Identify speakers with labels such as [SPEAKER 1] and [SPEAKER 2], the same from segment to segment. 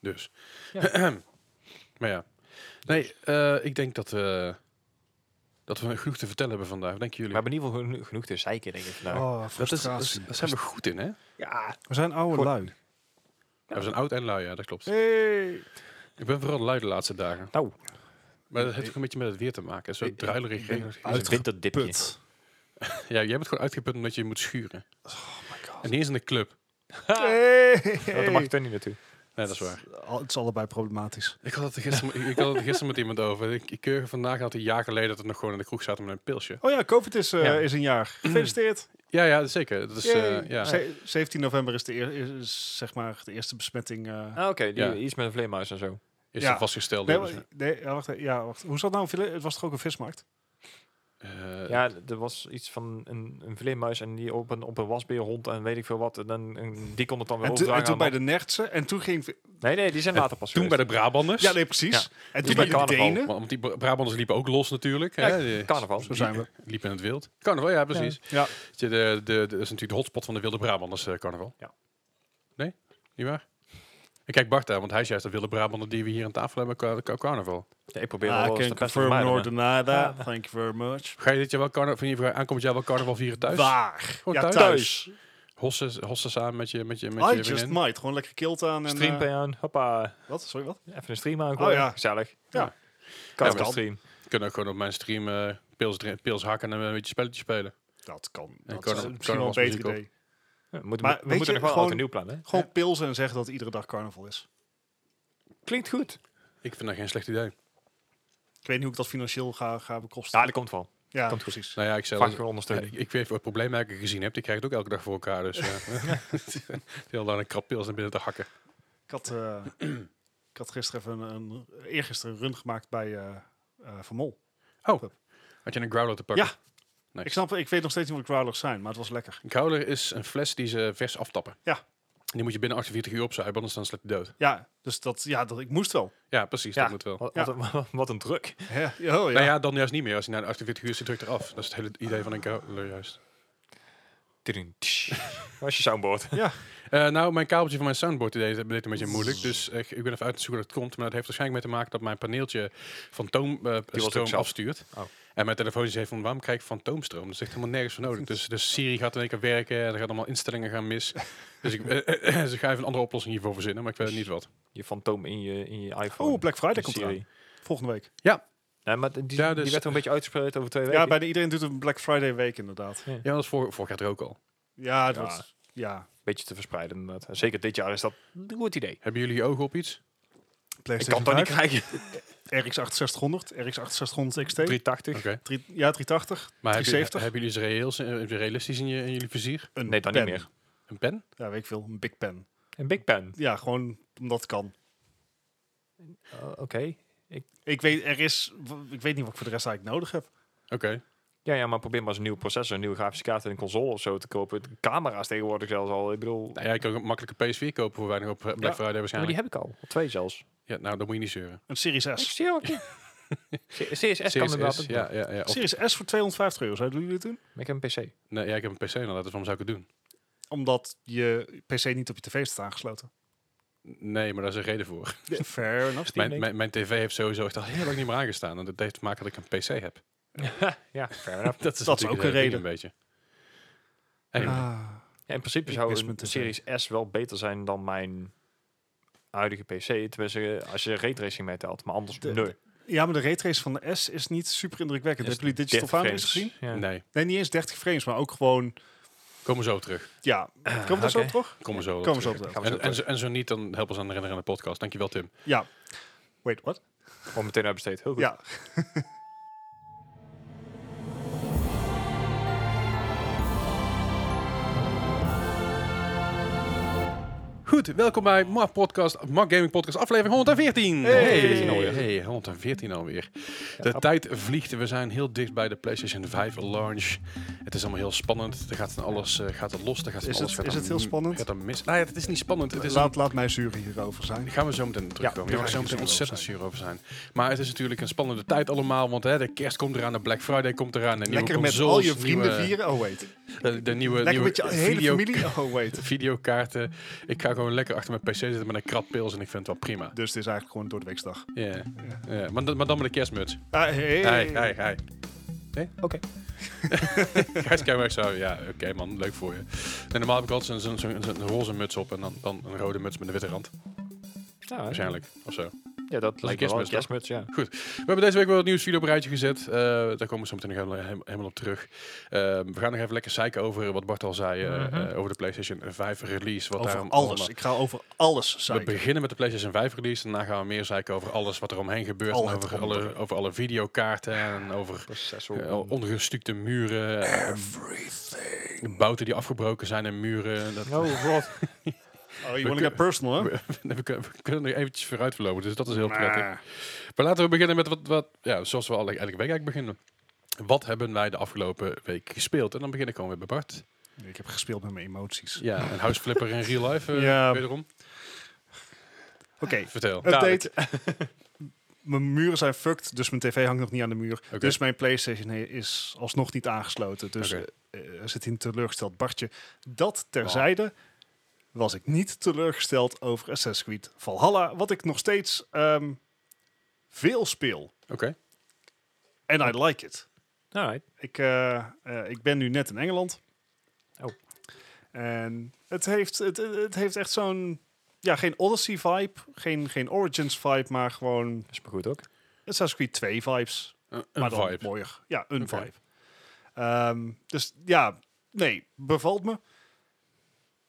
[SPEAKER 1] Dus.
[SPEAKER 2] Ja.
[SPEAKER 1] maar ja. Nee, eh, ik denk dat, eh, dat we genoeg te vertellen hebben vandaag. Wat Denken
[SPEAKER 3] We
[SPEAKER 1] jullie?
[SPEAKER 3] hebben in ieder geval geno- genoeg te zeiken, denk ik. Vandaag.
[SPEAKER 2] Oh,
[SPEAKER 1] dat, is, dat,
[SPEAKER 2] frustratie.
[SPEAKER 1] is- daar zijn we goed in, hè?
[SPEAKER 3] Ja.
[SPEAKER 2] We zijn oude
[SPEAKER 3] Goed.
[SPEAKER 2] lui.
[SPEAKER 1] Ja, we zijn oud en lui, ja, dat klopt. Ik ben vooral lui de laatste dagen.
[SPEAKER 3] Nou,
[SPEAKER 1] Maar dat heeft ook een beetje met het weer te maken. Zo
[SPEAKER 2] Ik- ik
[SPEAKER 1] druilerig.
[SPEAKER 2] ben
[SPEAKER 1] regelig.
[SPEAKER 3] het is een winterdipje.
[SPEAKER 2] Put.
[SPEAKER 1] Ja, jij bent gewoon uitgeput omdat je moet schuren.
[SPEAKER 2] Oh my god.
[SPEAKER 1] En niet eens in de club.
[SPEAKER 3] Oh, daar mag ik toch niet naartoe.
[SPEAKER 1] Nee, dat is waar.
[SPEAKER 2] Al- Het is allebei problematisch.
[SPEAKER 1] Ik had het er gisteren, ik had het er gisteren met iemand over. Ik, ik keur vandaag had een jaar geleden dat we nog gewoon in de kroeg zaten met een pilsje.
[SPEAKER 2] Oh ja, COVID is, eh,
[SPEAKER 3] Ja.
[SPEAKER 2] is een jaar. Gefeliciteerd.
[SPEAKER 1] Ja, ja, zeker. Dat is, eh,
[SPEAKER 2] Yay.
[SPEAKER 1] ja.
[SPEAKER 2] Ze- 17 november is, de eer- is- is zeg maar de eerste besmetting. eh.
[SPEAKER 3] Ah, oké. die-
[SPEAKER 1] Ja.
[SPEAKER 3] Iets met een vleermuis en zo.
[SPEAKER 1] Is
[SPEAKER 2] Ja.
[SPEAKER 1] dat vastgesteld?
[SPEAKER 2] nee,
[SPEAKER 1] dus,
[SPEAKER 2] wa- nee, ja, wacht, even. ja, wacht. Hoe zat nou? een villa- Het was toch ook een vismarkt?
[SPEAKER 1] eh,
[SPEAKER 3] ja, d- er was iets van een, een vleermuis en die op een, op een wasbeerhond en weet ik veel wat. En dan en die kon het dan weer
[SPEAKER 2] En, toen- en
[SPEAKER 3] overdragen.
[SPEAKER 2] toen bij
[SPEAKER 3] aan
[SPEAKER 2] de Nertsen. En toen ging...
[SPEAKER 3] de- Nee, nee, die zijn
[SPEAKER 1] En
[SPEAKER 3] later pas
[SPEAKER 1] Toen bij de Brabanders.
[SPEAKER 2] Ja, nee, precies. En
[SPEAKER 3] bij
[SPEAKER 2] toen bij de
[SPEAKER 3] carnaval.
[SPEAKER 2] Denen.
[SPEAKER 1] Want die Bra- Brabanders liepen ook los natuurlijk. hè.
[SPEAKER 3] geweest.
[SPEAKER 1] Die-
[SPEAKER 3] Ja, carnaval.
[SPEAKER 2] Zo zijn we.
[SPEAKER 1] die liepen in het wild. Carnaval, ja, precies.
[SPEAKER 2] Ja.
[SPEAKER 1] Weet je, De, de, de- dat is natuurlijk de hotspot van de wilde Brabanders, eh, carnaval.
[SPEAKER 3] Ja.
[SPEAKER 1] Nee? Niet waar? Ik kijk Bart aan, want hij is juist de wilde Brabander die we hier aan tafel hebben qua, qua carnaval.
[SPEAKER 3] Ja, ik
[SPEAKER 2] Ah,
[SPEAKER 3] probeer wel eens de beste te vermijden, maar-
[SPEAKER 2] Nordenada. Thank you very much.
[SPEAKER 1] Ga je dit jaar wel carnaval, van je aankomend jaar wel carnaval vieren thuis?
[SPEAKER 2] Waar?
[SPEAKER 1] Gewoon
[SPEAKER 2] ja,
[SPEAKER 1] thuis.
[SPEAKER 2] thuis.
[SPEAKER 1] Hossen, hossen samen met je met je met
[SPEAKER 2] I
[SPEAKER 1] je
[SPEAKER 2] Ah, just
[SPEAKER 1] vriendin.
[SPEAKER 2] might. Gewoon lekker kilt aan. En,
[SPEAKER 3] Stream
[SPEAKER 2] eh,
[SPEAKER 3] aan, hoppa.
[SPEAKER 2] wat? Sorry, wat?
[SPEAKER 3] Even een stream aankomen.
[SPEAKER 2] Oh ja.
[SPEAKER 3] Gezellig.
[SPEAKER 2] Ja.
[SPEAKER 3] Kan
[SPEAKER 1] Ja,
[SPEAKER 3] wel
[SPEAKER 2] kan.
[SPEAKER 3] stream.
[SPEAKER 1] Kunnen ook gewoon op mijn stream eh, pils, drin- pils hakken en een beetje spelletje spelen.
[SPEAKER 2] Dat kan.
[SPEAKER 1] Ja,
[SPEAKER 2] Dat
[SPEAKER 1] carna-
[SPEAKER 2] is misschien wel een
[SPEAKER 1] carnavalsmuziek
[SPEAKER 2] beter idee.
[SPEAKER 3] Ja, we moeten,
[SPEAKER 2] Maar
[SPEAKER 3] we
[SPEAKER 2] weet
[SPEAKER 3] moeten nog
[SPEAKER 2] je,
[SPEAKER 3] wel
[SPEAKER 2] gewoon-
[SPEAKER 3] oud en nieuw plannen.
[SPEAKER 2] Gewoon pilsen en zeggen dat het iedere dag carnaval is.
[SPEAKER 3] Klinkt goed.
[SPEAKER 1] Ik vind dat geen slecht idee.
[SPEAKER 2] Ik weet niet hoe ik dat financieel ga, ga bekosten.
[SPEAKER 3] Ja, dat komt wel.
[SPEAKER 2] ja,
[SPEAKER 3] komt goed.
[SPEAKER 2] precies.
[SPEAKER 1] Nou ja, ik zelf.
[SPEAKER 3] Vaak gewoon
[SPEAKER 1] Ja,
[SPEAKER 2] Eh.
[SPEAKER 3] ondersteunen.
[SPEAKER 1] ik, ik weet wat probleem eigenlijk gezien heb. Die krijgt ook elke dag voor elkaar. Dus ja. heel dan een krap pils naar binnen te hakken.
[SPEAKER 2] Ik had, eh, ik had gisteren even een, een, eergisteren een run gemaakt bij eh eh Van Mol.
[SPEAKER 1] Had je een growler te pakken?
[SPEAKER 2] Ja.
[SPEAKER 1] Nice.
[SPEAKER 2] Ik snap, ik weet nog steeds niet wat growlers zijn, maar het was lekker.
[SPEAKER 1] Een growler is een fles die ze vers aftappen.
[SPEAKER 2] Ja.
[SPEAKER 1] En die moet je binnen 48 uur opzuipen, anders dan slecht dood.
[SPEAKER 2] Ja, dus dat, ja, dat ik moest wel.
[SPEAKER 1] Ja, precies.
[SPEAKER 3] Ja.
[SPEAKER 1] Dat moet wel.
[SPEAKER 3] Wat,
[SPEAKER 2] Ja.
[SPEAKER 3] wat een, wat een druk.
[SPEAKER 2] Hè? Ja, oh, ja.
[SPEAKER 1] Nou ja, dan juist niet meer. Als hij na de 48 uur is, die drukt eraf. Dat is het hele idee van een growler juist.
[SPEAKER 3] Tudum, tsch. Waar is je soundboard?
[SPEAKER 1] Eh, nou, mijn kabeltje van mijn soundboard deed, deed het een beetje moeilijk. Dus eh, ik ben even uit te zoeken hoe dat komt. Maar dat heeft waarschijnlijk mee te maken dat mijn paneeltje
[SPEAKER 3] ook
[SPEAKER 1] fantoomstroom
[SPEAKER 3] zelf.
[SPEAKER 1] afstuurt.
[SPEAKER 3] Oh.
[SPEAKER 1] En mijn telefoon zegt van, waarom krijg ik fantoomstroom? Dat is echt helemaal nergens voor nodig. Dus, dus Siri gaat in één keer werken. En er gaan allemaal instellingen gaan mis. dus ik, eh, dus ik ga even een andere oplossing hiervoor verzinnen. Maar ik weet niet wat.
[SPEAKER 3] Je fantoom in je, in je iPhone.
[SPEAKER 2] Oh, Black Friday
[SPEAKER 3] De
[SPEAKER 2] komt
[SPEAKER 3] Siri.
[SPEAKER 2] eraan. Volgende week.
[SPEAKER 3] Nee, maar die,
[SPEAKER 1] Ja, dus-
[SPEAKER 3] die werd er een beetje uitgespreid over twee weken.
[SPEAKER 2] Ja, bijna iedereen doet een Black Friday week inderdaad.
[SPEAKER 1] Ja, dat is voor, vorig jaar er ook al.
[SPEAKER 2] Ja, dat
[SPEAKER 3] Ja.
[SPEAKER 2] wordt- ja.
[SPEAKER 3] Beetje te verspreiden. inderdaad. En Zeker dit jaar is dat een goed idee.
[SPEAKER 1] Hebben jullie je ogen op iets?
[SPEAKER 3] Ik kan het dan niet krijgen.
[SPEAKER 2] RX 6800, RX 6800 XT.
[SPEAKER 3] 380.
[SPEAKER 1] Oké.
[SPEAKER 2] Drie- ja, 380.
[SPEAKER 1] Maar hebben, jullie-
[SPEAKER 2] 370?
[SPEAKER 1] hebben jullie ze reëels, eh, realistisch in, je, in jullie vizier?
[SPEAKER 2] Een
[SPEAKER 3] Nee, dan
[SPEAKER 2] pen.
[SPEAKER 3] niet meer.
[SPEAKER 1] Een pen?
[SPEAKER 2] Ja, weet ik veel. Een big pen.
[SPEAKER 3] Een Big Pen.
[SPEAKER 2] Ja, gewoon omdat het kan.
[SPEAKER 3] Oh, Oké.
[SPEAKER 2] Ik weet, er is, ik weet niet wat ik voor de rest eigenlijk nodig heb.
[SPEAKER 1] Oké.
[SPEAKER 3] Ja, ja, maar probeer maar eens een nieuwe processor, een nieuwe grafische kaart en een console of zo te kopen. De Camera's tegenwoordig zelfs al. Ik bedoel,
[SPEAKER 1] Nou ja, ik kan ook makkelijk een PS4 kopen voor weinig op eh, Black
[SPEAKER 3] Ja.
[SPEAKER 1] Friday
[SPEAKER 3] ja, maar die
[SPEAKER 1] waarschijnlijk.
[SPEAKER 3] heb ik al. Twee zelfs.
[SPEAKER 1] Ja, nou, dan moet je niet zeuren.
[SPEAKER 2] Een Series
[SPEAKER 3] Ik
[SPEAKER 2] S.
[SPEAKER 3] zie ook niet. C- CSS kan inderdaad
[SPEAKER 1] CSS,
[SPEAKER 3] ook.
[SPEAKER 1] ja, ja, ja. Of-
[SPEAKER 2] Series S voor 250 euro. Zouden jullie dit doen?
[SPEAKER 3] Maar ik heb een PC.
[SPEAKER 1] nee, ja, ik heb een PC inderdaad, dus waarom zou ik het doen?
[SPEAKER 2] Omdat je PC niet op je tv staat aangesloten.
[SPEAKER 1] Nee, maar daar is een reden voor.
[SPEAKER 2] Fair
[SPEAKER 3] Steam
[SPEAKER 2] enough.
[SPEAKER 1] Mijn,
[SPEAKER 3] Link.
[SPEAKER 1] mijn, mijn tv heeft sowieso echt al heel lang niet meer aangestaan. En dat heeft te maken dat ik een PC heb.
[SPEAKER 3] ja, fair enough.
[SPEAKER 1] Dat is,
[SPEAKER 2] Dat is
[SPEAKER 1] natuurlijk
[SPEAKER 2] ook
[SPEAKER 1] de ding
[SPEAKER 2] een reden.
[SPEAKER 1] Een beetje.
[SPEAKER 3] Ah,
[SPEAKER 1] Anyway.
[SPEAKER 3] Ja, in principe
[SPEAKER 2] Ik
[SPEAKER 3] zou
[SPEAKER 2] mis
[SPEAKER 3] een
[SPEAKER 2] mijn TV.
[SPEAKER 3] Series S wel beter zijn dan mijn huidige PC. Tenminste, eh, als je raytracing meetelt. Maar anders,
[SPEAKER 2] De-
[SPEAKER 3] nee.
[SPEAKER 2] Ja, maar de raytrace van de S is niet super indrukwekkend.
[SPEAKER 3] Is
[SPEAKER 2] Hebben jullie
[SPEAKER 3] 30
[SPEAKER 2] Digital Foundry eens
[SPEAKER 3] frames.
[SPEAKER 2] gezien?
[SPEAKER 3] Ja.
[SPEAKER 1] Nee,
[SPEAKER 2] Nee, niet eens 30 frames, maar ook gewoon...
[SPEAKER 1] komen we zo op terug.
[SPEAKER 2] Ja,
[SPEAKER 3] Ah,
[SPEAKER 2] komen we er zo
[SPEAKER 3] oké.
[SPEAKER 2] op terug?
[SPEAKER 1] Komen we zo op
[SPEAKER 2] Komen we zo
[SPEAKER 1] terug.
[SPEAKER 2] op terug.
[SPEAKER 3] Gaan we zo
[SPEAKER 1] En, en,
[SPEAKER 3] terug.
[SPEAKER 1] zo, en zo niet, dan help ons aan de herinneren aan de podcast. Dankjewel, Tim.
[SPEAKER 2] Ja. Wait, what?
[SPEAKER 3] Gewoon meteen uitbesteed. Heel goed.
[SPEAKER 2] Ja.
[SPEAKER 1] Goed, welkom bij Mark Podcast, Mark Gaming Podcast, aflevering 114.
[SPEAKER 2] Hey.
[SPEAKER 1] 114 alweer. Hey, 114 alweer. De
[SPEAKER 3] Ja.
[SPEAKER 1] tijd vliegt. We zijn heel dicht bij de PlayStation 5 launch. Het is allemaal heel spannend. Er gaat van alles eh, gaat er los. Er gaat van
[SPEAKER 2] Is
[SPEAKER 1] alles,
[SPEAKER 2] het-
[SPEAKER 1] gaat
[SPEAKER 2] is
[SPEAKER 1] er
[SPEAKER 2] het heel
[SPEAKER 1] m-
[SPEAKER 2] spannend?
[SPEAKER 1] Gaat er mis. Nou ja, het is niet spannend. Het is
[SPEAKER 2] laat, laat mij zuren hierover zijn.
[SPEAKER 1] Gaan we zo meteen terugkomen.
[SPEAKER 2] daar
[SPEAKER 1] Ja, we
[SPEAKER 2] ga
[SPEAKER 1] zo
[SPEAKER 2] ik
[SPEAKER 1] meteen
[SPEAKER 2] zuur over
[SPEAKER 1] ontzettend zuur over zijn. Maar het is natuurlijk een spannende tijd allemaal. Want hè, de kerst komt eraan, de Black Friday komt eraan. De nieuwe
[SPEAKER 2] Lekker met
[SPEAKER 1] consoles,
[SPEAKER 2] al je vrienden
[SPEAKER 1] nieuwe- eh,
[SPEAKER 2] vieren. Oh, wait.
[SPEAKER 1] De, de nieuwe,
[SPEAKER 2] Lekker
[SPEAKER 1] nieuwe
[SPEAKER 2] met je hele
[SPEAKER 1] video-
[SPEAKER 2] familie. Oh, wait.
[SPEAKER 1] videokaarten. Ik ga gewoon gewoon lekker achter mijn PC zitten met een krap pils en ik vind het wel prima.
[SPEAKER 2] Dus het is eigenlijk gewoon een doordeweeksdag.
[SPEAKER 1] Ja. Ja, Maar, dan- maar dan met een kerstmuts.
[SPEAKER 2] Ah, hey.
[SPEAKER 1] Hey, hey, hey. Nee? Oké. Gijs Keimerk zou, ja, oké man, leuk voor je. Nee, normaal heb ik altijd zo'n zo'n- zo'n- zo'n roze muts op en dan, dan een rode muts met een witte rand.
[SPEAKER 3] Ja, hè?
[SPEAKER 1] Waarschijnlijk, of zo.
[SPEAKER 3] ja dat lijkt me wel een
[SPEAKER 1] kerstmis, toch?
[SPEAKER 3] kerstmuts, ja.
[SPEAKER 1] We hebben deze week wel het nieuws video op een rijtje gezet. Eh, daar komen we zo meteen nog helemaal, helemaal- helemaal op terug. Eh, we gaan nog even lekker zeiken over wat Bart al zei eh,
[SPEAKER 3] Mhm.
[SPEAKER 1] eh, over de PlayStation 5 release. Wat
[SPEAKER 2] Over
[SPEAKER 1] daarom
[SPEAKER 2] alles.
[SPEAKER 1] allemaal-
[SPEAKER 2] Ik ga over alles
[SPEAKER 1] We
[SPEAKER 2] zeiken.
[SPEAKER 1] beginnen met de PlayStation 5 release. Daarna gaan we meer zeiken over alles wat er omheen gebeurt.
[SPEAKER 2] Al
[SPEAKER 1] en
[SPEAKER 2] het
[SPEAKER 1] over, alle,
[SPEAKER 2] andere.
[SPEAKER 1] over alle videokaarten en over
[SPEAKER 3] Processor.
[SPEAKER 1] eh, ongestukte muren. en Bouten die afgebroken zijn en muren. Dat,
[SPEAKER 3] Oh god.
[SPEAKER 2] Oh, je
[SPEAKER 1] We
[SPEAKER 2] wil
[SPEAKER 1] kun-
[SPEAKER 2] ik personal, hè?
[SPEAKER 1] we, we kunnen- we kunnen er eventjes vooruit verlopen, dus dat is heel
[SPEAKER 2] Nah.
[SPEAKER 1] prettig. Maar laten we beginnen met wat, wat ja, zoals we alle- elke week eigenlijk beginnen. Wat hebben wij de afgelopen week gespeeld? En dan begin ik gewoon weer bij Bart.
[SPEAKER 2] Ik heb gespeeld met mijn emoties.
[SPEAKER 1] Ja, een houseflipper in real life eh,
[SPEAKER 2] Ja.
[SPEAKER 1] wederom.
[SPEAKER 2] Oké,
[SPEAKER 1] Vertel. Dadelijk.
[SPEAKER 2] update. mijn muren zijn fucked, dus mijn tv hangt nog niet aan de muur.
[SPEAKER 1] Oké.
[SPEAKER 2] Dus mijn PlayStation he- is alsnog niet aangesloten. Dus
[SPEAKER 1] Oké.
[SPEAKER 2] eh, er zit in teleurgesteld Bartje. Dat terzijde was ik niet teleurgesteld over Assassin's Creed Valhalla, wat ik nog steeds ehm, veel speel.
[SPEAKER 1] Oké.
[SPEAKER 2] En I like it.
[SPEAKER 3] Alright.
[SPEAKER 2] Ik, eh, eh, ik ben nu net in Engeland.
[SPEAKER 3] Oh.
[SPEAKER 2] En het heeft, het, het het heeft echt zo'n... Ja, geen Odyssey-vibe, geen, geen Origins-vibe, maar gewoon
[SPEAKER 3] Is maar goed ook.
[SPEAKER 2] Assassin's Creed 2 vibes.
[SPEAKER 1] Een-
[SPEAKER 2] maar
[SPEAKER 1] Een
[SPEAKER 2] dan
[SPEAKER 1] vibe.
[SPEAKER 2] mooier. Ja, een
[SPEAKER 1] Oké.
[SPEAKER 2] vibe. Ehm, dus ja, nee, bevalt me.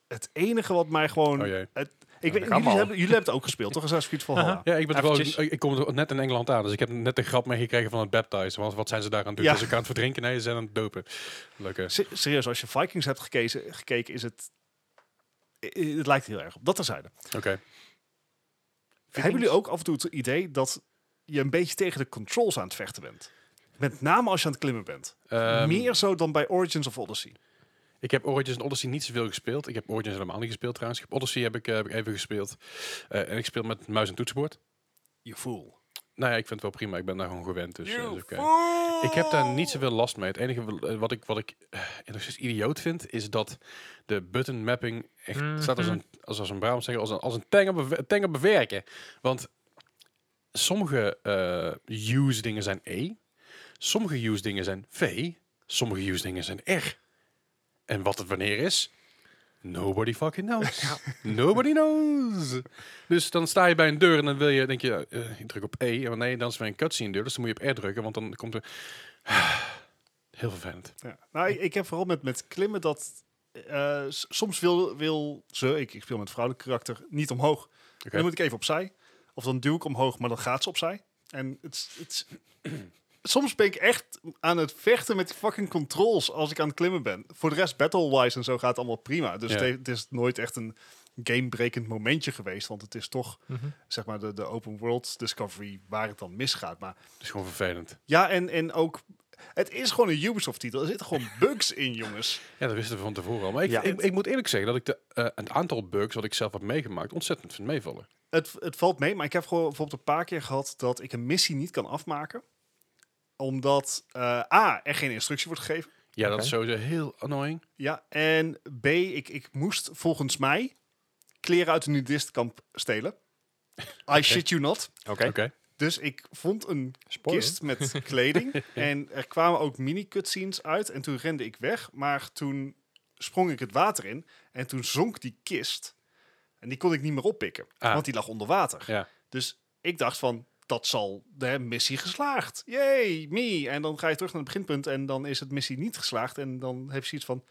[SPEAKER 2] Het enige wat mij gewoon...
[SPEAKER 1] Oh jee.
[SPEAKER 2] ik
[SPEAKER 3] dat
[SPEAKER 2] weet,
[SPEAKER 3] kan
[SPEAKER 2] jullie,
[SPEAKER 3] wel.
[SPEAKER 2] hebben, jullie hebben het ook gespeeld, toch? Assassin's Creed Valhalla.
[SPEAKER 1] Ja, ik, ben er wel, ik,
[SPEAKER 3] Eventjes.
[SPEAKER 1] ik kom er net in Engeland aan, dus ik heb net een grap meegekregen van het baptize. Want wat zijn ze daar aan het doen?
[SPEAKER 2] Ja.
[SPEAKER 1] Ze zijn aan het verdrinken? Nee, ze zijn aan het dopen. Leuk hè?
[SPEAKER 2] Se- serieus, als je Vikings hebt gekeken, gekeken is het... i- Het lijkt heel erg op. Dat terzijde.
[SPEAKER 1] Oké.
[SPEAKER 2] Hebben jullie ook af en toe het idee dat je een beetje tegen de controls aan het vechten bent? Met name als je aan het klimmen bent.
[SPEAKER 1] Ehm,
[SPEAKER 2] Meer zo dan bij Origins of Odyssey.
[SPEAKER 1] Ik heb Origins en Odyssey niet zoveel gespeeld. Ik heb Origins helemaal niet gespeeld trouwens. Ik heb Odyssey heb ik, eh, heb ik even gespeeld. Eh, en ik speel met muis en toetsenbord.
[SPEAKER 2] Je voel.
[SPEAKER 1] Nou ja, ik vind het wel prima. Ik ben daar gewoon gewend. Dus, eh, is oké. Ik heb daar niet zoveel last mee. Het enige wa- eh, wat ik, wat ik eh, nog steeds idioot vind, is dat de button mapping echt staat als een, als, als een Brabant zeggen, als een, als een tang op bewe- tang op bewerken. Want sommige eh, use dingen zijn E, sommige use dingen zijn V, sommige use dingen zijn R. En wat het wanneer is? Nobody fucking knows. Nobody knows. Dus dan sta je bij een deur en dan wil je, denk je, eh, ik druk op E. Maar nee, dan is er weer een cutscene deur, dus dan moet je op R drukken, want dan komt er... Heel vervelend.
[SPEAKER 2] Ja. Nou, ik, ik heb vooral met, met klimmen dat... eh, s- soms wil, wil ze, ik, ik speel met vrouwelijk karakter, niet omhoog. En Dan moet ik even opzij. Of dan duw ik omhoog, maar dan gaat ze opzij. En het, is- het, is- soms ben ik echt aan het vechten met die fucking controls als ik aan het klimmen ben. Voor de rest, battle-wise en zo gaat het allemaal prima. Dus
[SPEAKER 1] Ja.
[SPEAKER 2] het, he- het is nooit echt een gamebrekend momentje geweest. Want het is toch, zeg maar, de, de open world discovery waar het dan misgaat. Maar
[SPEAKER 1] Het is gewoon vervelend.
[SPEAKER 2] ja, en, en ook... Het is gewoon een Ubisoft-titel. Er zitten gewoon bugs in, jongens.
[SPEAKER 1] Ja, dat wisten we van tevoren al. Maar ik,
[SPEAKER 3] Ja.
[SPEAKER 1] ik, ik moet eerlijk zeggen dat ik de, eh, het aantal bugs wat ik zelf heb meegemaakt ontzettend vind meevallen.
[SPEAKER 2] Het, het valt mee, maar ik heb gewoon bijvoorbeeld een paar keer gehad dat ik een missie niet kan afmaken. Omdat eh, A, er geen instructie wordt gegeven.
[SPEAKER 1] Ja, dat
[SPEAKER 3] Oké.
[SPEAKER 1] is sowieso heel annoying.
[SPEAKER 2] Ja, en B, ik, ik moest volgens mij kleren uit een nudistkamp stelen. I shit you not.
[SPEAKER 3] Oké.
[SPEAKER 1] Oké.
[SPEAKER 2] Dus ik vond een
[SPEAKER 3] Spoiler.
[SPEAKER 2] kist met kleding. en er kwamen ook mini-cutscenes uit. En toen rende ik weg. Maar toen sprong ik het water in. En toen zonk die kist. En die kon ik niet meer oppikken.
[SPEAKER 1] Ah.
[SPEAKER 2] Want die lag onder water.
[SPEAKER 1] Ja.
[SPEAKER 2] Dus ik dacht van, dat zal de missie geslaagd. Yay, me. En dan ga je terug naar het beginpunt. En dan is het missie niet geslaagd. En dan heb je zoiets van,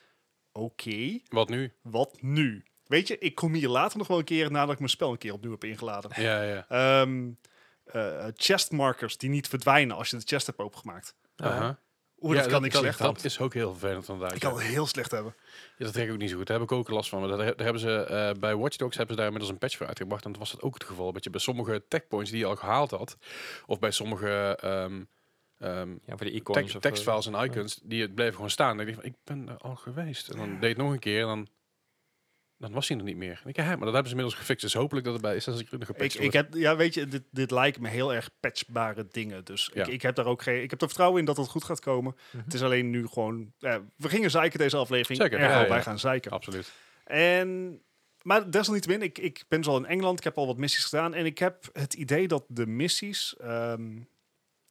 [SPEAKER 2] oké,
[SPEAKER 1] Wat nu?
[SPEAKER 2] wat nu? Weet je, ik kom hier later nog wel een keer nadat ik mijn spel een keer opnieuw heb ingeladen.
[SPEAKER 1] Ja, ja.
[SPEAKER 2] Ehm eh, chestmarkers die niet verdwijnen als je de chest hebt opengemaakt.
[SPEAKER 1] Aha.
[SPEAKER 2] Oeh,
[SPEAKER 1] Ja,
[SPEAKER 2] Oh, dat kan ik
[SPEAKER 1] dat,
[SPEAKER 2] slecht
[SPEAKER 1] dat
[SPEAKER 2] hebben.
[SPEAKER 1] is ook heel vervelend vandaag.
[SPEAKER 2] Ik
[SPEAKER 1] ja.
[SPEAKER 2] kan het heel slecht hebben.
[SPEAKER 1] Ja, dat trek ik ook niet zo goed. Daar heb ik ook last van. Maar daar, daar hebben ze, eh, bij Watch Dogs hebben ze daar inmiddels een patch voor uitgebracht. En dat was dat ook het geval. Dat je bij sommige techpoints die je al gehaald had, of bij sommige ehm, ehm,
[SPEAKER 3] Ja, voor de
[SPEAKER 1] tek-
[SPEAKER 3] icons. of, eh,
[SPEAKER 1] tekstfiles en icons, die het bleven gewoon staan. En ik dacht van, ik ben er al geweest. En dan deed ik het nog een keer en dan, dan was hij er niet meer. En ik, ja, maar dat hebben ze inmiddels gefixt. Dus hopelijk dat het bij is dat ik nog
[SPEAKER 2] Ik,
[SPEAKER 1] gepatcht
[SPEAKER 2] ik
[SPEAKER 1] wordt.
[SPEAKER 2] heb, ja, weet je, dit, dit lijken me heel erg patchbare dingen. Dus
[SPEAKER 1] Ja.
[SPEAKER 2] ik, ik heb daar ook geen. Ik heb er vertrouwen in dat het goed gaat komen.
[SPEAKER 3] Mhm.
[SPEAKER 2] Het is alleen nu gewoon. eh, we gingen zeiken deze aflevering.
[SPEAKER 1] Zeker,
[SPEAKER 2] Ergo,
[SPEAKER 1] ja, ja.
[SPEAKER 2] wij gaan zeiken.
[SPEAKER 1] Absoluut.
[SPEAKER 2] En maar desalniettemin, ik, ik ben dus al in Engeland, ik heb al wat missies gedaan. En ik heb het idee dat de missies ehm,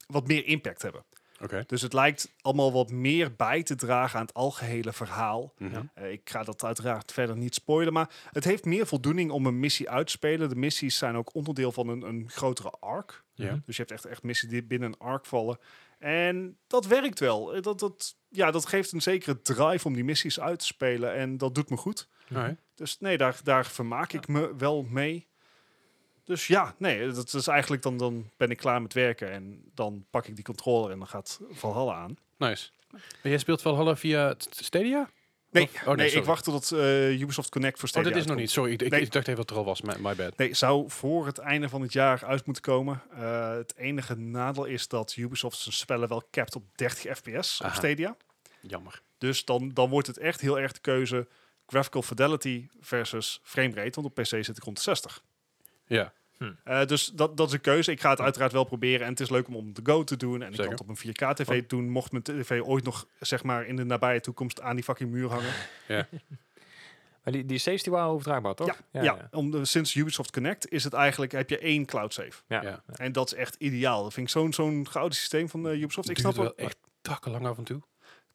[SPEAKER 2] wat meer impact hebben.
[SPEAKER 1] Oké.
[SPEAKER 2] Dus het lijkt allemaal wat meer bij te dragen aan het algehele verhaal.
[SPEAKER 1] Mhm.
[SPEAKER 3] Ja.
[SPEAKER 2] Eh, ik ga dat uiteraard verder niet spoilen, maar het heeft meer voldoening om een missie uit te spelen. De missies zijn ook onderdeel van een, een grotere arc.
[SPEAKER 1] Ja.
[SPEAKER 2] Dus je hebt echt, echt missies die binnen een arc vallen. En dat werkt wel. Eh, Dat, dat, ja, dat geeft een zekere drive om die missies uit te spelen. En dat doet me goed.
[SPEAKER 1] Alright.
[SPEAKER 2] Dus nee, daar, daar vermaak ik me wel mee. Dus ja, nee, dat is eigenlijk dan, dan ben ik klaar met werken. En dan pak ik die controller en dan gaat Valhalla aan.
[SPEAKER 1] Nice. Maar jij speelt Valhalla via t- Stadia?
[SPEAKER 2] Nee,
[SPEAKER 1] Of- oh,
[SPEAKER 2] nee,
[SPEAKER 1] sorry.
[SPEAKER 2] ik wacht totdat eh, Ubisoft Connect voor
[SPEAKER 1] Oh,
[SPEAKER 2] Stadia
[SPEAKER 1] dat is nog
[SPEAKER 2] uitkomt.
[SPEAKER 1] niet. Sorry, ik, ik-
[SPEAKER 2] Nee.
[SPEAKER 1] ik dacht even dat het er al was. My, my bad.
[SPEAKER 2] Nee, zou voor het einde van het jaar uit moeten komen. Eh, het enige nadeel is dat Ubisoft zijn spellen wel capt op 30 fps op
[SPEAKER 1] Aha.
[SPEAKER 2] Stadia.
[SPEAKER 1] Jammer.
[SPEAKER 2] Dus dan, dan wordt het echt heel erg de keuze graphical fidelity versus framerate. Want op PC zit ik rond de 60.
[SPEAKER 1] Ja.
[SPEAKER 2] Eh, dus dat, dat is een keuze. Ik ga het uiteraard wel proberen. En het is leuk om on the go te doen. En ik kan
[SPEAKER 1] Zeker.
[SPEAKER 2] het op een 4K-tv doen. Mocht mijn tv ooit nog, zeg maar, in de nabije toekomst aan die fucking muur hangen.
[SPEAKER 3] Maar die, die saves die waren overdraagbaar, toch?
[SPEAKER 2] Ja, ja, Om de, sinds Ubisoft Connect is het eigenlijk, heb je één cloud save.
[SPEAKER 3] ja.
[SPEAKER 1] Ja.
[SPEAKER 2] En dat is echt ideaal. Dat vind ik zo'n zo'n gouden systeem van eh, Ubisoft. Ik snap
[SPEAKER 1] Duurt
[SPEAKER 2] het,
[SPEAKER 1] wel echt takkenlang af en toe.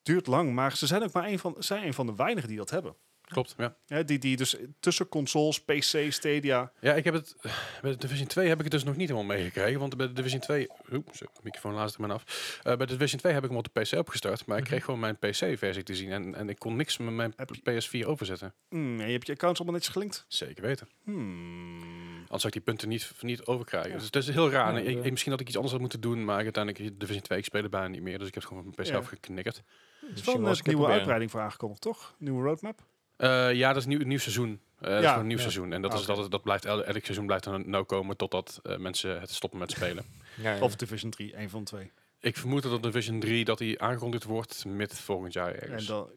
[SPEAKER 2] duurt lang, maar ze zijn ook maar een van, zijn een van de weinigen die dat hebben.
[SPEAKER 1] Klopt, ja.
[SPEAKER 2] Hè, die, die dus tussen consoles, PC, Stadia.
[SPEAKER 1] Ja, ik heb het eh, bij de Division 2 heb ik het dus nog niet helemaal meegekregen, want bij de Division 2, oeh, zo, microfoon laatste maar af. Eh, bij de Division 2 heb ik hem op de PC opgestart, maar ik kreeg gewoon mijn PC-versie te zien en, en ik kon niks met mijn
[SPEAKER 2] Mhm. Heb je-
[SPEAKER 1] PS4 overzetten.
[SPEAKER 2] Hmm, en je hebt je accounts allemaal netjes gelinkt.
[SPEAKER 1] Zeker weten.
[SPEAKER 2] Hmm.
[SPEAKER 1] Anders zou ik die punten niet, niet overkrijgen. Dus dat is heel raar.
[SPEAKER 3] Ja,
[SPEAKER 1] En ik-
[SPEAKER 3] ja.
[SPEAKER 1] ik- misschien had ik iets anders had moeten doen, maar uiteindelijk Division 2 ik speel er bijna niet meer, dus ik heb het gewoon op mijn PC
[SPEAKER 2] Ja.
[SPEAKER 1] afgeknikkerd.
[SPEAKER 2] Er is
[SPEAKER 3] Misschien
[SPEAKER 2] wel
[SPEAKER 3] wel
[SPEAKER 2] een
[SPEAKER 3] eens een
[SPEAKER 2] eh,
[SPEAKER 3] keer
[SPEAKER 2] nieuwe
[SPEAKER 3] proberen.
[SPEAKER 2] uitbreiding voor aangekondigd, toch? Nieuwe roadmap?
[SPEAKER 1] Eh, ja, dat is nieuw, nieuw seizoen. Eh dat
[SPEAKER 2] Ja,
[SPEAKER 1] is gewoon een nieuw
[SPEAKER 2] ja.
[SPEAKER 1] seizoen. En dat,
[SPEAKER 2] Ah,
[SPEAKER 1] is,
[SPEAKER 2] oké.
[SPEAKER 1] dat, dat blijft, el- elk seizoen blijft er nou komen totdat eh, mensen het stoppen met spelen.
[SPEAKER 3] Ja, ja.
[SPEAKER 2] Of Division 3, een van de twee.
[SPEAKER 1] Ik vermoed dat op Division 3 dat hij aangekondigd wordt mid volgend jaar ergens.
[SPEAKER 2] En dan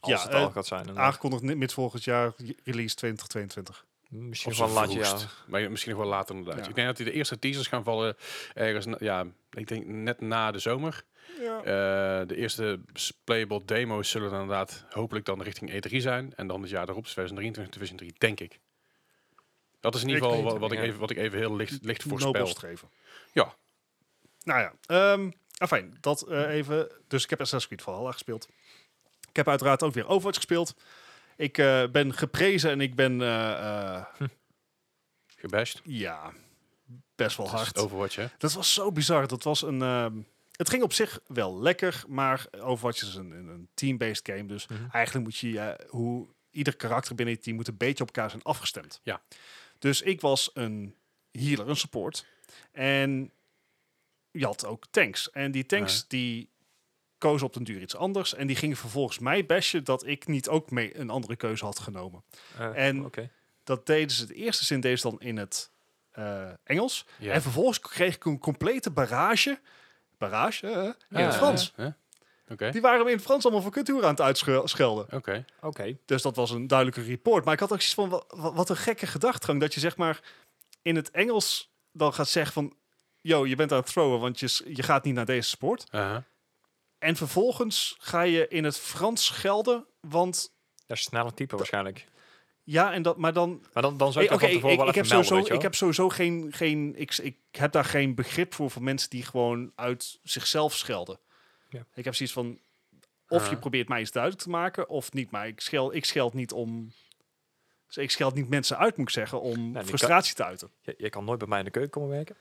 [SPEAKER 3] als
[SPEAKER 2] ja,
[SPEAKER 3] het al
[SPEAKER 2] eh,
[SPEAKER 3] gaat zijn. inderdaad.
[SPEAKER 2] aangekondigd ni- mid volgend jaar, j- release 2022.
[SPEAKER 3] Misschien
[SPEAKER 1] Of
[SPEAKER 3] wel
[SPEAKER 1] zo
[SPEAKER 3] een laatje
[SPEAKER 1] vroegst.
[SPEAKER 3] jaar.
[SPEAKER 1] Maar misschien nog wel later inderdaad.
[SPEAKER 2] Ja.
[SPEAKER 1] Ik denk dat die de eerste teasers gaan vallen ergens, na- ja, ik denk net na de zomer.
[SPEAKER 2] Ja.
[SPEAKER 1] Eh, de eerste s- playable demo's zullen dan inderdaad hopelijk dan richting E3 zijn. En dan het jaar daarop, dus 2023, Division 3, denk ik. Dat is in ieder
[SPEAKER 2] Ik
[SPEAKER 1] geval
[SPEAKER 2] weet
[SPEAKER 1] wa-
[SPEAKER 2] het
[SPEAKER 1] wat ik,
[SPEAKER 3] niet.
[SPEAKER 1] even, wat ik even heel licht, licht
[SPEAKER 2] Nobel
[SPEAKER 1] voorspel.
[SPEAKER 2] streven.
[SPEAKER 1] Ja.
[SPEAKER 2] Nou ja, ehm afijn, dat eh, even. Dus ik heb Assassin's Creed Valhalla gespeeld. Ik heb uiteraard ook weer Overwatch gespeeld. Ik eh, ben geprezen en ik ben, eh, eh,
[SPEAKER 1] Gebashed.
[SPEAKER 2] ja, best wel
[SPEAKER 1] Dat is
[SPEAKER 2] hard.
[SPEAKER 1] Overwatch, hè?
[SPEAKER 2] Dat was zo bizar. Dat was een. ehm, het ging op zich wel lekker, maar Overwatch is een, een een team-based game. Dus
[SPEAKER 3] Mhm.
[SPEAKER 2] eigenlijk moet je eh, hoe ieder karakter binnen het team moet een beetje op elkaar zijn afgestemd.
[SPEAKER 1] Ja.
[SPEAKER 2] Dus ik was een healer, een support. En je had ook tanks. En die tanks
[SPEAKER 1] Ja.
[SPEAKER 2] die kozen op den duur iets anders. En die gingen vervolgens mij bashen dat ik niet ook mee een andere keuze had genomen.
[SPEAKER 3] Eh,
[SPEAKER 2] En-
[SPEAKER 3] oké.
[SPEAKER 2] Dat deden ze, de eerste zin deden ze dan in het eh, Engels.
[SPEAKER 1] Ja.
[SPEAKER 2] En vervolgens kreeg ik een complete barrage. Barrage? eh, in het
[SPEAKER 3] ja,
[SPEAKER 2] Frans.
[SPEAKER 1] Hè? Oké,
[SPEAKER 2] Die waren me in het Frans allemaal voor cultuur aan het uitschelden.
[SPEAKER 1] oké.
[SPEAKER 3] Oké.
[SPEAKER 2] Dus dat was een duidelijke report. Maar ik had ook zoiets van, wa- wa- wat, een gekke gedachtegang. Dat je zeg maar in het Engels dan gaat zeggen van... Yo, je bent aan het throwen, want je, s- je gaat niet naar deze sport.
[SPEAKER 1] Aha.
[SPEAKER 2] En vervolgens ga je in het Frans schelden, want...
[SPEAKER 3] Ja, sneller type waarschijnlijk.
[SPEAKER 2] Ja, en dat, maar dan
[SPEAKER 3] Maar dan, dan zou ik
[SPEAKER 2] Hey,
[SPEAKER 3] dat
[SPEAKER 2] Eh, Oké,
[SPEAKER 3] van tevoren
[SPEAKER 2] ik,
[SPEAKER 3] wel
[SPEAKER 2] ik,
[SPEAKER 3] even melden,
[SPEAKER 2] heb sowieso,
[SPEAKER 3] weet je
[SPEAKER 2] ik
[SPEAKER 3] wel.
[SPEAKER 2] heb sowieso geen, geen ik, ik heb daar geen begrip voor van mensen die gewoon uit zichzelf schelden.
[SPEAKER 3] Ja.
[SPEAKER 2] Ik heb zoiets van, of je
[SPEAKER 3] Ah.
[SPEAKER 1] Ja.
[SPEAKER 2] probeert mij iets duidelijk te maken, of niet. Maar ik scheld, ik scheld niet om, dus ik scheld niet mensen uit, moet ik zeggen, om
[SPEAKER 3] Nou, die
[SPEAKER 2] frustratie te uiten.
[SPEAKER 3] Je, je kan nooit bij mij in de keuken komen werken.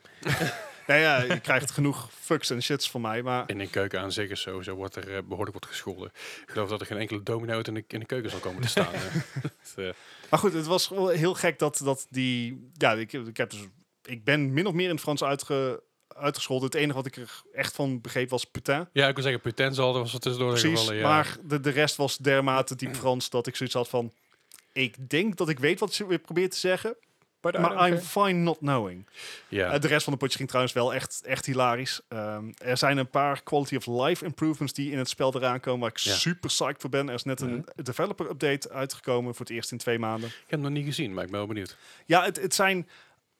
[SPEAKER 2] Nou ja, je krijgt genoeg fucks en shits van mij, maar
[SPEAKER 1] In de keuken aan zich is sowieso wordt er eh, behoorlijk wordt gescholden. Ik geloof dat er geen enkele domino uit in de, in de keuken zal komen te staan. eh. Het, eh,
[SPEAKER 2] Maar goed, het was wel heel gek dat, dat die... Ja, ik, ik, heb dus, ik ben min of meer in het Frans uitge, uitgescholden. Het enige wat ik er echt van begreep was putain.
[SPEAKER 1] ja, ik wil zeggen, pretense al, dat was er tussendoor
[SPEAKER 2] Precies,
[SPEAKER 1] gevallen. Ja.
[SPEAKER 2] maar de, de rest was dermate diep Frans dat ik zoiets had van... Ik denk dat ik weet wat ze weer probeert te zeggen, maar I'm fine not knowing.
[SPEAKER 1] ja.
[SPEAKER 2] Eh, de rest van de potje ging trouwens wel echt, echt hilarisch. Ehm, er zijn een paar quality of life improvements die in het spel eraan komen waar ik
[SPEAKER 1] Ja.
[SPEAKER 2] super psyched voor ben. Er is net een developer update uitgekomen voor het eerst in twee maanden.
[SPEAKER 1] Ik heb hem nog niet gezien, maar ik ben wel benieuwd.
[SPEAKER 2] Ja, het, het zijn...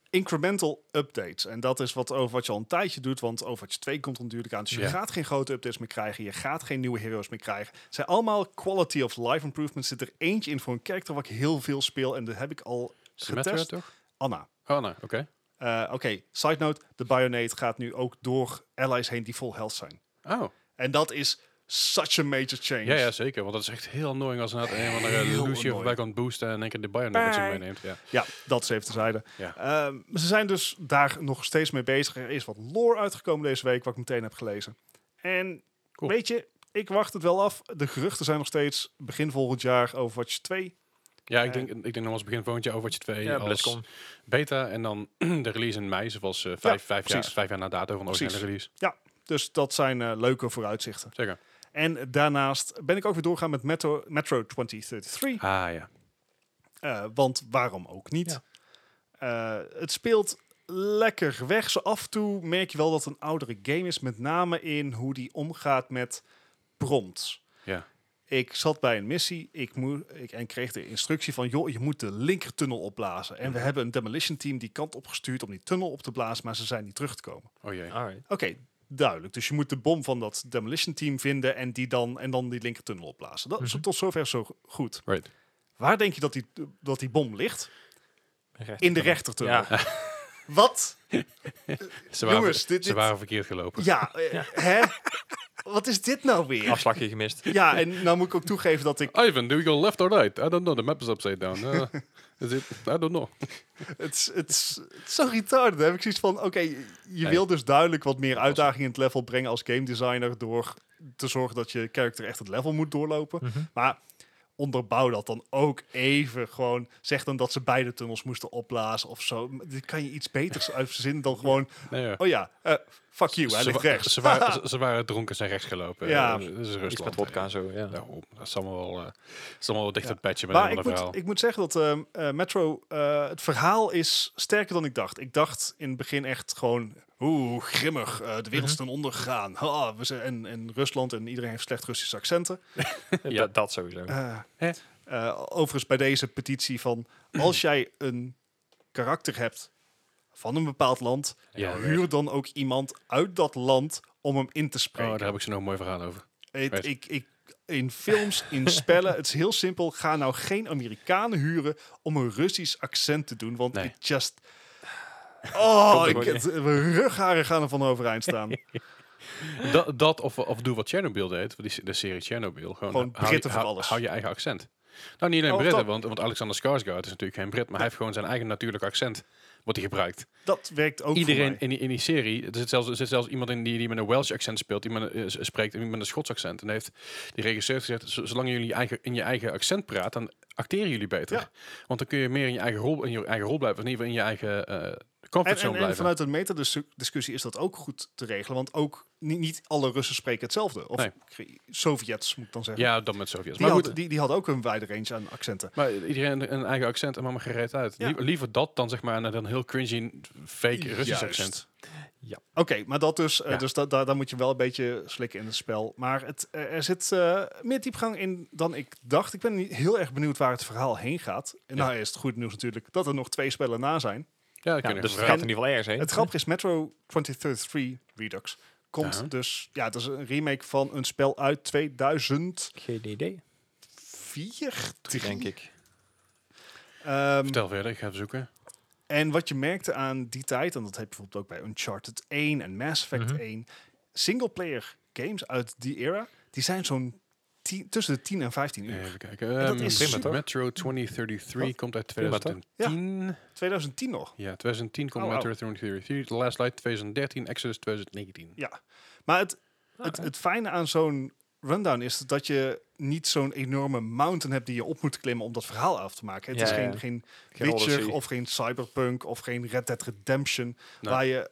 [SPEAKER 2] incremental updates. En dat is wat Overwatch al een tijdje doet, want Overwatch 2 komt er natuurlijk aan. Dus je
[SPEAKER 1] Ja.
[SPEAKER 2] gaat geen grote updates meer krijgen, je gaat geen nieuwe heroes meer krijgen. Het zijn allemaal quality of life improvements. Zit er eentje in voor een character wat ik heel veel speel en dat heb ik al
[SPEAKER 1] Symmetra
[SPEAKER 2] getest.
[SPEAKER 1] toch?
[SPEAKER 2] Anna.
[SPEAKER 1] Oh nee, oké.
[SPEAKER 2] Eh, Oké, side note, de Bionate gaat nu ook door allies heen die vol health zijn.
[SPEAKER 1] Oh,
[SPEAKER 2] En dat is such a major change.
[SPEAKER 1] ja, ja, zeker. Want dat is echt heel annoying als inderdaad een van de
[SPEAKER 2] Heel
[SPEAKER 1] Lucio voorbij
[SPEAKER 2] annoying.
[SPEAKER 1] kan boosten en in één keer de Bionic met zich meeneemt. Ja.
[SPEAKER 2] Ja, dat is even terzijde.
[SPEAKER 1] Ja.
[SPEAKER 2] Ehm, ze zijn dus daar nog steeds mee bezig. Er is wat lore uitgekomen deze week, wat ik meteen heb gelezen. En
[SPEAKER 1] Cool.
[SPEAKER 2] weet je, ik wacht het wel af. De geruchten zijn nog steeds begin volgend jaar over Watch 2.
[SPEAKER 1] Ja, ik denk, ik denk nog als begin volgend jaar Overwatch 2
[SPEAKER 3] Ja,
[SPEAKER 1] als
[SPEAKER 3] BlizzCon.
[SPEAKER 1] beta en dan de release in mei, zoals eh vijf, vijf, jaar,
[SPEAKER 2] precies.
[SPEAKER 1] vijf jaar na dato van de originele
[SPEAKER 2] Precies.
[SPEAKER 1] release.
[SPEAKER 2] Dus dat zijn eh, leuke vooruitzichten.
[SPEAKER 1] Zeker.
[SPEAKER 2] En daarnaast ben ik ook weer doorgaan met Metro, Metro 2033.
[SPEAKER 1] Ah ja.
[SPEAKER 2] Eh, want waarom ook niet? Eh, het speelt lekker weg. Zo af en toe merk je wel dat het een oudere game is. Met name in hoe die omgaat met prompts.
[SPEAKER 1] Ja.
[SPEAKER 2] Ik zat bij een missie ik moe- ik, en kreeg de instructie van... joh, je moet de linkertunnel opblazen. En we hebben een demolition team die kant opgestuurd om die tunnel op te blazen... maar ze zijn niet terug te komen.
[SPEAKER 1] Oh jee.
[SPEAKER 3] Alright.
[SPEAKER 2] Oké, duidelijk. Dus je moet de bom van dat demolition team vinden... en, die dan, en dan die linkertunnel opblazen. Dat is
[SPEAKER 3] Mhm.
[SPEAKER 2] tot zover zo goed.
[SPEAKER 1] Right.
[SPEAKER 2] Waar denk je dat die, dat die bom ligt?
[SPEAKER 3] Recht.
[SPEAKER 2] In de rechtertunnel.
[SPEAKER 3] Ja,
[SPEAKER 2] Wat?
[SPEAKER 1] Ze waren,
[SPEAKER 2] Jongens, dit-
[SPEAKER 1] ze
[SPEAKER 2] dit-
[SPEAKER 1] waren verkeerd gelopen.
[SPEAKER 2] Ja, eh, hè? Wat is dit nou weer?
[SPEAKER 3] afslagje gemist.
[SPEAKER 2] Ja, en nou moet ik ook toegeven dat ik...
[SPEAKER 1] Ivan, do we go left or right? I don't know. The map is upside down. Eh, is it? I don't know.
[SPEAKER 2] Het is- het is het is zo retarded. Heb ik zoiets van, oké, je
[SPEAKER 1] Nee.
[SPEAKER 2] wil dus duidelijk wat meer uitdaging in het level brengen als game designer... door te zorgen dat je character echt het level moet doorlopen.
[SPEAKER 1] Mhm.
[SPEAKER 2] Maar onderbouw dat dan ook even gewoon. Zeg dan dat ze beide tunnels moesten opblazen of zo. Dit kan je iets beters uitzinnen dan gewoon...
[SPEAKER 1] Nee, ja.
[SPEAKER 2] Oh ja, eh, fuck you, hij
[SPEAKER 1] ze,
[SPEAKER 2] ligt
[SPEAKER 1] wa-
[SPEAKER 2] rechts.
[SPEAKER 1] ze waren, ze, ze waren dronken zijn rechts gelopen. Eh,
[SPEAKER 2] Ja.
[SPEAKER 1] Dat is
[SPEAKER 3] Iets
[SPEAKER 1] Rusland.
[SPEAKER 3] met vodka en zo, ja.
[SPEAKER 1] Daarom. Dat is allemaal wel, eh, dat is allemaal wel dicht
[SPEAKER 2] Ja.
[SPEAKER 1] op het bedje met een
[SPEAKER 2] Maar
[SPEAKER 1] ander
[SPEAKER 2] ik moet,
[SPEAKER 1] verhaal.
[SPEAKER 2] ik moet zeggen dat ehm, eh, Metro, eh, het verhaal is sterker dan ik dacht. Ik dacht in het begin echt gewoon, oeh, grimmig, eh, de wereld is ten onder gegaan. Ha, we zijn, en, en Rusland en iedereen heeft slecht Russische accenten.
[SPEAKER 1] Ja.
[SPEAKER 3] Dat- Dat sowieso.
[SPEAKER 2] Eh,
[SPEAKER 1] Hè?
[SPEAKER 2] eh, overigens bij deze petitie van, als jij een karakter hebt van een bepaald land,
[SPEAKER 1] Ja.
[SPEAKER 2] huur dan ook iemand uit dat land om hem in te
[SPEAKER 1] Oh,
[SPEAKER 2] spreken.
[SPEAKER 1] daar heb ik zo nog een mooi verhaal over.
[SPEAKER 2] Het-
[SPEAKER 1] Weet-
[SPEAKER 2] ik, ik, in films, in spellen, het is heel simpel. Ga nou geen Amerikanen huren om een Russisch accent te doen, want
[SPEAKER 1] Nee.
[SPEAKER 2] it just... Oh,
[SPEAKER 3] Komt er
[SPEAKER 2] ik,
[SPEAKER 3] gewoon
[SPEAKER 2] het, mijn rugharen gaan er van overeind staan.
[SPEAKER 1] dat, dat of, of doe wat Chernobyl deed, die, se- de serie Chernobyl. Gewoon,
[SPEAKER 2] Gewoon
[SPEAKER 1] hou je-
[SPEAKER 2] Britten voor
[SPEAKER 1] hou-
[SPEAKER 2] alles.
[SPEAKER 1] Hou je eigen accent. Nou, niet alleen
[SPEAKER 2] Oh,
[SPEAKER 1] Britten,
[SPEAKER 2] dat-
[SPEAKER 1] want, want Alexander Skarsgård is natuurlijk geen Brit, maar hij heeft gewoon zijn eigen natuurlijk accent, wordt hij gebruikt.
[SPEAKER 2] Dat werkt ook voor
[SPEAKER 1] Iedereen
[SPEAKER 2] mij.
[SPEAKER 1] in die, in die serie, er zit zelfs, er zit zelfs iemand in die, die met een Welsh accent speelt, die met een, eh, s- spreekt en die met een Schots accent. En heeft die regisseur gezegd, "Z- zolang jullie eigen, in je eigen accent praat, dan acteren jullie beter.
[SPEAKER 2] Ja.
[SPEAKER 1] Want dan kun je meer in je eigen rol, in je eigen rol blijven, of in ieder geval in je eigen eh
[SPEAKER 2] En,
[SPEAKER 1] comfortzone
[SPEAKER 2] en, en
[SPEAKER 1] blijven.
[SPEAKER 2] vanuit een metadiscussie is dat ook goed te regelen, want ook niet, niet alle Russen spreken hetzelfde. Of
[SPEAKER 1] Nee.
[SPEAKER 2] Gre- Sovjets, moet ik dan zeggen.
[SPEAKER 1] Ja, dan met Sovjets.
[SPEAKER 2] die,
[SPEAKER 1] Maar goed,
[SPEAKER 2] had, die, die had ook een wijde range aan accenten.
[SPEAKER 1] Maar iedereen een eigen accent en mama gereed uit.
[SPEAKER 2] Ja.
[SPEAKER 1] Lie- liever dat dan zeg maar een, een heel cringy fake Russisch
[SPEAKER 2] Juist.
[SPEAKER 1] accent.
[SPEAKER 2] Oké, maar dat dus, eh,
[SPEAKER 1] Ja.
[SPEAKER 2] dus da da- daar moet je wel een beetje slikken in het spel. Maar het, eh, er zit eh, meer diepgang in dan ik dacht. Ik ben niet- heel erg benieuwd waar het verhaal heen gaat. En
[SPEAKER 1] Ja.
[SPEAKER 2] nou is het goed nieuws natuurlijk dat er nog twee spellen na zijn.
[SPEAKER 1] Ja, dat
[SPEAKER 3] Ja,
[SPEAKER 1] kan
[SPEAKER 3] dus het
[SPEAKER 1] je
[SPEAKER 3] gaat in ieder geval ergens heen.
[SPEAKER 2] Het grappige is Metro 2033 Redux komt
[SPEAKER 1] Ja.
[SPEAKER 2] dus... Ja, het is een remake van een spel uit 2004,
[SPEAKER 3] GDD,
[SPEAKER 2] drie?
[SPEAKER 3] denk ik.
[SPEAKER 2] Ehm,
[SPEAKER 1] Vertel verder, ik ga even zoeken.
[SPEAKER 2] En wat je merkte aan die tijd, en dat heb je bijvoorbeeld ook bij Uncharted 1 en Mass Effect
[SPEAKER 3] Mhm.
[SPEAKER 2] 1, singleplayer games uit die era, die zijn zo'n tien- tussen de 10 en 15 uur.
[SPEAKER 1] Even kijken.
[SPEAKER 2] dat
[SPEAKER 1] Ehm,
[SPEAKER 2] is
[SPEAKER 1] Prima,
[SPEAKER 3] super.
[SPEAKER 1] Metro 2033
[SPEAKER 2] Wat?
[SPEAKER 1] komt uit
[SPEAKER 3] Prima, toch?
[SPEAKER 1] 2010. Ja,
[SPEAKER 2] 2010 nog.
[SPEAKER 1] 2010 komt
[SPEAKER 2] Oh,
[SPEAKER 1] Metro 2033. The Last Light 2013, Exodus 2019.
[SPEAKER 2] Ja. Maar het, het,
[SPEAKER 3] Oké.
[SPEAKER 2] het fijne aan zo'n rundown is dat je niet zo'n enorme mountain hebt die je op moet klimmen om dat verhaal af te maken. Het
[SPEAKER 3] Ja,
[SPEAKER 2] is
[SPEAKER 3] ja.
[SPEAKER 2] geen, geen
[SPEAKER 3] Geen
[SPEAKER 2] Witcher
[SPEAKER 3] Odyssey.
[SPEAKER 2] of geen Cyberpunk of geen Red Dead Redemption.
[SPEAKER 1] Nee.
[SPEAKER 2] Waar je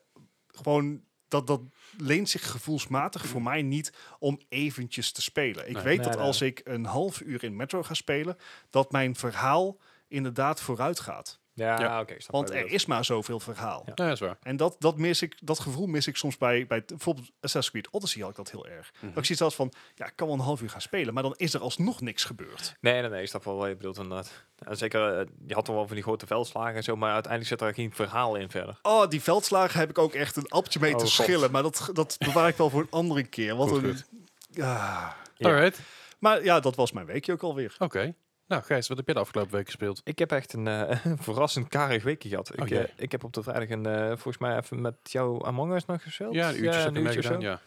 [SPEAKER 2] gewoon... Dat, dat leent zich gevoelsmatig voor mij niet om eventjes te spelen. Ik
[SPEAKER 1] Nee.
[SPEAKER 2] weet
[SPEAKER 3] Nee,
[SPEAKER 2] dat
[SPEAKER 3] nee.
[SPEAKER 2] als ik een half uur in Metro ga spelen, dat mijn verhaal inderdaad vooruit gaat.
[SPEAKER 3] Ja,
[SPEAKER 1] Ja.
[SPEAKER 3] oké. ik snap
[SPEAKER 2] Want
[SPEAKER 3] wel
[SPEAKER 2] er
[SPEAKER 3] wat.
[SPEAKER 2] is maar zoveel verhaal.
[SPEAKER 3] Ja.
[SPEAKER 1] Ja, dat is waar.
[SPEAKER 2] En dat, dat, mis ik, dat gevoel mis ik soms bij, bij t- bijvoorbeeld Assassin's Creed Odyssey had ik dat heel erg.
[SPEAKER 1] Mhm.
[SPEAKER 2] Dat ik zoiets had van, ja, ik kan wel een half uur gaan spelen, maar dan is er alsnog niks gebeurd.
[SPEAKER 3] Nee, nee, nee, ik snap wel wat je bedoelt inderdaad. En zeker, eh, je had toch wel van die grote veldslagen en zo, maar uiteindelijk zit er geen verhaal in verder.
[SPEAKER 2] Oh, die veldslagen heb ik ook echt een appeltje mee
[SPEAKER 3] Oh,
[SPEAKER 2] te
[SPEAKER 3] God.
[SPEAKER 2] schillen, maar dat, dat bewaar ik wel voor een andere keer. Wat
[SPEAKER 1] Goed,
[SPEAKER 2] een,
[SPEAKER 1] goed.
[SPEAKER 2] ja.
[SPEAKER 3] Ja.
[SPEAKER 1] Alright.
[SPEAKER 2] Maar ja, dat was mijn weekje ook alweer.
[SPEAKER 1] Oké. Nou, Gijs, wat heb je de afgelopen week gespeeld?
[SPEAKER 3] Ik heb echt een eh, verrassend karig weekje gehad. Ik,
[SPEAKER 1] Oh, jee.
[SPEAKER 3] eh, ik heb op de vrijdag een, eh, volgens mij even met jou Among Us nog gespeeld.
[SPEAKER 1] Ja, een uurtje heb
[SPEAKER 3] een
[SPEAKER 1] ik
[SPEAKER 3] uurtje of
[SPEAKER 1] meegedaan,
[SPEAKER 3] zo.
[SPEAKER 1] ja.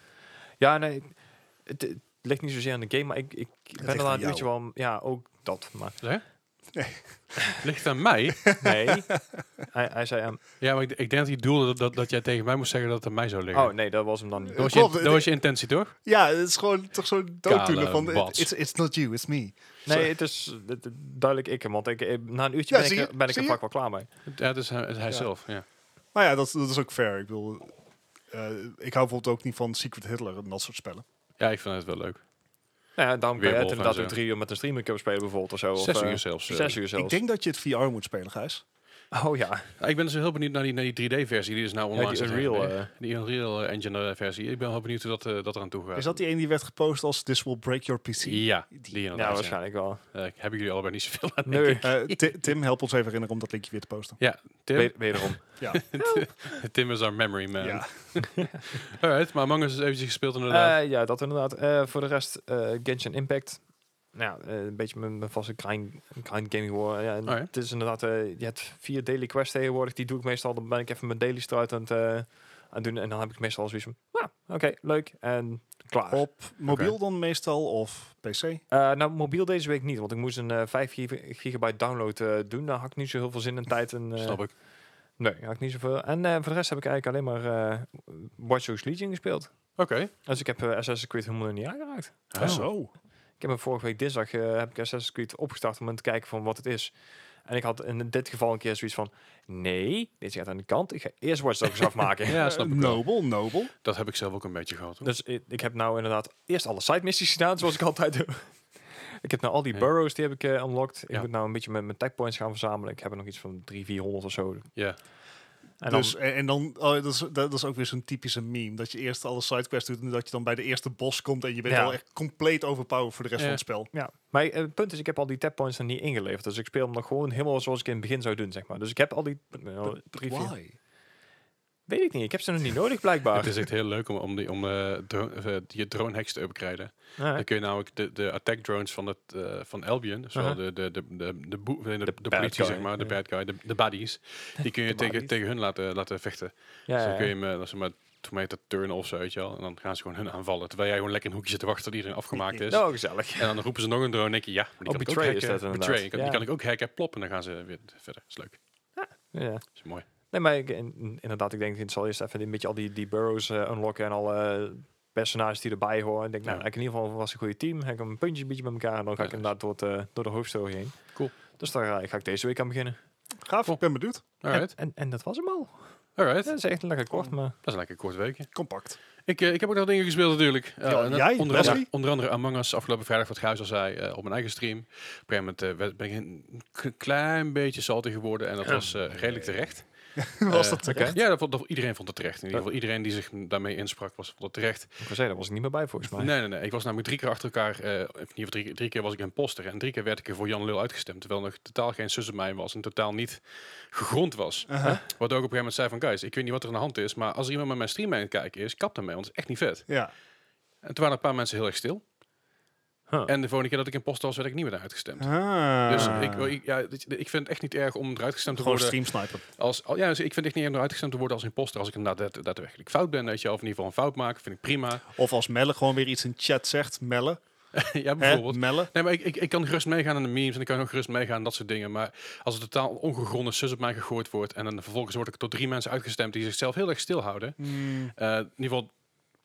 [SPEAKER 3] Ja, nee, het, het ligt niet zozeer aan de game, maar ik, ik ben
[SPEAKER 2] ligt
[SPEAKER 3] er
[SPEAKER 2] aan
[SPEAKER 3] na een
[SPEAKER 2] jou.
[SPEAKER 3] uurtje wel... Ja, ook dat, maar
[SPEAKER 1] Zeg?
[SPEAKER 2] Nee.
[SPEAKER 1] Ligt aan mij?
[SPEAKER 3] nee. hij, hij zei aan...
[SPEAKER 1] Ja, maar ik, ik denk dat hij doelde dat, dat, dat jij tegen mij moest zeggen dat het aan mij zou liggen.
[SPEAKER 3] Oh, nee, dat was hem dan niet.
[SPEAKER 1] dat, was
[SPEAKER 2] klopt,
[SPEAKER 1] je,
[SPEAKER 2] het-
[SPEAKER 1] dat was je intentie, toch?
[SPEAKER 2] Ja, het is gewoon toch zo'n dooddoelen
[SPEAKER 1] Kale
[SPEAKER 2] van,
[SPEAKER 1] bats.
[SPEAKER 2] it's, it's not you, it's me.
[SPEAKER 3] Nee, het is eh, d- d- duidelijk ik hem, want ik, eh, na een uurtje
[SPEAKER 2] Ja,
[SPEAKER 3] ben,
[SPEAKER 2] zie
[SPEAKER 3] ik,
[SPEAKER 2] je?
[SPEAKER 3] er- ben ik
[SPEAKER 2] Zie
[SPEAKER 3] er
[SPEAKER 2] je?
[SPEAKER 3] vaak wel klaar mee.
[SPEAKER 1] Ja, het is hij, het is hij
[SPEAKER 2] Ja.
[SPEAKER 1] zelf, ja.
[SPEAKER 2] Maar ja, dat, dat is ook fair. Ik bedoel, eh, ik hou bijvoorbeeld ook niet van Secret Hitler en dat soort spellen.
[SPEAKER 1] Ja, ik vind het wel leuk.
[SPEAKER 3] Nou ja, daarom kan je
[SPEAKER 1] Weerwolf
[SPEAKER 3] het
[SPEAKER 1] en
[SPEAKER 3] inderdaad
[SPEAKER 1] zo.
[SPEAKER 3] ook drie uur met een streamer kunnen spelen bijvoorbeeld of zo. of,
[SPEAKER 1] Zes
[SPEAKER 3] eh,
[SPEAKER 1] uur zelfs. eh.
[SPEAKER 3] Zes uur zelfs.
[SPEAKER 2] Ik denk dat je het VR moet spelen, Gijs.
[SPEAKER 3] Oh ja.
[SPEAKER 1] Ja, ik ben dus heel benieuwd naar die, naar die 3D-versie die is nou online
[SPEAKER 3] die
[SPEAKER 1] staat.
[SPEAKER 3] Unreal,
[SPEAKER 1] Nee,
[SPEAKER 3] eh.
[SPEAKER 1] die Unreal Engine-versie. eh, Ik ben wel benieuwd hoe dat, eh, dat eraan toe gaat.
[SPEAKER 2] Is dat die ene die werd gepost als This will break your PC?
[SPEAKER 1] Ja,
[SPEAKER 2] Die-
[SPEAKER 1] die
[SPEAKER 3] Ja,
[SPEAKER 1] inderdaad. Ja,
[SPEAKER 3] waarschijnlijk wel.
[SPEAKER 1] Eh, hebben jullie allebei niet zoveel aan, denk
[SPEAKER 3] Nee,
[SPEAKER 1] ik.
[SPEAKER 2] Eh, Ti- Tim, help ons even herinneren om dat linkje weer te posten.
[SPEAKER 1] Ja, Tim,
[SPEAKER 3] we- wederom.
[SPEAKER 2] Ja,
[SPEAKER 1] Tim is our memory man.
[SPEAKER 2] ja.
[SPEAKER 1] Alright, maar Among Us is eventjes gespeeld inderdaad.
[SPEAKER 3] Eh, ja, dat inderdaad. Eh, voor de rest, eh Genshin Impact. Nou, ja, eh, een beetje mijn, mijn vaste grind, grind game geworden. Ja, en
[SPEAKER 1] Alright.
[SPEAKER 3] Het is inderdaad, eh, je hebt vier daily quests tegenwoordig. Die doe ik meestal. Dan ben ik even mijn daily eruit aan het eh, aan het doen. En dan heb ik meestal zoiets van, nou, oké, leuk. En klaar.
[SPEAKER 2] Op mobiel dan meestal of PC?
[SPEAKER 1] Oh,
[SPEAKER 3] Eh, nou, mobiel deze week niet. Want ik moest een eh 5 gig- gigabyte download eh, doen. Daar had ik niet zo heel veel zin en tijd. En, eh,
[SPEAKER 1] Snap ik.
[SPEAKER 3] Nee, had ik niet zoveel. En eh, voor de rest heb ik eigenlijk alleen maar eh Watch Dogs Legion gespeeld.
[SPEAKER 1] Oké.
[SPEAKER 3] Dus ik heb eh, Assassin's Creed helemaal niet aangeraakt.
[SPEAKER 1] Oh.
[SPEAKER 2] Ah, Zo.
[SPEAKER 3] Ik heb hem vorige week dinsdag eh, heb ik Assassin's Creed opgestart om te kijken van wat het is. En ik had in dit geval een keer zoiets van, nee, dit gaat aan de kant. Ik ga eerst Watch Dogs afmaken.
[SPEAKER 1] Ja, snap
[SPEAKER 2] Eh,
[SPEAKER 1] ik wel.
[SPEAKER 2] nobel, nobel.
[SPEAKER 1] Dat heb ik zelf ook een beetje gehad. Hoor.
[SPEAKER 3] Dus ik, ik heb nou inderdaad eerst alle side missies gedaan, zoals ik altijd doe. Ik heb nou al die
[SPEAKER 1] Ja.
[SPEAKER 3] burrows, die heb ik eh unlocked. Ik
[SPEAKER 1] Ja.
[SPEAKER 3] moet nou een beetje met mijn tech points gaan verzamelen. Ik heb er nog iets van 300, 400 of zo.
[SPEAKER 1] Ja.
[SPEAKER 3] En
[SPEAKER 2] dus, en, en dan, oh, dat, is, dat, dat is ook weer zo'n typische meme. Dat je eerst alle sidequests doet en dat je dan bij de eerste bos komt en je bent
[SPEAKER 3] Ja.
[SPEAKER 2] al echt compleet overpowered voor de rest
[SPEAKER 1] Ja.
[SPEAKER 2] van het spel.
[SPEAKER 3] Ja, maar eh, het punt is, ik heb al die tap points er niet ingeleverd. Dus ik speel hem nog gewoon helemaal zoals ik in het begin zou doen, zeg maar. Dus ik heb al die... eh,
[SPEAKER 2] But- but
[SPEAKER 3] drie, vier-
[SPEAKER 2] why?
[SPEAKER 3] Weet ik niet, ik heb ze nog niet nodig, blijkbaar.
[SPEAKER 1] Het is echt heel leuk om, om, die, om eh, dro- of, eh, je dronehacks te upgraden.
[SPEAKER 3] Ja,
[SPEAKER 1] Dan kun je namelijk de, de attack drones van, het, eh, van Albion, dus wel
[SPEAKER 3] Aha.
[SPEAKER 1] de, de, de, de, de, boe- nee, de, de
[SPEAKER 3] Uh-huh. bad
[SPEAKER 1] politie
[SPEAKER 3] guy,
[SPEAKER 1] zeg maar, de
[SPEAKER 3] ja.
[SPEAKER 1] bad guy, de, de buddies, die kun je
[SPEAKER 3] De
[SPEAKER 1] tegen,
[SPEAKER 3] buddies.
[SPEAKER 1] tegen hun laten, laten vechten.
[SPEAKER 3] ja,
[SPEAKER 1] dus dan
[SPEAKER 3] ja.
[SPEAKER 1] kun je hem, eh, zeg maar, tomaten turnen of zo, weet je wel. En dan gaan ze gewoon hun aanvallen, terwijl jij gewoon lekker in een hoekje zit te wachten tot iedereen afgemaakt is.
[SPEAKER 3] Nou, gezellig.
[SPEAKER 1] En dan roepen ze nog een drone en denk je, ja, maar die
[SPEAKER 3] Oh,
[SPEAKER 1] kan ik ook
[SPEAKER 3] betray is
[SPEAKER 1] hacken.
[SPEAKER 3] dat inderdaad.
[SPEAKER 1] Betray, die kan, die
[SPEAKER 3] Ja.
[SPEAKER 1] kan ik ook hacken, plop, en dan gaan ze weer verder. is leuk,
[SPEAKER 3] Ja.
[SPEAKER 1] is mooi.
[SPEAKER 3] Nee, maar ik, in- in- inderdaad, ik denk, ik zal eerst even een beetje al die, die burrows eh, unlocken en alle personages die erbij horen. Ik denk, nou,
[SPEAKER 1] Ja.
[SPEAKER 3] heb ik in ieder geval was een goede team. Heb ik een puntje een beetje bij elkaar en dan ga ik
[SPEAKER 1] Ja,
[SPEAKER 3] inderdaad door, het, eh, door de hoofdstory heen.
[SPEAKER 1] Cool.
[SPEAKER 3] Dus daar eh, ga ik deze week aan beginnen.
[SPEAKER 2] Gaaf, ik ben benieuwd.
[SPEAKER 1] Alright,
[SPEAKER 3] En, en, en dat was hem al.
[SPEAKER 1] alright.
[SPEAKER 3] Dat is echt lekker kort, maar...
[SPEAKER 1] Dat is een lekker kort weekje.
[SPEAKER 2] Compact.
[SPEAKER 1] Ik, eh, ik heb ook nog dingen gespeeld natuurlijk. Eh,
[SPEAKER 2] Ja,
[SPEAKER 1] en dat-
[SPEAKER 2] jij,
[SPEAKER 1] onder,
[SPEAKER 2] Wesley?
[SPEAKER 1] andere, onder andere Among Us afgelopen vrijdag, wat Gijs al zei, eh, op mijn eigen stream. Op een gegeven moment eh, werd- ben ik een k- klein beetje salty geworden en dat was eh, redelijk terecht. Eh,
[SPEAKER 2] Was dat
[SPEAKER 3] Oké.
[SPEAKER 1] Ja, dat, vond- dat- iedereen vond het terecht. In ieder geval iedereen die zich daarmee insprak, was, vond het terecht.
[SPEAKER 3] Ik wou zeggen, daar was ik niet meer bij volgens mij.
[SPEAKER 1] Nee, nee, nee. Ik was namelijk drie keer achter elkaar, eh, of in ieder geval drie, drie keer was ik een poster. En drie keer werd ik er voor Jan Lul uitgestemd. Terwijl nog totaal geen zus op mij was en totaal niet gegrond was.
[SPEAKER 2] Uh-huh.
[SPEAKER 1] Wat ook op een gegeven moment zei van, guys, ik weet niet wat er aan de hand is. Maar als er iemand met mijn stream aan het kijken is, kap ermee, want het is echt niet vet.
[SPEAKER 2] Ja.
[SPEAKER 1] En toen waren een paar mensen heel erg stil.
[SPEAKER 3] Huh.
[SPEAKER 1] En de volgende keer dat ik in post was, werd ik niet meer eruit gestemd.
[SPEAKER 2] Ah.
[SPEAKER 1] Dus ik, ik- ja, weet je, ik vind het echt niet erg om eruit gestemd te
[SPEAKER 2] Gewoon
[SPEAKER 1] worden.
[SPEAKER 2] stream snipen.
[SPEAKER 1] Als, al- ja, dus ik vind het echt niet erg om eruit gestemd te worden als imposter. Als ik inderdaad daad- daadwerkelijk fout ben, weet je, wel, of in ieder geval een fout maak, vind ik prima.
[SPEAKER 2] Of als Melle gewoon weer iets in chat zegt. Melle.
[SPEAKER 1] ja,
[SPEAKER 2] Hè?
[SPEAKER 1] bijvoorbeeld.
[SPEAKER 2] Melle.
[SPEAKER 1] Nee, maar ik, ik, ik kan gerust meegaan aan de memes en ik kan ook gerust meegaan aan dat soort dingen. Maar als er totaal ongegronde sus op mij gegooid wordt en dan vervolgens word ik door drie mensen uitgestemd die zichzelf heel erg stilhouden.
[SPEAKER 2] Mm.
[SPEAKER 1] Eh, in ieder geval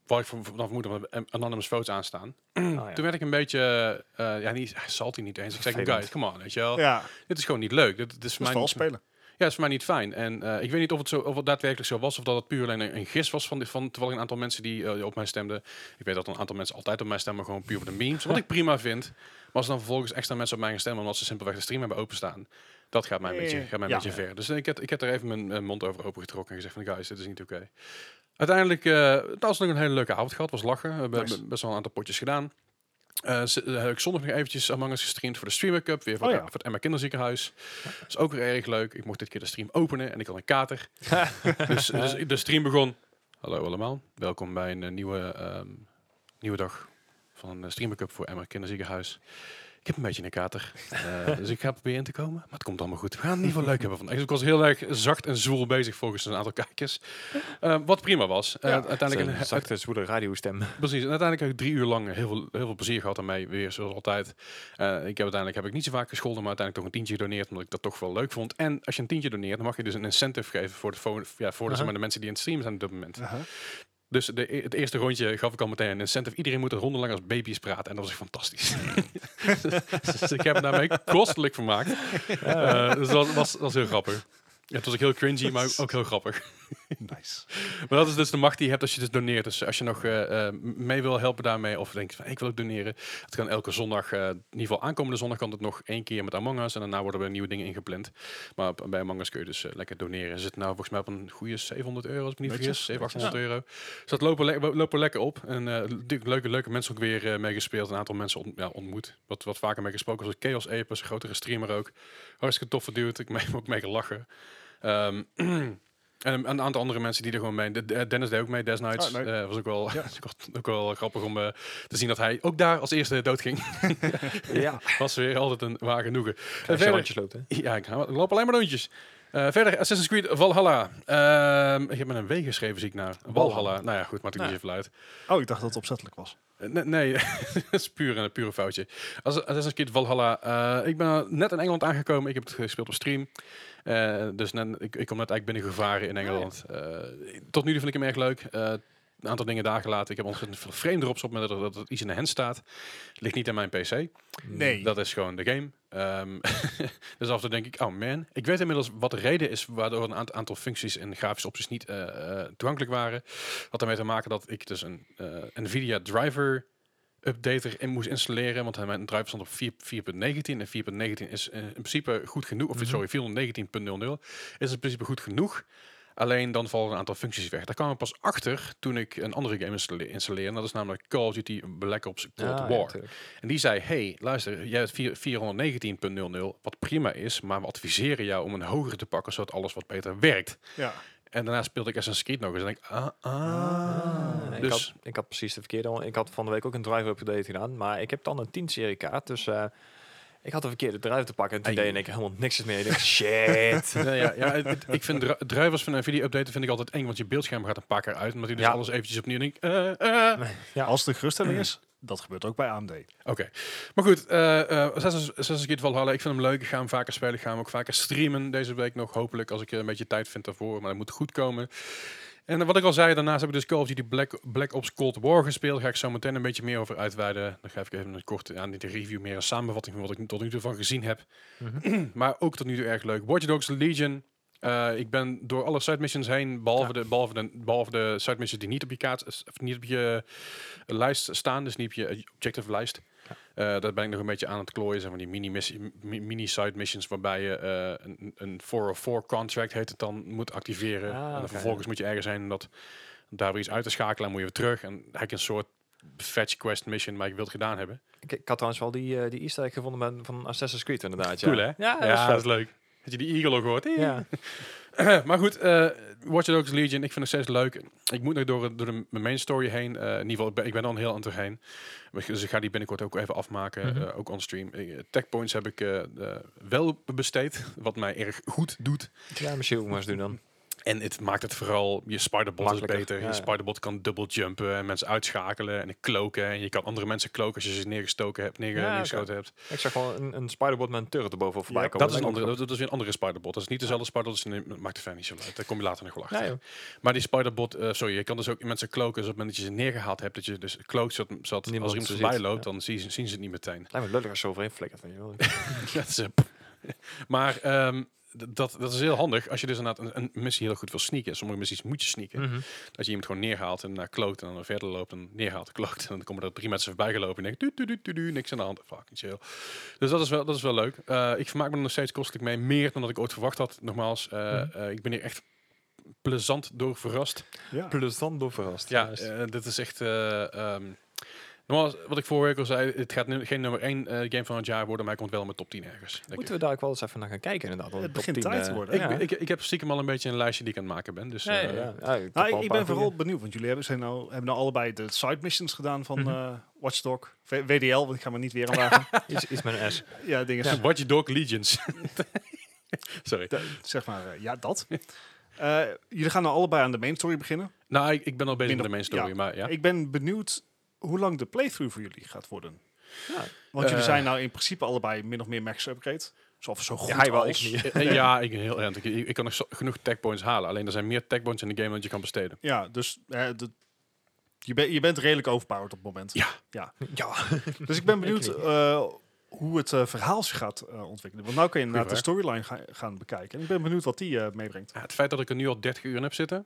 [SPEAKER 1] waar ik van- vanaf moet, omdat er anonymous votes aanstaan.
[SPEAKER 3] Ah, ja.
[SPEAKER 1] Toen werd ik een beetje, eh, ja, niet, salty niet eens. Ik zeg,
[SPEAKER 3] Vervelend.
[SPEAKER 1] guys, come on, weet je wel.
[SPEAKER 2] Ja,
[SPEAKER 1] Dit is gewoon niet leuk. Dit, dit is voor mij
[SPEAKER 2] dat is wel
[SPEAKER 1] niet, ja,
[SPEAKER 2] spelen.
[SPEAKER 1] het is voor mij niet fijn. En eh, ik weet niet of het, zo, of het daadwerkelijk zo was of dat het puur alleen een, een gis was van, dit- van terwijl ik een aantal mensen die eh, op mij stemden. Ik weet dat een aantal mensen altijd op mij stemmen, gewoon puur voor de memes. Wat ik prima vind. Maar als er dan vervolgens extra mensen op mij gaan stemmen omdat ze simpelweg de stream hebben openstaan. Dat gaat mij een beetje,
[SPEAKER 2] Eh,
[SPEAKER 1] gaat mij een
[SPEAKER 2] ja.
[SPEAKER 1] beetje ver. Dus ik heb, ik heb er even mijn, mijn mond over opengetrokken en gezegd van guys, dit is niet oké. Uiteindelijk, eh dat was nog een hele leuke avond gehad. was lachen. We hebben
[SPEAKER 2] Nice.
[SPEAKER 1] best wel een aantal potjes gedaan. Eh, z- eh, heb ik zondag nog eventjes Among Us gestreamd voor de Streamer Cup. Weer voor,
[SPEAKER 2] Oh
[SPEAKER 1] het- eh,
[SPEAKER 2] ja.
[SPEAKER 1] voor het Emma Kinderziekenhuis. Dat is ook weer erg leuk. Ik mocht dit keer de stream openen en ik had een kater. dus, dus de stream begon. Hallo allemaal. Welkom bij een eh, nieuwe, ehm, nieuwe dag van een eh, Streamer Cup voor Emma Kinderziekenhuis. Ik heb een beetje een kater. Eh, dus ik ga proberen in te komen. Maar het komt allemaal goed. We gaan het in ieder geval leuk hebben vandaag. Dus ik was heel erg zacht en zwoel bezig volgens een aantal kijkers. Eh, wat prima was. Eh,
[SPEAKER 2] Ja.
[SPEAKER 1] uiteindelijk
[SPEAKER 3] Zo'n zachte, zwoele radiostem.
[SPEAKER 1] Precies, en uiteindelijk heb ik drie uur lang heel veel, heel veel plezier gehad ermee, weer zoals altijd. Eh, ik heb uiteindelijk heb ik niet zo vaak gescholden, maar uiteindelijk toch een tientje gedoneerd, omdat ik dat toch wel leuk vond. En als je een tientje doneert, dan mag je dus een incentive geven voor de, fo- ja, voor de, zeg maar, de mensen die in het stream zijn op dat moment.
[SPEAKER 2] Aha.
[SPEAKER 1] Dus de, e- het eerste rondje gaf ik al meteen een incentive. Iedereen moet een ronde lang als baby's praten. En dat was echt fantastisch. dus ik heb me daarmee kostelijk vermaakt. Eh, dus dat was, was, was heel grappig. Ja, Het was ook heel cringy, maar ook heel grappig.
[SPEAKER 2] Nice.
[SPEAKER 1] Maar dat is dus de macht die je hebt als je dus doneert. Dus als je nog eh, eh, mee wil helpen daarmee, of denkt van ik wil ook doneren. Het kan elke zondag, eh, in ieder geval aankomende zondag kan het nog één keer met Among Us. En daarna worden er nieuwe dingen ingepland. Maar op- bij Among Us kun je dus eh, lekker doneren. Zit nou volgens mij op een goede 700 euro, als ik me niet vergis.
[SPEAKER 2] Netjes,
[SPEAKER 1] 700, 800 euro. Dus dat lopen, le- we lopen lekker op. En eh, natuurlijk leuke, leuke mensen ook weer eh, mee gespeeld. Een aantal mensen ont- ja, ontmoet. Wat, wat vaker mee gesproken. Zoals Chaos Apes, een grotere streamer ook. Hartstikke tof verduwd. Ik heb ook mee gelachen. Ehm, en een aantal andere mensen die er gewoon mee. De- de- Dennis deed ook mee, Des Nights.
[SPEAKER 2] Ah, leuk.
[SPEAKER 1] Eh, was ook wel, was ook wel- ook wel grappig om eh, te zien dat hij ook daar als eerste doodging.
[SPEAKER 3] Ja.
[SPEAKER 1] was weer altijd een waar genoegen. En
[SPEAKER 3] Als je
[SPEAKER 1] verder,
[SPEAKER 3] rondjes loopt, hè?
[SPEAKER 1] ja, ik, ga- ik loop alleen maar rondjes. Eh, verder, Assassin's Creed Valhalla. Ehm, ik heb met een W geschreven, zie ik naar. Valhalla. Nou ja, goed, maakt ik
[SPEAKER 3] Nou
[SPEAKER 1] niet zoveel uit.
[SPEAKER 2] Oh, ik dacht dat het opzettelijk was.
[SPEAKER 1] Eh, Nee, nee, het is puur een pure foutje. Als Assassin's Creed Valhalla. eh, ik ben eh, net in Engeland aangekomen. Ik heb het gespeeld op stream. Eh, dus net- ik, ik kom net eigenlijk binnengevaren in Engeland. Eh, tot nu toe vind ik hem erg leuk. Eh, een aantal dingen daar gelaten. Ik heb ontzettend veel frame drops op met dat, dat er iets in de hand staat. Ligt niet aan mijn PC.
[SPEAKER 2] Nee.
[SPEAKER 1] Hmm, Mm, Dat is gewoon de game. Ehm, dus af en toe denk ik, oh man. Ik weet inmiddels wat de reden is waardoor een aant- aantal functies en grafische opties niet eh, eh, toegankelijk waren. Had ermee te maken dat ik dus een eh, Nvidia driver updater in moest installeren. Want mijn driver stond op 4 4.19 en 4.19 is eh, in principe goed genoeg.
[SPEAKER 3] Mhm.
[SPEAKER 1] Of sorry, 419.00 is in principe goed genoeg. Alleen dan vallen een aantal functies weg. Daar kwam ik pas achter toen ik een andere game installe- installeerde. En dat is namelijk Call of Duty Black Ops Cold
[SPEAKER 3] Ah, ja,
[SPEAKER 1] War.
[SPEAKER 3] tuurlijk.
[SPEAKER 1] En die zei, hey, luister, jij hebt vier- 419.00, wat prima is, maar we adviseren jou om een hogere te pakken, zodat alles wat beter werkt.
[SPEAKER 2] Ja.
[SPEAKER 1] En daarna speelde ik Assassin's Creed nog eens en ik, ah,
[SPEAKER 3] Ah,
[SPEAKER 1] ah.
[SPEAKER 3] ik,
[SPEAKER 1] Dus,
[SPEAKER 3] had, ik had precies de verkeerde. al- Ik had van de week ook een driver update gedaan, maar ik heb dan een 10 serie kaart, dus eh, ik had de verkeerde driver te pakken en toen
[SPEAKER 1] Ai.
[SPEAKER 3] deed in één keer helemaal niks meer. Ik dacht, shit.
[SPEAKER 1] nou ja, ja, het- het- ik vind dri- drivers van Nvidia-updaten vind ik altijd eng, want je beeldscherm gaat een paar keer uit, omdat hij dus
[SPEAKER 3] Ja.
[SPEAKER 1] alles eventjes opnieuw denkt, eh, eh.
[SPEAKER 3] Ja.
[SPEAKER 2] Als de geruststelling is, dat gebeurt ook bij AMD.
[SPEAKER 1] Oké. Maar goed, eh eh Assassin's Assassin's Creed Valhalla, ik vind hem leuk. Ik ga hem vaker spelen. Ik ga hem ook vaker streamen deze week nog. Hopelijk als ik eh, een beetje tijd vind daarvoor. Maar dat moet goed komen. En eh, wat ik al zei, daarnaast heb ik dus Call of Duty Black, Black Ops Cold War gespeeld. Daar ga ik zo meteen een beetje meer over uitweiden. Dan geef ik even een korte, aan niet een review, meer een samenvatting van wat ik tot nu toe van gezien heb. maar ook tot nu toe erg leuk. Watch Dogs Legion. Eh, ik ben door alle side missions heen, behalve, de, behalve, de, behalve de side missions die niet op je kaart, of niet op je lijst staan, dus niet op je objective lijst. Eh, daar ben ik nog een beetje aan het klooien. Zijn van die mini-side mini side missions waarbij je eh, een, een 404 contract heet het dan moet activeren.
[SPEAKER 3] Ah,
[SPEAKER 1] en dan
[SPEAKER 3] oké.
[SPEAKER 1] vervolgens moet je ergens zijn om dat daar weer iets uit te schakelen. En moet je weer terug. En eigenlijk een soort fetch quest mission, maar ik wil het gedaan hebben.
[SPEAKER 3] Ik, ik had trouwens wel die, eh, die easter egg gevonden van, van Assassin's Creed inderdaad. Ja.
[SPEAKER 1] Cool, hè?
[SPEAKER 3] Ja, dat is vet.
[SPEAKER 1] leuk. Dat je die eagle ook hoort.
[SPEAKER 3] Ja.
[SPEAKER 1] maar goed, eh Watch Dogs Legion, ik vind het steeds leuk. Ik moet nog door, door de mijn main story heen. Eh, in ieder geval, ik ben, ik ben al een heel eind doorheen. Dus ik ga die binnenkort ook even afmaken,
[SPEAKER 3] Mhm.
[SPEAKER 1] eh, ook on stream. Eh, Tech points heb ik eh, eh, wel besteed, wat mij erg goed doet.
[SPEAKER 3] ja, misschien ook maar eens doen dan.
[SPEAKER 1] En het maakt het vooral, je spiderbot is
[SPEAKER 3] Makkelijker,
[SPEAKER 1] beter.
[SPEAKER 3] ja,
[SPEAKER 1] Je
[SPEAKER 3] ja.
[SPEAKER 1] spiderbot kan dubbel jumpen en mensen uitschakelen en kloken. En je kan andere mensen kloken als je ze neergestoken hebt, neer,
[SPEAKER 3] Ja, oké.
[SPEAKER 1] neergeschoten hebt.
[SPEAKER 3] Ik zag wel een, een spiderbot met een turret erboven voorbij
[SPEAKER 2] Ja,
[SPEAKER 3] komen.
[SPEAKER 1] Dat is, een
[SPEAKER 3] Lijkt me
[SPEAKER 1] andere, dat,
[SPEAKER 3] ook
[SPEAKER 1] dat is weer een andere spiderbot. Dat is niet dezelfde spiderbot, dus nee, maakt de fan niet zo uit. Daar kom je later nog wel achter.
[SPEAKER 3] Ja, joh.
[SPEAKER 1] maar die spiderbot, eh, sorry, je kan dus ook mensen kloken. Dus op het moment dat je ze neergehaald hebt, dat je dus klookt, zodat, zodat als er
[SPEAKER 3] Niemand
[SPEAKER 1] iemand
[SPEAKER 3] ze
[SPEAKER 1] voorbij
[SPEAKER 3] ziet,
[SPEAKER 1] loopt, dan zien ze, zien ze het niet meteen.
[SPEAKER 3] Lijkt me lullig als ze overheen flikkert. weet je wel.
[SPEAKER 1] Dat is, eh, maar ehm, d- dat, dat is heel handig als je dus inderdaad een, een missie heel goed wil sneaken. Sommige missies moet je sneaken.
[SPEAKER 3] Mhm.
[SPEAKER 1] Dat je iemand gewoon neerhaalt en naar kloot en dan verder loopt en neerhaalt en kloot. En dan komen er drie mensen voorbij gelopen en denken, du, du, du, du, du, niks aan de hand. Fucking chill. Dus dat is wel, dat is wel leuk. Eh, ik vermaak me er nog steeds kostelijk mee. Meer dan dat ik ooit verwacht had. Nogmaals, eh,
[SPEAKER 3] Mhm.
[SPEAKER 1] eh, ik ben hier echt plezant door verrast.
[SPEAKER 2] Ja.
[SPEAKER 3] Plezant door verrast.
[SPEAKER 1] Ja,
[SPEAKER 3] Juist.
[SPEAKER 1] eh, dit is echt... eh, ehm, nogmaals, wat ik vorige week al zei, het gaat nu geen nummer één eh, game van het jaar worden, maar hij komt wel in mijn top 10 ergens. denk ik.
[SPEAKER 3] Moeten we daar ook wel eens even naar gaan kijken inderdaad. want
[SPEAKER 2] Het
[SPEAKER 3] top
[SPEAKER 2] begint
[SPEAKER 3] 10,
[SPEAKER 2] tijd
[SPEAKER 3] eh,
[SPEAKER 2] te worden.
[SPEAKER 1] Ik,
[SPEAKER 3] ja.
[SPEAKER 1] ik, ik heb stiekem al een beetje een lijstje die ik aan het maken ben. Dus,
[SPEAKER 3] Ja, ja,
[SPEAKER 1] eh,
[SPEAKER 3] ja. Ja, ik heb
[SPEAKER 2] Nou,
[SPEAKER 3] al
[SPEAKER 2] ik,
[SPEAKER 3] een
[SPEAKER 2] ik
[SPEAKER 3] paar
[SPEAKER 2] ben vooral
[SPEAKER 3] goeie.
[SPEAKER 2] benieuwd, want jullie hebben, zijn nou, hebben nou allebei de side missions gedaan van
[SPEAKER 3] Mhm.
[SPEAKER 2] eh, Watch Watchdog, WDL, want ik ga me niet weer aan wagen.
[SPEAKER 3] Iets, iets met een S.
[SPEAKER 2] ja, dingen,
[SPEAKER 1] Ja. Watch Dog Legions. Sorry.
[SPEAKER 2] da- zeg maar, eh, ja, dat. Eh, jullie gaan nou allebei aan de main story beginnen.
[SPEAKER 1] Nou, ik, ik ben al bezig
[SPEAKER 2] Minder-
[SPEAKER 1] met de main story,
[SPEAKER 2] ja.
[SPEAKER 1] maar ja.
[SPEAKER 2] Ik ben benieuwd hoe lang de playthrough voor jullie gaat worden.
[SPEAKER 3] Ja.
[SPEAKER 2] Want jullie
[SPEAKER 1] Eh.
[SPEAKER 2] zijn nou in principe allebei min of meer max upgrade. Zo, of zo goed
[SPEAKER 3] hij wel,
[SPEAKER 2] als.
[SPEAKER 3] ik niet.
[SPEAKER 1] Eh, ja, ik, heel, erg. ik, ik kan nog zo- genoeg tech points halen. Alleen er zijn meer tech points in de game dan je kan besteden.
[SPEAKER 2] Ja, dus eh, de- je, ben- je bent redelijk overpowered op het moment.
[SPEAKER 1] Ja.
[SPEAKER 3] Ja.
[SPEAKER 2] Dus ik ben benieuwd
[SPEAKER 3] Ik niet.
[SPEAKER 2] eh, hoe het eh, verhaal zich gaat eh, ontwikkelen. Want nu kan je inderdaad de
[SPEAKER 1] vraag.
[SPEAKER 2] storyline ga- gaan bekijken. En ik ben benieuwd wat die eh, meebrengt.
[SPEAKER 1] Ja, Het feit dat ik er nu al 30 uur in heb zitten.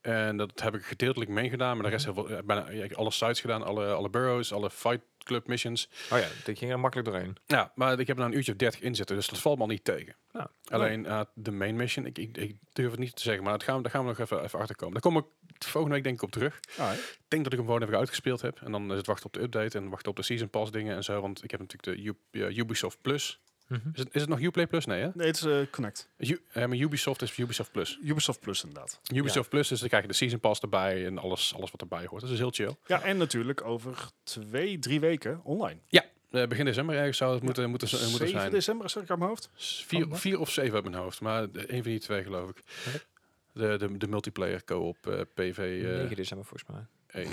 [SPEAKER 1] En dat heb ik gedeeltelijk meegedaan. Maar de rest
[SPEAKER 3] Mhm.
[SPEAKER 1] heb ik wel- eh, bijna ja, ik heb alle sites gedaan. Alle, alle burrows, alle fight club missions.
[SPEAKER 3] Oh ja, die ging er makkelijk doorheen.
[SPEAKER 1] Ja, maar ik heb er nou een uurtje of 30 in zitten. Dus dat valt me al niet tegen.
[SPEAKER 3] Ja.
[SPEAKER 1] Alleen eh, de main mission, ik, ik, ik durf het niet te zeggen. Maar dat gaan, we- daar gaan we nog even, even achter komen. Daar kom ik volgende week denk ik op terug.
[SPEAKER 2] Alright.
[SPEAKER 1] Ik denk dat ik hem gewoon even uitgespeeld heb. En dan is het wachten op de update en wachten op de Season Pass dingen en zo. Want ik heb natuurlijk de U- eh, Ubisoft Plus.
[SPEAKER 3] Mhm.
[SPEAKER 1] Is het, is het nog Uplay Plus? Nee, hè?
[SPEAKER 2] Nee, het is eh, Connect.
[SPEAKER 1] U- eh, maar Ubisoft is Ubisoft Plus.
[SPEAKER 2] Ubisoft Plus inderdaad.
[SPEAKER 1] Ubisoft Plus, dus dan krijg je de Season Pass erbij en alles, alles wat erbij hoort. Dat is heel chill.
[SPEAKER 2] Ja, en natuurlijk over twee, drie weken online.
[SPEAKER 1] Eh, begin december ergens zou het moeten, moeten, z- eh, moeten
[SPEAKER 2] 7
[SPEAKER 1] zijn.
[SPEAKER 2] december, zeg ik uit mijn hoofd.
[SPEAKER 1] S- Vier,
[SPEAKER 3] wat?
[SPEAKER 1] vier of zeven uit mijn hoofd, maar de- één van die twee geloof ik.
[SPEAKER 3] Oké.
[SPEAKER 1] De, de, de multiplayer co-op eh, PV
[SPEAKER 3] 9 december volgens mij.
[SPEAKER 1] 1.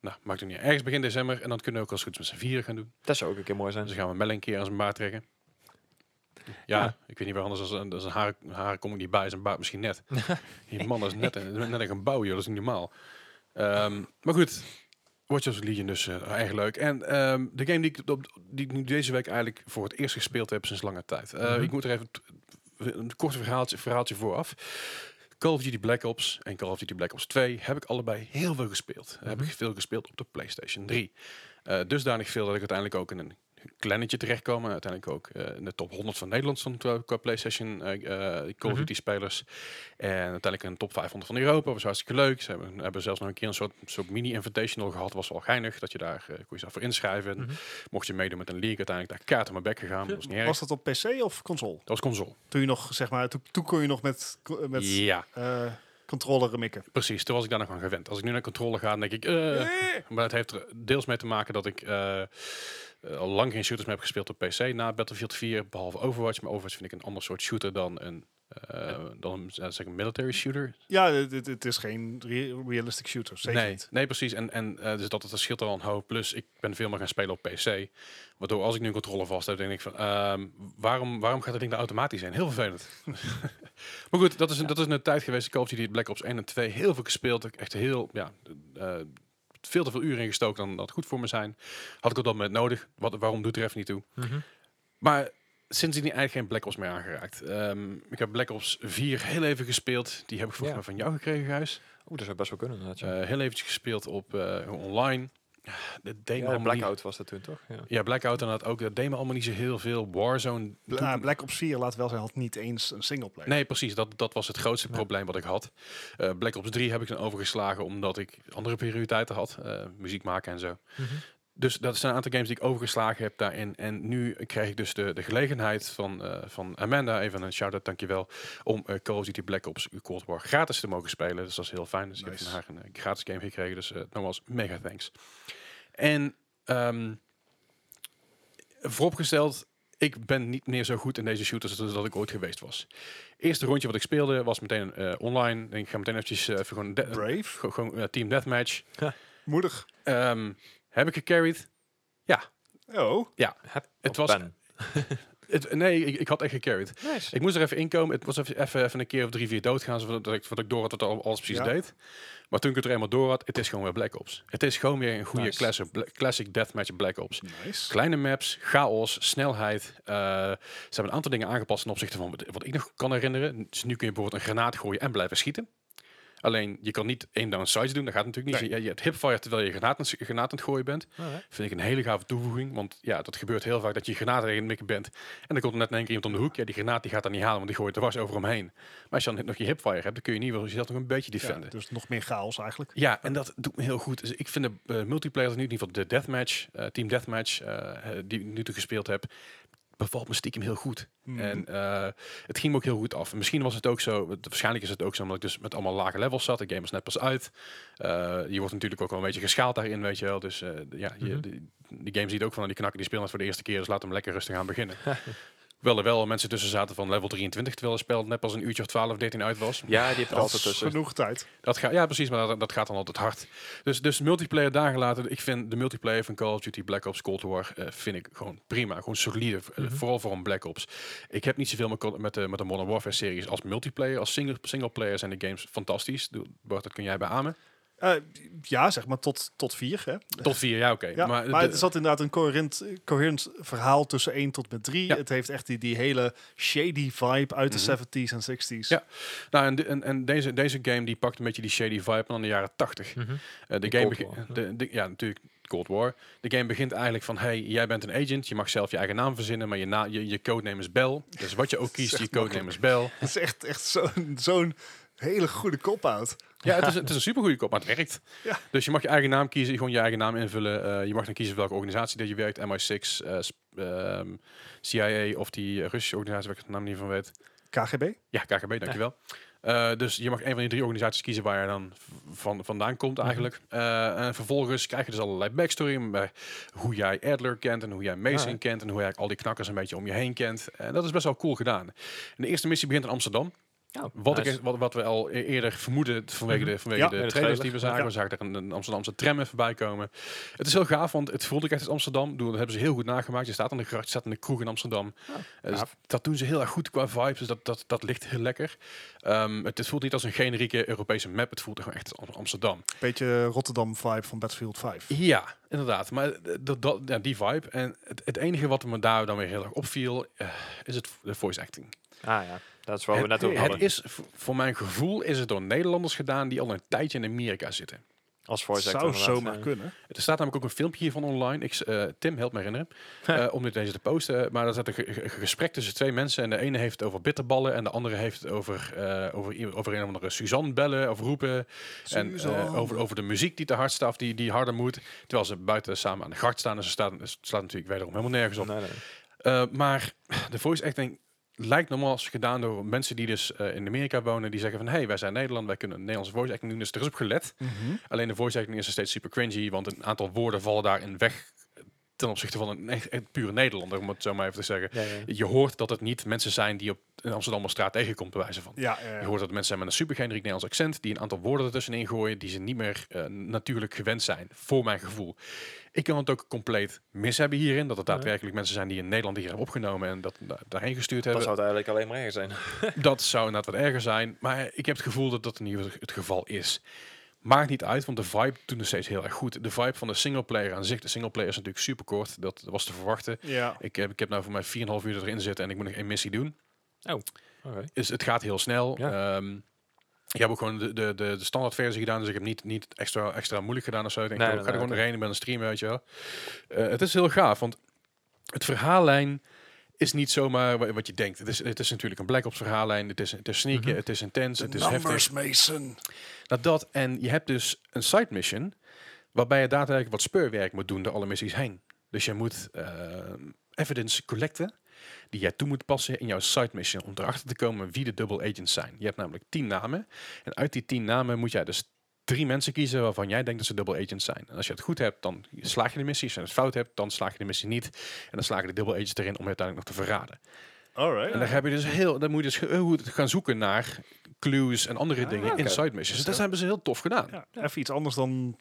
[SPEAKER 1] Nou, maakt het niet uit. Ergens begin december en dan kunnen we ook als het goed is met z'n vieren gaan doen.
[SPEAKER 3] Dat zou ook een keer mooi zijn.
[SPEAKER 1] Dus dan gaan we Melle een keer aan zijn baard trekken. Ja,
[SPEAKER 3] Ja.
[SPEAKER 1] ik weet niet waar anders als een, als een haar, haar kom ik niet bij, zijn baard misschien net. Die man is net, een- net een gebouw, joh, dat is niet normaal. Ehm, maar goed, Watch Dogs Legion dus eh, erg leuk. En ehm, de game die ik, op, die ik nu deze week eigenlijk voor het eerst gespeeld heb sinds lange tijd. Eh,
[SPEAKER 3] Mhm.
[SPEAKER 1] Ik moet er even t- een kort verhaaltje, verhaaltje vooraf. Call of Duty Black Ops en Call of Duty Black Ops 2 heb ik allebei heel veel gespeeld. Heb
[SPEAKER 3] Mhm.
[SPEAKER 1] ik veel gespeeld op de PlayStation 3. Eh, dusdanig veel dat ik uiteindelijk ook in een kleinetje terechtkwam. En uiteindelijk ook eh, in de top 100 van Nederland stond qua, qua PlayStation eh, eh, Call of
[SPEAKER 3] Mhm.
[SPEAKER 1] Duty spelers. En uiteindelijk in de top 500 van Europa. was hartstikke leuk. Ze hebben, hebben zelfs nog een keer een soort, soort mini-invitational gehad. was wel geinig. Dat je daar eh kon je zelf voor inschrijven. En
[SPEAKER 3] Mhm.
[SPEAKER 1] Mocht je meedoen met een league, uiteindelijk daar kaart aan mijn bek gegaan. Dat was niet erg.
[SPEAKER 2] Was dat op PC of console?
[SPEAKER 1] dat was console.
[SPEAKER 2] Toen je nog, zeg maar, toen, toen kon je nog met, co- met
[SPEAKER 1] Ja,
[SPEAKER 2] eh, controller mikken.
[SPEAKER 1] precies. Toen was ik daar nog aan gewend. Als ik nu naar controle ga, dan denk ik... eh, Maar het heeft er deels mee te maken dat ik eh, eh, al lang geen shooters meer heb gespeeld op PC na Battlefield 4, behalve Overwatch. Maar Overwatch vind ik een ander soort shooter dan een, eh, dan een, eh, zeg een military shooter.
[SPEAKER 2] Ja, dit- dit- het is geen re- realistic shooter. Zeker
[SPEAKER 1] nee,
[SPEAKER 2] niet.
[SPEAKER 1] nee, precies. En, en eh, dus dat, dat scheelt er al een hoop. Plus, ik ben veel meer gaan spelen op PC. Waardoor als ik nu een controle vast heb, denk ik van... ehm, waarom, waarom gaat dat ding nou automatisch zijn? Heel vervelend. maar goed, dat is, een- dat is een tijd geweest. Ik Call of Duty Black Ops 1 en 2 heel veel gespeeld. Ik Echt heel... Ja, eh, veel te veel uren ingestoken dan dat goed voor me zijn. Had ik op dat moment nodig. Wat, waarom doet er even niet toe?
[SPEAKER 3] Mhm.
[SPEAKER 1] Maar sindsdien eigenlijk geen Black Ops meer aangeraakt. Ehm, ik heb Black Ops 4 heel even gespeeld. Die heb ik volgens
[SPEAKER 3] Ja.
[SPEAKER 1] mij van jou gekregen, Gijs.
[SPEAKER 3] Oeh, dat zou best wel kunnen inderdaad. Ja.
[SPEAKER 1] Eh, heel eventjes gespeeld op eh, online. Ah, Dat deed me
[SPEAKER 3] ja,
[SPEAKER 1] allemaal
[SPEAKER 3] Blackout was dat toen toch? Ja.
[SPEAKER 1] Niet, ja, Blackout inderdaad ook. Dat deed me allemaal niet zo heel veel. Warzone.
[SPEAKER 2] Bla-
[SPEAKER 1] doet-
[SPEAKER 2] nou, Black Ops 4, laat wel zijn, had niet eens een singleplayer.
[SPEAKER 1] Nee, precies. Dat, dat was het grootste
[SPEAKER 3] Ja.
[SPEAKER 1] probleem wat ik had. Eh, Black Ops 3 heb ik dan overgeslagen omdat ik andere prioriteiten had. Eh, muziek maken en zo.
[SPEAKER 3] Mhm.
[SPEAKER 1] Dus dat zijn een aantal games die ik overgeslagen heb daarin. En nu krijg ik dus de, de gelegenheid van, eh, van Amanda, even een shout-out, dankjewel, om eh, Call of Duty Black Ops Cold War gratis te mogen spelen. Dus dat is heel fijn. Dus ik heb
[SPEAKER 2] Nice.
[SPEAKER 1] van haar een eh, gratis game gekregen. Dus eh nogmaals, mega thanks. En ehm, vooropgesteld, ik ben niet meer zo goed in deze shooters als dat ik ooit geweest was. Eerste rondje wat ik speelde was meteen eh, online. En ik ga meteen eventjes eh, even gewoon, de-
[SPEAKER 2] Brave.
[SPEAKER 1] gewoon eh, team deathmatch.
[SPEAKER 2] Moedig.
[SPEAKER 1] Ehm, heb ik gecarried?
[SPEAKER 2] Oh.
[SPEAKER 3] Heb
[SPEAKER 1] Het
[SPEAKER 3] op
[SPEAKER 1] was-
[SPEAKER 3] pen.
[SPEAKER 1] het- nee, ik, ik had echt gecarried.
[SPEAKER 3] Nice.
[SPEAKER 1] Ik moest er even inkomen. Het was even, even, even een keer of drie, vier doodgaan, zodat ik, voordat ik door had wat al- alles precies
[SPEAKER 2] Ja.
[SPEAKER 1] deed. Maar toen ik het er eenmaal door had, het is gewoon weer Black Ops. Het is gewoon weer een goede
[SPEAKER 3] Nice.
[SPEAKER 1] classic, bla- classic deathmatch Black Ops.
[SPEAKER 2] Nice.
[SPEAKER 1] Kleine maps, chaos, snelheid. Eh, ze hebben een aantal dingen aangepast ten opzichte van wat- wat ik nog kan herinneren. Dus nu kun je bijvoorbeeld een granaat gooien en blijven schieten. Alleen, je kan niet één down sights doen. Dat gaat natuurlijk niet.
[SPEAKER 2] Nee.
[SPEAKER 1] Je, je hebt hipfire terwijl je granaat, aan het- granaat aan het gooien bent.
[SPEAKER 3] Alright.
[SPEAKER 1] Vind ik een hele gave toevoeging. Want ja, dat gebeurt heel vaak dat je granaten tegen het mikken bent. En dan komt er net in één keer iemand om de hoek. Ja, die granaat die gaat dan niet halen, want die gooit er was over hem heen. Maar als je dan nog je hipfire hebt, dan kun je niet wel jezelf nog een beetje
[SPEAKER 2] Ja,
[SPEAKER 1] defenden.
[SPEAKER 2] dus nog meer chaos eigenlijk.
[SPEAKER 1] Ja, en dat doet me heel goed. Dus ik vind de eh, multiplayer, in ieder geval de deathmatch, eh, team deathmatch, eh, eh, die ik nu toe gespeeld heb, bevalt me stiekem heel goed.
[SPEAKER 2] Mhm.
[SPEAKER 1] En eh, het ging me ook heel goed af. Misschien was het ook zo, het- waarschijnlijk is het ook zo, omdat ik dus met allemaal lage levels zat. De game was net pas uit. Eh, je wordt natuurlijk ook wel een beetje geschaald daarin, weet je wel. Dus eh, d- ja, je,
[SPEAKER 3] Mhm.
[SPEAKER 1] die, die game ziet ook van, die knakken die spelen het voor de eerste keer, dus laat hem lekker rustig aan beginnen. Wel er wel mensen tussen zaten van level 23, terwijl het spel net pas een uurtje of 12, 13 uit was.
[SPEAKER 3] Ja, die heeft er
[SPEAKER 2] Dat is
[SPEAKER 3] altijd tussen.
[SPEAKER 2] genoeg tijd.
[SPEAKER 1] Dat ga, ja, precies, maar dat, dat gaat dan altijd hard. Dus, dus multiplayer dagen later, ik vind de multiplayer van Call of Duty Black Ops Cold War eh, vind ik gewoon prima. Gewoon solide, eh, vooral voor een Black Ops. Ik heb niet zoveel met, Call- met, de, met de Modern Warfare series als multiplayer. Als single, singleplayer zijn de games fantastisch. Doe- Bart, dat kun jij beamen.
[SPEAKER 2] Eh, ja, zeg maar tot, tot vier. Hè?
[SPEAKER 1] Tot vier, ja oké.
[SPEAKER 2] Ja, maar
[SPEAKER 1] maar de-
[SPEAKER 2] het zat inderdaad een coherent, coherent verhaal tussen 1 tot met 3.
[SPEAKER 1] Ja.
[SPEAKER 2] Het heeft echt die, die hele shady vibe
[SPEAKER 1] Mhm.
[SPEAKER 2] uit de 70s en 60s.
[SPEAKER 1] Ja. nou, en, de- en, en deze, deze game die pakt een beetje die shady vibe van de jaren 80.
[SPEAKER 3] Mhm.
[SPEAKER 1] Eh, de
[SPEAKER 3] In
[SPEAKER 1] game
[SPEAKER 3] Cold
[SPEAKER 1] begi-
[SPEAKER 3] War, ja.
[SPEAKER 1] de, de- ja, natuurlijk Cold War. De game begint eigenlijk van, hey, jij bent een agent, je mag zelf je eigen naam verzinnen, maar je, na, je, je codename is Bell. Dus wat je ook kiest, je
[SPEAKER 2] echt
[SPEAKER 1] codename is Bell.
[SPEAKER 2] Het is echt, echt zo'n zo'n hele goede cop-out.
[SPEAKER 1] Ja, het is, het is een supergoeie kop, maar het werkt.
[SPEAKER 2] Ja.
[SPEAKER 1] Dus je mag je eigen naam kiezen, gewoon je eigen naam invullen. Eh, je mag dan kiezen voor welke organisatie dat je werkt, MI6, eh, sp- ehm, CIA of die Russische organisatie waar ik de naam niet van weet.
[SPEAKER 2] KGB?
[SPEAKER 1] Ja, KGB, dankjewel. Eh dus je mag een van die drie organisaties kiezen waar je dan v- van, vandaan komt eigenlijk. Eh, en vervolgens krijg je dus allerlei backstory bij hoe jij Adler kent en hoe jij Mason
[SPEAKER 3] Ja.
[SPEAKER 1] kent en hoe jij eigenlijk al die knakkers een beetje om je heen kent. En dat is best wel cool gedaan. En de eerste missie begint in Amsterdam.
[SPEAKER 3] Ja,
[SPEAKER 1] Wat,
[SPEAKER 3] nice. Mhm.
[SPEAKER 1] ik, wat, wat we al e- eerder vermoeden vanwege de, vanwege
[SPEAKER 2] Ja,
[SPEAKER 1] de
[SPEAKER 3] met de
[SPEAKER 1] trailers die
[SPEAKER 3] trailer.
[SPEAKER 1] we zagen.
[SPEAKER 2] Ja.
[SPEAKER 1] We zagen er een, een Amsterdamse tram even bij komen. Het is heel gaaf, want het voelde ik echt als Amsterdam. Ik bedoel, Dat hebben ze heel goed nagemaakt. Je staat aan de gracht, je staat in de kroeg in Amsterdam.
[SPEAKER 3] Ja,
[SPEAKER 1] Eh, dus
[SPEAKER 3] Oh, gaaf.
[SPEAKER 1] dat doen ze heel erg goed qua vibes, dus dat, dat, dat ligt heel lekker. Ehm, het, het voelt niet als een generieke Europese map, het voelt gewoon echt als Am- Amsterdam.
[SPEAKER 2] Beetje Rotterdam-vibe van Battlefield 5.
[SPEAKER 1] Ja, inderdaad. Maar eh, dat, dat, ja, die vibe. En het, het enige wat me daar dan weer heel erg opviel, eh, is het, de voice acting.
[SPEAKER 3] Ah ja, dat is waar we net
[SPEAKER 1] het,
[SPEAKER 3] over
[SPEAKER 1] het
[SPEAKER 3] hadden.
[SPEAKER 1] is, v- voor mijn gevoel is het door Nederlanders gedaan die al een tijdje in Amerika zitten.
[SPEAKER 3] Als voice actor
[SPEAKER 2] zou
[SPEAKER 3] inderdaad,
[SPEAKER 2] zomaar
[SPEAKER 3] ja.
[SPEAKER 2] kunnen.
[SPEAKER 1] Er staat namelijk ook een filmpje hiervan online. Ik, s- eh, Tim, help me herinneren. eh, om dit deze te posten. Maar er staat een ge- ge- gesprek tussen twee mensen. En de ene heeft het over bitterballen. En de andere heeft het over, eh over, i- over een of andere Suzanne bellen of roepen. En eh,
[SPEAKER 2] Suzanne.
[SPEAKER 1] over, over de muziek die te hard staat. of Die, die harder moet. Terwijl ze buiten samen aan de gart staan. Dus ze staan, het slaat natuurlijk wederom helemaal nergens op.
[SPEAKER 3] Nee, nee.
[SPEAKER 1] Eh, maar de voice acting lijkt normaal als gedaan door mensen die dus eh, in Amerika wonen. Die zeggen van, hey, wij zijn Nederland. Wij kunnen Nederlandse voice acting doen. Dus er is op gelet. Alleen de voice acting is nog steeds super cringy, want een aantal woorden vallen daarin weg ten opzichte van een echt, echt pure Nederlander, om het zo maar even te zeggen.
[SPEAKER 3] Ja, ja.
[SPEAKER 1] Je hoort dat het niet mensen zijn die op een Amsterdamse straat tegenkomt, bij wijze van.
[SPEAKER 2] Ja, eh,
[SPEAKER 1] Je hoort dat het mensen zijn met een super generiek Nederlands accent, die een aantal woorden ertussenin gooien die ze niet meer eh, natuurlijk gewend zijn, voor mijn gevoel. Ik kan het ook compleet mis hebben hierin, dat het
[SPEAKER 3] Ja.
[SPEAKER 1] daadwerkelijk mensen zijn die in Nederland hier hebben opgenomen en dat da- daarheen gestuurd
[SPEAKER 3] Dat
[SPEAKER 1] hebben.
[SPEAKER 3] zou het eigenlijk alleen maar erger zijn.
[SPEAKER 1] Dat zou inderdaad wat erger zijn. Maar ik heb het gevoel dat dat in ieder geval het geval is. Maakt niet uit, want de vibe doet nog steeds heel erg goed. De vibe van de singleplayer aan zich. De singleplayer is natuurlijk super kort. Dat was te verwachten.
[SPEAKER 2] ja.
[SPEAKER 1] Ik heb, ik heb nou voor mij 4,5 uur erin zitten en ik moet nog één missie doen.
[SPEAKER 3] Oké.
[SPEAKER 1] Dus het gaat heel snel.
[SPEAKER 3] Ja.
[SPEAKER 1] Ehm, ik heb ook gewoon de, de, de, de standaardversie gedaan. Dus ik heb niet, niet extra, extra moeilijk gedaan of zo. Ik denk,
[SPEAKER 3] Nee,
[SPEAKER 1] ik
[SPEAKER 3] nee,
[SPEAKER 1] ga er
[SPEAKER 3] nee,
[SPEAKER 1] gewoon doorheen. Ik ben een streamer, weet je wel. Eh, het is heel gaaf, want het verhaallijn is niet zomaar wa- wat je denkt. Het is, het is natuurlijk een Black Ops verhaallijn. Het is, het is sneaken,
[SPEAKER 3] Mhm.
[SPEAKER 1] het is intens, het is dus heftig.
[SPEAKER 2] Mason.
[SPEAKER 1] Nou, dat en je hebt dus een side mission waarbij je daadwerkelijk wat speurwerk moet doen door alle missies heen. Dus je moet eh, evidence collecten die jij toe moet passen in jouw side mission om erachter te komen wie de double agents zijn. Je hebt namelijk tien namen en uit die tien namen moet jij dus drie mensen kiezen waarvan jij denkt dat ze double agents zijn. En als je het goed hebt, dan slaag je de missie. Als je het fout hebt, dan slaag je de missie niet. En dan slagen de double agents erin om je uiteindelijk nog te verraden. En dan,
[SPEAKER 2] Alright.
[SPEAKER 1] heb je dus heel, dan moet je dus heel goed gaan zoeken naar clues en andere dingen
[SPEAKER 3] oké.
[SPEAKER 1] in side missions. Dus dat hebben ze heel tof gedaan.
[SPEAKER 2] Ja, even iets anders dan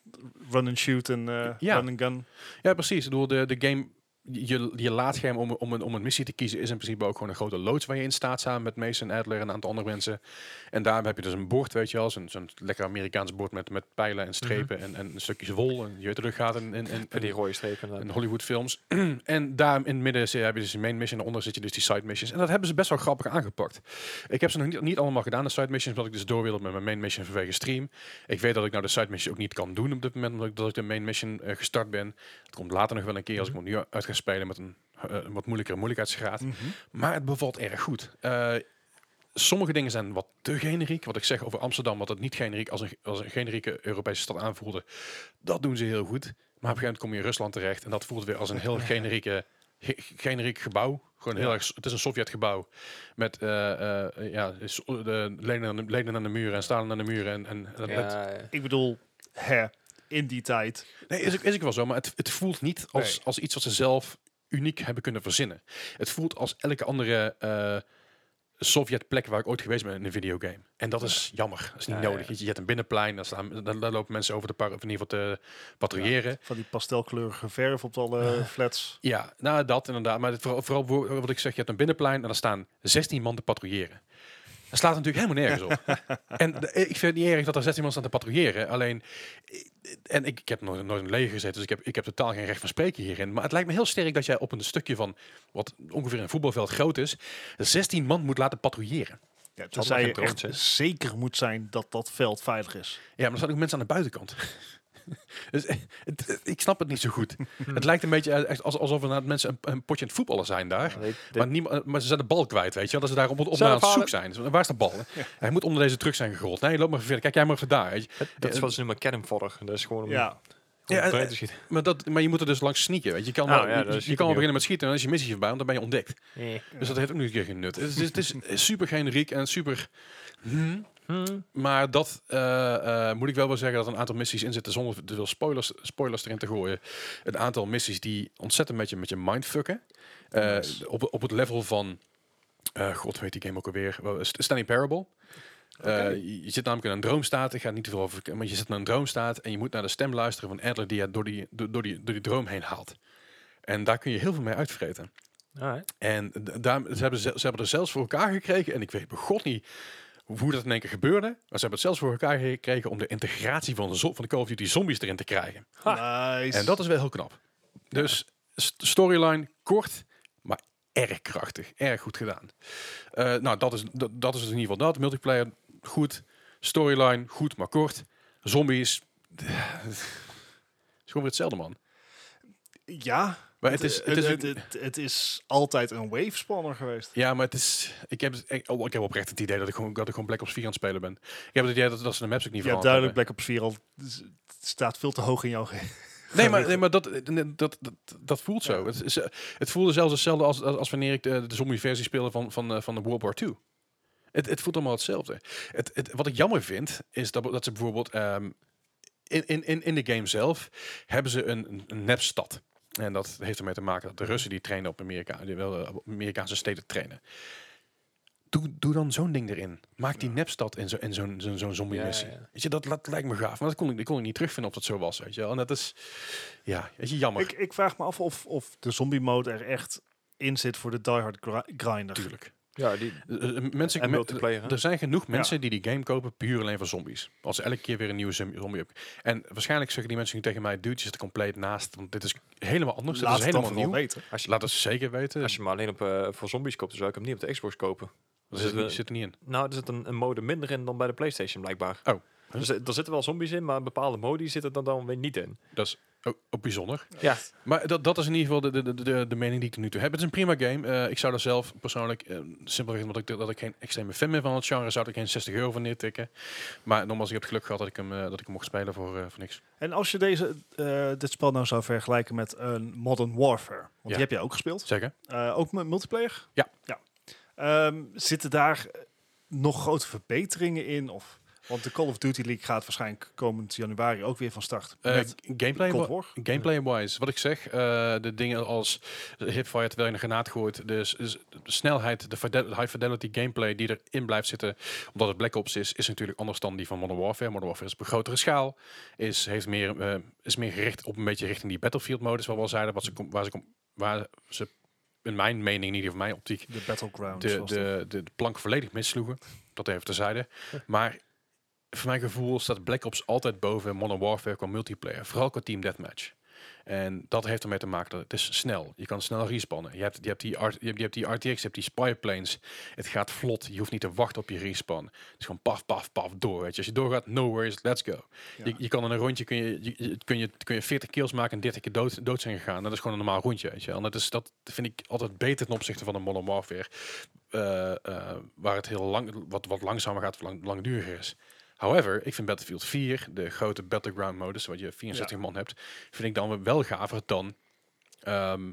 [SPEAKER 2] run and shoot en eh,
[SPEAKER 1] Ja.
[SPEAKER 2] run and gun.
[SPEAKER 1] Ja, precies. Ik bedoel, de, de game je, je laadscherm om, om, een, om een missie te kiezen is in principe ook gewoon een grote loods waar je in staat samen met Mason Adler en een aantal andere mensen. En daar heb je dus een bord, weet je wel, zo'n zo'n lekker Amerikaans bord met, met pijlen en strepen en, en stukjes wol. En je weet hoe het gaat in, in, in,
[SPEAKER 3] Van Eh, die
[SPEAKER 1] in,
[SPEAKER 3] rode strepen. inderdaad.
[SPEAKER 1] Hollywood films. en daar in het midden zit- heb je dus die main mission, daaronder zit je dus die side missions. En dat hebben ze best wel grappig aangepakt. Ik heb ze nog niet, niet allemaal gedaan, de side missions, omdat ik dus door wilde met mijn main mission vanwege stream. Ik weet dat ik nou de side mission ook niet kan doen op dit moment, omdat ik, dat ik de main mission eh, gestart ben. Het komt later nog wel een keer als ik hem nu uit ga spelen met een eh, een wat moeilijkere moeilijkheidsgraad. Maar het bevalt erg goed. Eh, sommige dingen zijn wat te generiek. Wat ik zeg over Amsterdam, wat het niet generiek als een, als een generieke Europese stad aanvoelde, dat doen ze heel goed. Maar op een gegeven moment kom je in Rusland terecht en dat voelt weer als een heel generieke, ge- generiek gebouw. Gewoon heel
[SPEAKER 3] Ja.
[SPEAKER 1] erg, het is een Sovjetgebouw met eh, eh, ja, is- de lenen, aan de, lenen aan de muren en stalen aan de muren. En, en, en het-
[SPEAKER 3] Ja, ja.
[SPEAKER 2] Ik bedoel, hè, in die tijd.
[SPEAKER 1] Nee, is, ook- is ik wel zo, maar het, het voelt niet als,
[SPEAKER 3] Nee.
[SPEAKER 1] als iets wat ze zelf uniek hebben kunnen verzinnen. Het voelt als elke andere eh Sovjet-plek waar ik ooit geweest ben in een videogame. En dat is jammer. Dat is niet
[SPEAKER 3] Ja, ja,
[SPEAKER 1] nodig.
[SPEAKER 3] ja.
[SPEAKER 1] Je, je hebt een binnenplein, daar, staan, daar, daar lopen mensen over de par, of in ieder geval te patrouilleren.
[SPEAKER 2] Van die pastelkleurige verf op alle flats.
[SPEAKER 1] Ja, nou dat inderdaad. Maar het- vooral, vooral wo- wat ik zeg, je hebt een binnenplein en daar staan 16 man te patrouilleren. Dat slaat natuurlijk helemaal nergens op. en de- ik vind het niet erg dat er 16 man staan te patrouilleren. Alleen, en ik, ik heb nog nooit in een leger gezeten, dus ik heb, ik heb totaal geen recht van spreken hierin. Maar het lijkt me heel sterk dat jij op een stukje van, wat ongeveer een voetbalveld groot is, 16 man moet laten patrouilleren.
[SPEAKER 2] Ja,
[SPEAKER 1] allemaal
[SPEAKER 2] tenzij je
[SPEAKER 1] geen
[SPEAKER 2] echt
[SPEAKER 1] drones,
[SPEAKER 2] zeker moet zijn dat dat veld veilig is.
[SPEAKER 1] Ja, maar er staan ook mensen aan de buitenkant. dus eh, het- het- ik snap het niet zo goed. het lijkt een beetje eh, echt als- alsof er nou mensen een, een potje aan het voetballen zijn daar.
[SPEAKER 3] Dit- dit-
[SPEAKER 1] Maar, niemand, eh, maar ze zijn de bal kwijt, weet je wel. Dat ze daar op, op
[SPEAKER 3] Zelf
[SPEAKER 1] naar aan het zoek
[SPEAKER 3] halen.
[SPEAKER 1] zijn. Dus Waar is de bal? Hij moet onder deze truck zijn gerold. Nee, loop maar verder. Kijk jij maar even daar. Weet je.
[SPEAKER 3] dat- dat is wat ze noemen kernvorder. Dat is gewoon om
[SPEAKER 2] Ja,
[SPEAKER 3] om
[SPEAKER 1] Ja,
[SPEAKER 3] breed
[SPEAKER 1] eh,
[SPEAKER 3] te schieten.
[SPEAKER 1] Maar, dat, maar je moet er dus langs sneaken, weet je. Je kan,
[SPEAKER 3] Nou,
[SPEAKER 1] wel-
[SPEAKER 3] ja,
[SPEAKER 1] je-
[SPEAKER 3] dat
[SPEAKER 1] je,
[SPEAKER 3] schiet
[SPEAKER 1] kan
[SPEAKER 3] hem
[SPEAKER 1] wel beginnen
[SPEAKER 3] niet
[SPEAKER 1] met schieten en dan is je missie voorbij, want dan ben je ontdekt.
[SPEAKER 3] Nee.
[SPEAKER 1] Dus dat heeft ook nog een keer geen nut. Het is, het is eh, super generiek en super... hmm.
[SPEAKER 3] Hm.
[SPEAKER 1] Maar dat eh, eh, moet ik wel wel zeggen dat een aantal missies in zitten zonder te veel spoilers, spoilers erin te gooien. Een aantal missies die ontzettend met je, met je mind fucken. Eh, op, op het level van, eh, god weet die game ook alweer, Wel, St- Stanley Parable. Eh, je- je zit namelijk in een droomstaat. Ik ga het niet te veel over, maar je zit in een droomstaat en je moet naar de stem luisteren van Adler die je door die, door, door die, door die droom heen haalt. En daar kun je heel veel mee uitvreten.
[SPEAKER 3] Alright.
[SPEAKER 1] En d- daar, ze, hebben, ze ze hebben er zelfs voor elkaar gekregen. En ik weet bij god niet hoe dat in één keer gebeurde. Maar ze hebben het zelfs voor elkaar gekregen om de integratie van de, zo- van de Call of Duty zombies erin te krijgen.
[SPEAKER 2] nice.
[SPEAKER 1] Ah. En dat is wel heel knap. Dus st- storyline kort, maar erg krachtig. Erg goed gedaan. Eh, nou, dat is, dat, dat is in ieder geval dat. Multiplayer, goed. Storyline, goed, maar kort. Zombies... Het is gewoon weer hetzelfde, man.
[SPEAKER 2] Ja,
[SPEAKER 1] Maar het is, het
[SPEAKER 2] het,
[SPEAKER 1] is,
[SPEAKER 2] het, het- het is altijd een wave spanner geweest.
[SPEAKER 1] Ja, maar het is. Ik heb, ik, oh, ik heb oprecht het idee dat ik, gewoon, dat ik gewoon Black Ops 4 aan het spelen ben. Ik heb het idee dat, dat ze de maps ook niet
[SPEAKER 2] Ja,
[SPEAKER 1] veranderen.
[SPEAKER 2] duidelijk Black Ops 4 al het staat veel te hoog in jouw ge-
[SPEAKER 1] Nee, maar, nee, maar dat, dat, dat, dat voelt zo.
[SPEAKER 2] Ja.
[SPEAKER 1] Het, is, eh, het voelde zelfs hetzelfde als, als, als wanneer ik de, de zombie-versie speelde van, van, eh, van de World War II. Het, het voelt allemaal hetzelfde. Het, het, wat ik jammer vind, is dat, dat ze bijvoorbeeld ehm, in, in, in, in de game zelf hebben ze een, een nepstad. En dat heeft ermee te maken dat de Russen die trainen op Amerika, die wel eh, op Amerikaanse steden trainen. Doe, doe dan zo'n ding erin. Maak die nepstad in zo'n zo, zo'n zo'n zombie-missie.
[SPEAKER 3] Ja, ja.
[SPEAKER 1] Weet je, dat, dat lijkt me gaaf. Maar dat kon, ik, dat kon ik niet terugvinden of dat zo was. Weet je wel. En dat is, ja, weet je, jammer.
[SPEAKER 2] Ik, ik vraag me af of, of de zombie mode er echt in zit voor de diehard gri- grinder.
[SPEAKER 1] Tuurlijk.
[SPEAKER 3] Ja, die,
[SPEAKER 1] Eh, eh, Mensen,
[SPEAKER 3] en
[SPEAKER 1] me-
[SPEAKER 3] multiplayer. hè?
[SPEAKER 1] er zijn genoeg mensen die die game kopen puur alleen voor zombies. Als ze elke keer weer een nieuwe zom- zombie op. En waarschijnlijk zeggen die mensen nu tegen mij, dude, je zit er compleet naast. Want dit is helemaal anders.
[SPEAKER 2] Laat
[SPEAKER 1] dit
[SPEAKER 2] het
[SPEAKER 1] is
[SPEAKER 2] dan
[SPEAKER 1] helemaal
[SPEAKER 2] vooral
[SPEAKER 1] nieuw.
[SPEAKER 2] weten.
[SPEAKER 3] Als je,
[SPEAKER 1] Laat het zeker weten.
[SPEAKER 3] als je maar alleen op, eh, voor zombies koopt, dan zou ik hem niet op de Xbox kopen.
[SPEAKER 1] dat zit,
[SPEAKER 3] we-
[SPEAKER 1] er- zit er niet in.
[SPEAKER 3] Nou, er zit een, een mode minder in dan bij de PlayStation blijkbaar.
[SPEAKER 1] Oh.
[SPEAKER 3] Dus er er zitten wel zombies in, maar bepaalde modi zitten er dan weer niet in.
[SPEAKER 1] Dat is ook, Oh, ook bijzonder.
[SPEAKER 3] Ja.
[SPEAKER 1] Maar dat, dat is in ieder geval de, de, de- de, de mening die ik tot nu toe heb. Het is een prima game. Eh, ik zou er zelf persoonlijk, eh, simpelweg omdat ik, dat ik geen extreme fan ben van het genre, zou ik er geen 60 euro voor neertikken. Maar nogmaals, ik heb het geluk gehad dat ik hem, eh, dat ik hem mocht spelen voor, eh, voor niks.
[SPEAKER 2] En als je deze, eh, dit spel nou zou vergelijken met een Modern Warfare, want
[SPEAKER 1] Ja.
[SPEAKER 2] die heb je ook gespeeld,
[SPEAKER 1] Zeggen?
[SPEAKER 2] Eh, ook met multiplayer?
[SPEAKER 1] Ja.
[SPEAKER 2] ja. Ehm, zitten daar eh, nog grote verbeteringen in? Of, want de Call of Duty League gaat waarschijnlijk komend januari ook weer van start. met
[SPEAKER 1] Eh, gameplay,
[SPEAKER 2] Cold War.
[SPEAKER 1] Gameplay-wise, wat ik zeg, eh, de dingen als hipfire terwijl je een granaat gooit, dus, dus de snelheid, de fidel- high fidelity gameplay die erin blijft zitten, omdat het Black Ops is, is natuurlijk anders dan die van Modern Warfare. Modern Warfare is op een grotere schaal, is, heeft meer, eh, is meer gericht op een beetje richting die Battlefield-modus, waar we al zeiden, wat ze, com- waar ze com- waar ze, in mijn mening, niet of mijn optiek,
[SPEAKER 2] De Battlegrounds.
[SPEAKER 1] de,
[SPEAKER 2] was dat.
[SPEAKER 1] de, de, de plank volledig missloegen. Dat even terzijde. Maar voor mijn gevoel staat Black Ops altijd boven Modern Warfare qua multiplayer. Vooral qua Team Deathmatch. En dat heeft ermee te maken dat het is snel. Je kan snel respannen. Je hebt, je hebt, die, R- je hebt, je hebt die RTX, je hebt die spy planes. Het gaat vlot. Je hoeft niet te wachten op je respawn. Het is gewoon paf, paf, paf, door. Weet je. Als je doorgaat, no worries, let's go. Je, je kan in een rondje kun je, je- je- kun je, kun je 40 kills maken en 30 keer dood, dood zijn gegaan. Dat is gewoon een normaal rondje. Weet je. En dat, is, dat vind ik altijd beter ten opzichte van een Modern Warfare. eh, eh, waar het heel lang, wat, wat langzamer gaat, wat lang, langduriger is. However, ik vind Battlefield 4, de grote battleground modus, wat je 64 man hebt, vind ik dan wel gaver dan ehm,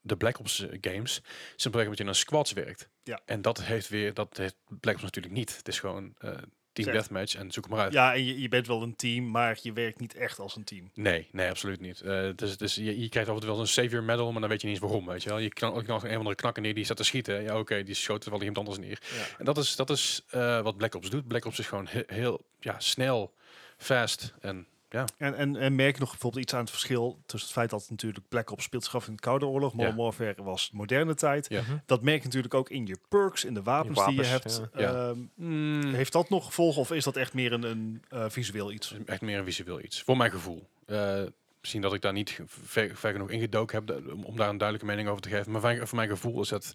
[SPEAKER 1] de Black Ops eh, games. Simpelweg omdat je in een squads werkt.
[SPEAKER 2] Ja.
[SPEAKER 1] En dat heeft weer, dat heeft Black Ops natuurlijk niet. Het is gewoon eh, team
[SPEAKER 2] Zeg.
[SPEAKER 1] deathmatch en zoek hem maar uit.
[SPEAKER 2] Ja, en je, je bent wel een team, maar je werkt niet echt als een team.
[SPEAKER 1] Nee, nee, absoluut niet. Eh, het is- het is- je, je krijgt altijd wel een savior medal, maar dan weet je niet eens waarom, weet je wel. Je kan ook nog een of andere knakker neer die staat te schieten. Ja, oké, die schoot wel iemand anders neer.
[SPEAKER 2] Ja.
[SPEAKER 1] En dat is, dat is eh, wat Black Ops doet. Black Ops is gewoon he- heel ja, snel, fast en
[SPEAKER 2] En, en, en merk je nog bijvoorbeeld iets aan het verschil tussen het feit dat natuurlijk Black Ops speelt zich af in de Koude Oorlog, Modern
[SPEAKER 1] Ja.
[SPEAKER 2] Warfare was moderne tijd.
[SPEAKER 1] Ja.
[SPEAKER 3] Mhm.
[SPEAKER 2] Dat merk je natuurlijk ook in je perks, in de wapens, die je
[SPEAKER 3] wapens,
[SPEAKER 2] hebt.
[SPEAKER 1] ja. Ja.
[SPEAKER 2] Ehm, Heeft dat nog gevolgen of is dat echt meer een, een eh, visueel iets?
[SPEAKER 1] Het is echt meer een visueel iets, voor mijn gevoel. Eh, misschien dat ik daar niet ver, ver genoeg ingedoken heb da- om, om daar een duidelijke mening over te geven. Maar van- voor mijn gevoel is dat,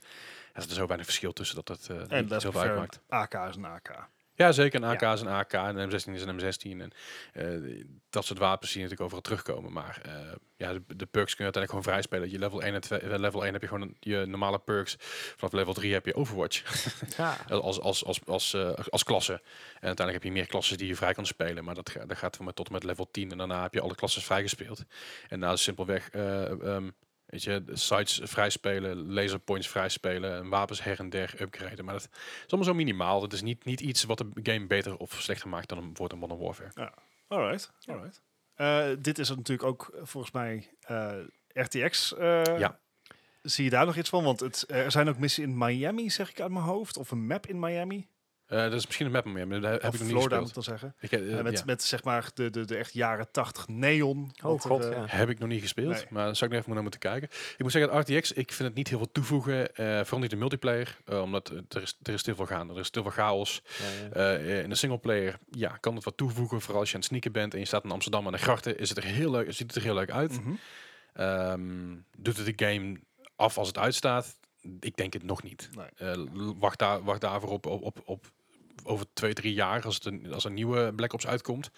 [SPEAKER 1] ja, dat er zo weinig verschil tussen dat dat eh,
[SPEAKER 2] En
[SPEAKER 1] niet
[SPEAKER 2] dat
[SPEAKER 1] heel veel uitmaakt.
[SPEAKER 2] AK is een AK.
[SPEAKER 1] Ja, zeker. Een AK
[SPEAKER 2] Ja.
[SPEAKER 1] is een AK en een M16 is een M16. En eh, dat soort wapens zie je natuurlijk overal terugkomen. Maar eh, ja, de, de perks kun je uiteindelijk gewoon vrijspelen. Je level 1 en 2, eh, level 1 heb je gewoon een- je normale perks. Vanaf level 3 heb je Overwatch
[SPEAKER 3] Ja.
[SPEAKER 1] als, als, als, als, eh, als klasse. En uiteindelijk heb je meer klassen die je vrij kan spelen. Maar dat, ga- dat gaat van met tot en met level 10. En daarna heb je alle klassen vrijgespeeld. En daar is simpelweg... eh ehm, Weet je, de sites vrijspelen, laser points vrijspelen, en wapens her en der upgraden. Maar dat is allemaal zo minimaal. Dat is niet, niet iets wat de game beter of slechter maakt dan een, wordt een Modern Warfare.
[SPEAKER 2] Alright, alright. Eh, dit is er natuurlijk ook eh, volgens mij eh, RTX. eh,
[SPEAKER 1] Ja.
[SPEAKER 2] Zie je daar nog iets van? Want het, eh, er zijn ook missies in Miami, zeg ik uit mijn hoofd. Of een map in Miami.
[SPEAKER 1] Eh, dat is misschien een map meer, maar dat heb
[SPEAKER 2] of
[SPEAKER 1] ik nog niet
[SPEAKER 2] Florida moet
[SPEAKER 1] gespeeld.
[SPEAKER 2] ik dan zeggen.
[SPEAKER 1] Ik, eh,
[SPEAKER 2] Eh, met,
[SPEAKER 1] ja.
[SPEAKER 2] met zeg maar de, de, de echt jaren 80 neon.
[SPEAKER 3] Oh
[SPEAKER 2] wat er,
[SPEAKER 3] god,
[SPEAKER 2] eh,
[SPEAKER 3] ja.
[SPEAKER 1] Heb ik nog niet gespeeld,
[SPEAKER 2] Nee.
[SPEAKER 1] maar daar zou ik nog even naar moeten kijken. Ik moet zeggen, dat RTX, ik vind het niet heel veel toevoegen. eh, vooral niet de multiplayer, eh, omdat eh, er is, er is te veel gaande. Er is te veel chaos.
[SPEAKER 3] Ja, ja.
[SPEAKER 1] Eh, in de singleplayer ja, kan het wat toevoegen. Vooral als je aan het sneaken bent en je staat in Amsterdam aan de grachten, is het er heel leuk, ziet het er heel leuk uit.
[SPEAKER 2] mhm.
[SPEAKER 1] Ehm, doet het de game af als het uitstaat? Ik denk het nog niet.
[SPEAKER 2] Nee.
[SPEAKER 1] Eh, l- wacht, daar, wacht daarvoor op, op, op, op over twee, drie jaar, als, het een, als een nieuwe Black Ops uitkomt.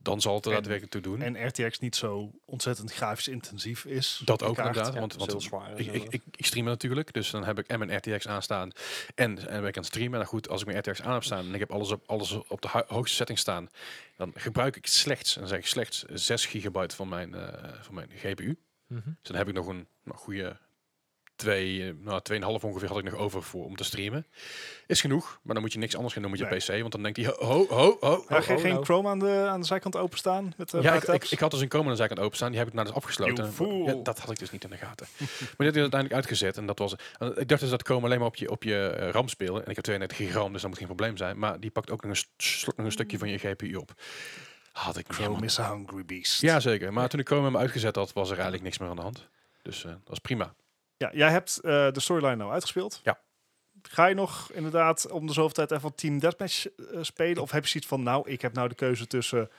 [SPEAKER 1] Dan zal het er
[SPEAKER 2] En-
[SPEAKER 1] daadwerkelijk toe doen.
[SPEAKER 2] En RTX niet zo ontzettend grafisch intensief is.
[SPEAKER 1] Dat
[SPEAKER 2] De
[SPEAKER 1] ook
[SPEAKER 2] kaart.
[SPEAKER 1] inderdaad,
[SPEAKER 3] Ja,
[SPEAKER 1] want,
[SPEAKER 3] dat is
[SPEAKER 1] want
[SPEAKER 3] heel zwaar,
[SPEAKER 1] ik,
[SPEAKER 3] zo.
[SPEAKER 1] ik, ik, ik stream natuurlijk, dus dan heb ik en mijn RTX aanstaan en, en ben ik aan het streamen. Nou goed, als ik mijn RTX aan heb staan en ik heb alles op, alles op de hu- hoogste setting staan, dan gebruik ik slechts, en dan zeg ik slechts, 6 gigabyte van mijn, eh, van mijn GPU.
[SPEAKER 3] Mhm.
[SPEAKER 1] Dus dan heb ik nog een nou, goede twee, eh, nou, 2,5 ongeveer had ik nog over voor, om te streamen. Is genoeg, maar dan moet je niks anders gaan doen met je
[SPEAKER 2] Nee.
[SPEAKER 1] PC, want dan denkt hij, ho, ho, ho, ho.
[SPEAKER 2] Maar geen,
[SPEAKER 3] oh,
[SPEAKER 2] geen
[SPEAKER 3] nou.
[SPEAKER 2] Chrome aan de, aan de zijkant openstaan? Met, eh
[SPEAKER 1] Ja,
[SPEAKER 2] paar
[SPEAKER 1] ik, ik,
[SPEAKER 2] tabs?
[SPEAKER 1] ik had dus een komende zaak aan het openstaan. Die heb ik nou dus afgesloten.
[SPEAKER 2] You fool.
[SPEAKER 1] Ja, dat had ik dus niet in de gaten. maar dit heb ik uiteindelijk uitgezet. En dat was, eh, ik dacht dus dat komen alleen maar op je, op je eh, RAM spelen. En ik heb 32 gig RAM, dus dat moet geen probleem zijn. Maar die pakt ook nog een, st- slokt nog een stukje van je GPU op. Had ik niet
[SPEAKER 2] Chrome
[SPEAKER 1] helemaal-
[SPEAKER 2] is a hungry beast.
[SPEAKER 1] Ja, zeker. Maar toen ik Chrome hem uitgezet had, was er eigenlijk niks meer aan de hand. Dus eh, dat is prima.
[SPEAKER 2] Ja, jij hebt eh, de storyline nou uitgespeeld.
[SPEAKER 1] Ja.
[SPEAKER 2] Ga je nog inderdaad om de zoveel tijd even wat Team Deathmatch eh, spelen? Of heb je zoiets van, nou, ik heb nou de keuze tussen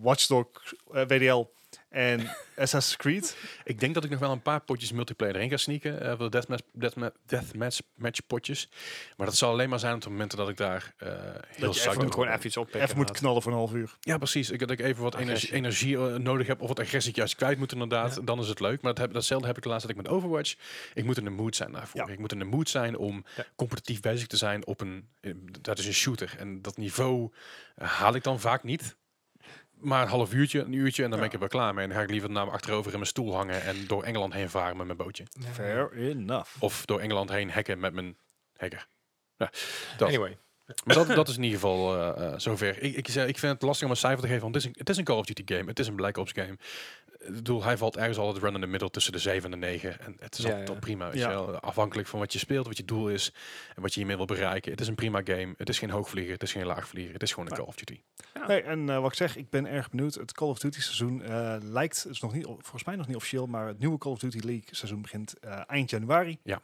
[SPEAKER 2] Watchdog eh, WDL en Assassin's Creed?
[SPEAKER 1] Ik denk dat ik nog wel een paar potjes multiplayer erin ga sneaken. eh, Voor de deathmatch, deathmatch, deathmatch match potjes. Maar dat zal alleen maar zijn op de momenten dat ik daar eh heel
[SPEAKER 2] even
[SPEAKER 1] psyched
[SPEAKER 3] Je
[SPEAKER 2] moet
[SPEAKER 1] over
[SPEAKER 3] moet gewoon
[SPEAKER 1] ben.
[SPEAKER 3] even iets oppikken.
[SPEAKER 2] even moet
[SPEAKER 3] inderdaad.
[SPEAKER 2] knallen voor een half uur.
[SPEAKER 1] Ja, precies. Ik, dat ik even wat energie,
[SPEAKER 3] Agressie.
[SPEAKER 1] energie eh, nodig heb of wat agressie juist kwijt moet inderdaad. Dan is het leuk. Maar dat heb, datzelfde heb ik de laatste tijd met Overwatch. Ik moet in de mood zijn daarvoor.
[SPEAKER 2] Ja.
[SPEAKER 1] Ik moet in de mood zijn om
[SPEAKER 3] Ja.
[SPEAKER 1] competitief bezig te zijn op een... eh, Dat is een shooter. En dat niveau eh, haal ik dan vaak niet. Maar een half uurtje, een uurtje en dan ben ik
[SPEAKER 2] Ja.
[SPEAKER 1] er wel klaar mee. En dan ga ik liever naar achterover in mijn stoel hangen en door Engeland heen varen met mijn bootje.
[SPEAKER 3] Ja.
[SPEAKER 2] Fair enough.
[SPEAKER 1] Of door Engeland heen hacken met mijn hacker. Ja, dat.
[SPEAKER 3] Anyway.
[SPEAKER 1] Maar dat, dat is in ieder geval eh, eh, zover. Ik, ik, zeg, ik vind het lastig om een cijfer te geven, want het is een, het is een Call of Duty game. Het is een Black Ops game. Ik bedoel, hij valt ergens altijd run in de middel tussen de 7 en de 9. En het is
[SPEAKER 3] Ja,
[SPEAKER 1] altijd
[SPEAKER 3] ja.
[SPEAKER 1] al prima. weet
[SPEAKER 2] Ja.
[SPEAKER 1] je wel. Afhankelijk van wat je speelt, wat je doel is en wat je hiermee wil bereiken. Het is een prima game. Het is geen hoogvlieger, het is geen laagvlieger. Het is gewoon een
[SPEAKER 2] Nou.
[SPEAKER 1] Call of Duty.
[SPEAKER 2] Nee, en eh, wat ik zeg, ik ben erg benieuwd. Het Call of Duty seizoen eh, lijkt, het is nog niet, volgens mij nog niet officieel, maar het nieuwe Call of Duty League seizoen begint eh, eind januari.
[SPEAKER 1] Ja.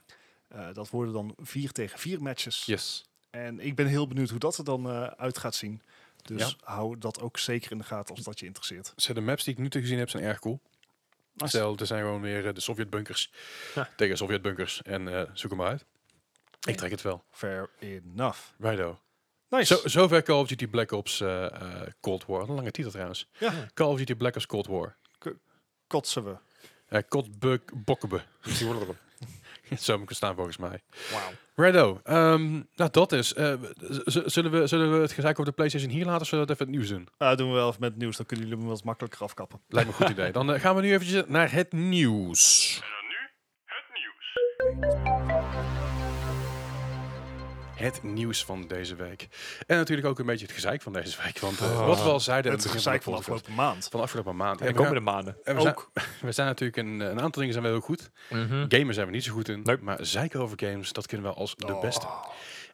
[SPEAKER 2] Eh, dat worden dan vier tegen vier matches.
[SPEAKER 1] Yes.
[SPEAKER 2] En ik ben heel benieuwd hoe dat er dan eh, uit gaat zien. Dus
[SPEAKER 1] Ja.
[SPEAKER 2] hou dat ook zeker in de gaten als dat je interesseert.
[SPEAKER 1] Dus de maps die ik nu te gezien heb zijn erg cool. Stel, er zijn gewoon weer eh, de Sovjet-bunkers
[SPEAKER 3] Ja.
[SPEAKER 1] tegen Sovjet-bunkers. En eh, zoek hem maar uit. Ik trek het wel.
[SPEAKER 2] Fair enough.
[SPEAKER 1] Righto.
[SPEAKER 2] Nice.
[SPEAKER 1] Zo, zover Call of Duty Black Ops eh, eh, Cold War. Een lange titel trouwens.
[SPEAKER 2] Ja.
[SPEAKER 1] Call of Duty Black Ops Cold War.
[SPEAKER 2] Kotsen we.
[SPEAKER 1] Eh Kotbuk Bokkebe. Zo moet ik het staan volgens mij.
[SPEAKER 3] Wauw.
[SPEAKER 1] Righto. Ehm, nou, dat is. eh, z- z- zullen, we, zullen we het gezeik over de PlayStation hier laten? Of zullen we dat even het nieuws doen?
[SPEAKER 2] Ah, doen we wel even met het nieuws, dan kunnen jullie hem wat makkelijker afkappen.
[SPEAKER 1] Lijkt me een goed idee. Dan eh, gaan we nu eventjes naar het nieuws. En dan nu het nieuws. Het nieuws van deze week. En natuurlijk ook een beetje het gezeik van deze week. Want eh, wat we al zeiden... aan
[SPEAKER 2] Oh, het
[SPEAKER 1] begin
[SPEAKER 2] gezeik van de
[SPEAKER 1] podcast-
[SPEAKER 2] afgelopen maand.
[SPEAKER 1] van de afgelopen maand.
[SPEAKER 3] En de
[SPEAKER 1] we, gaan-
[SPEAKER 3] komende maanden.
[SPEAKER 1] en we zijn, we zijn natuurlijk een, een aantal dingen zijn we heel goed. Gamen zijn we niet zo goed in.
[SPEAKER 3] Nope.
[SPEAKER 1] Maar zeiken over games, dat kunnen we als de
[SPEAKER 2] Oh.
[SPEAKER 1] beste.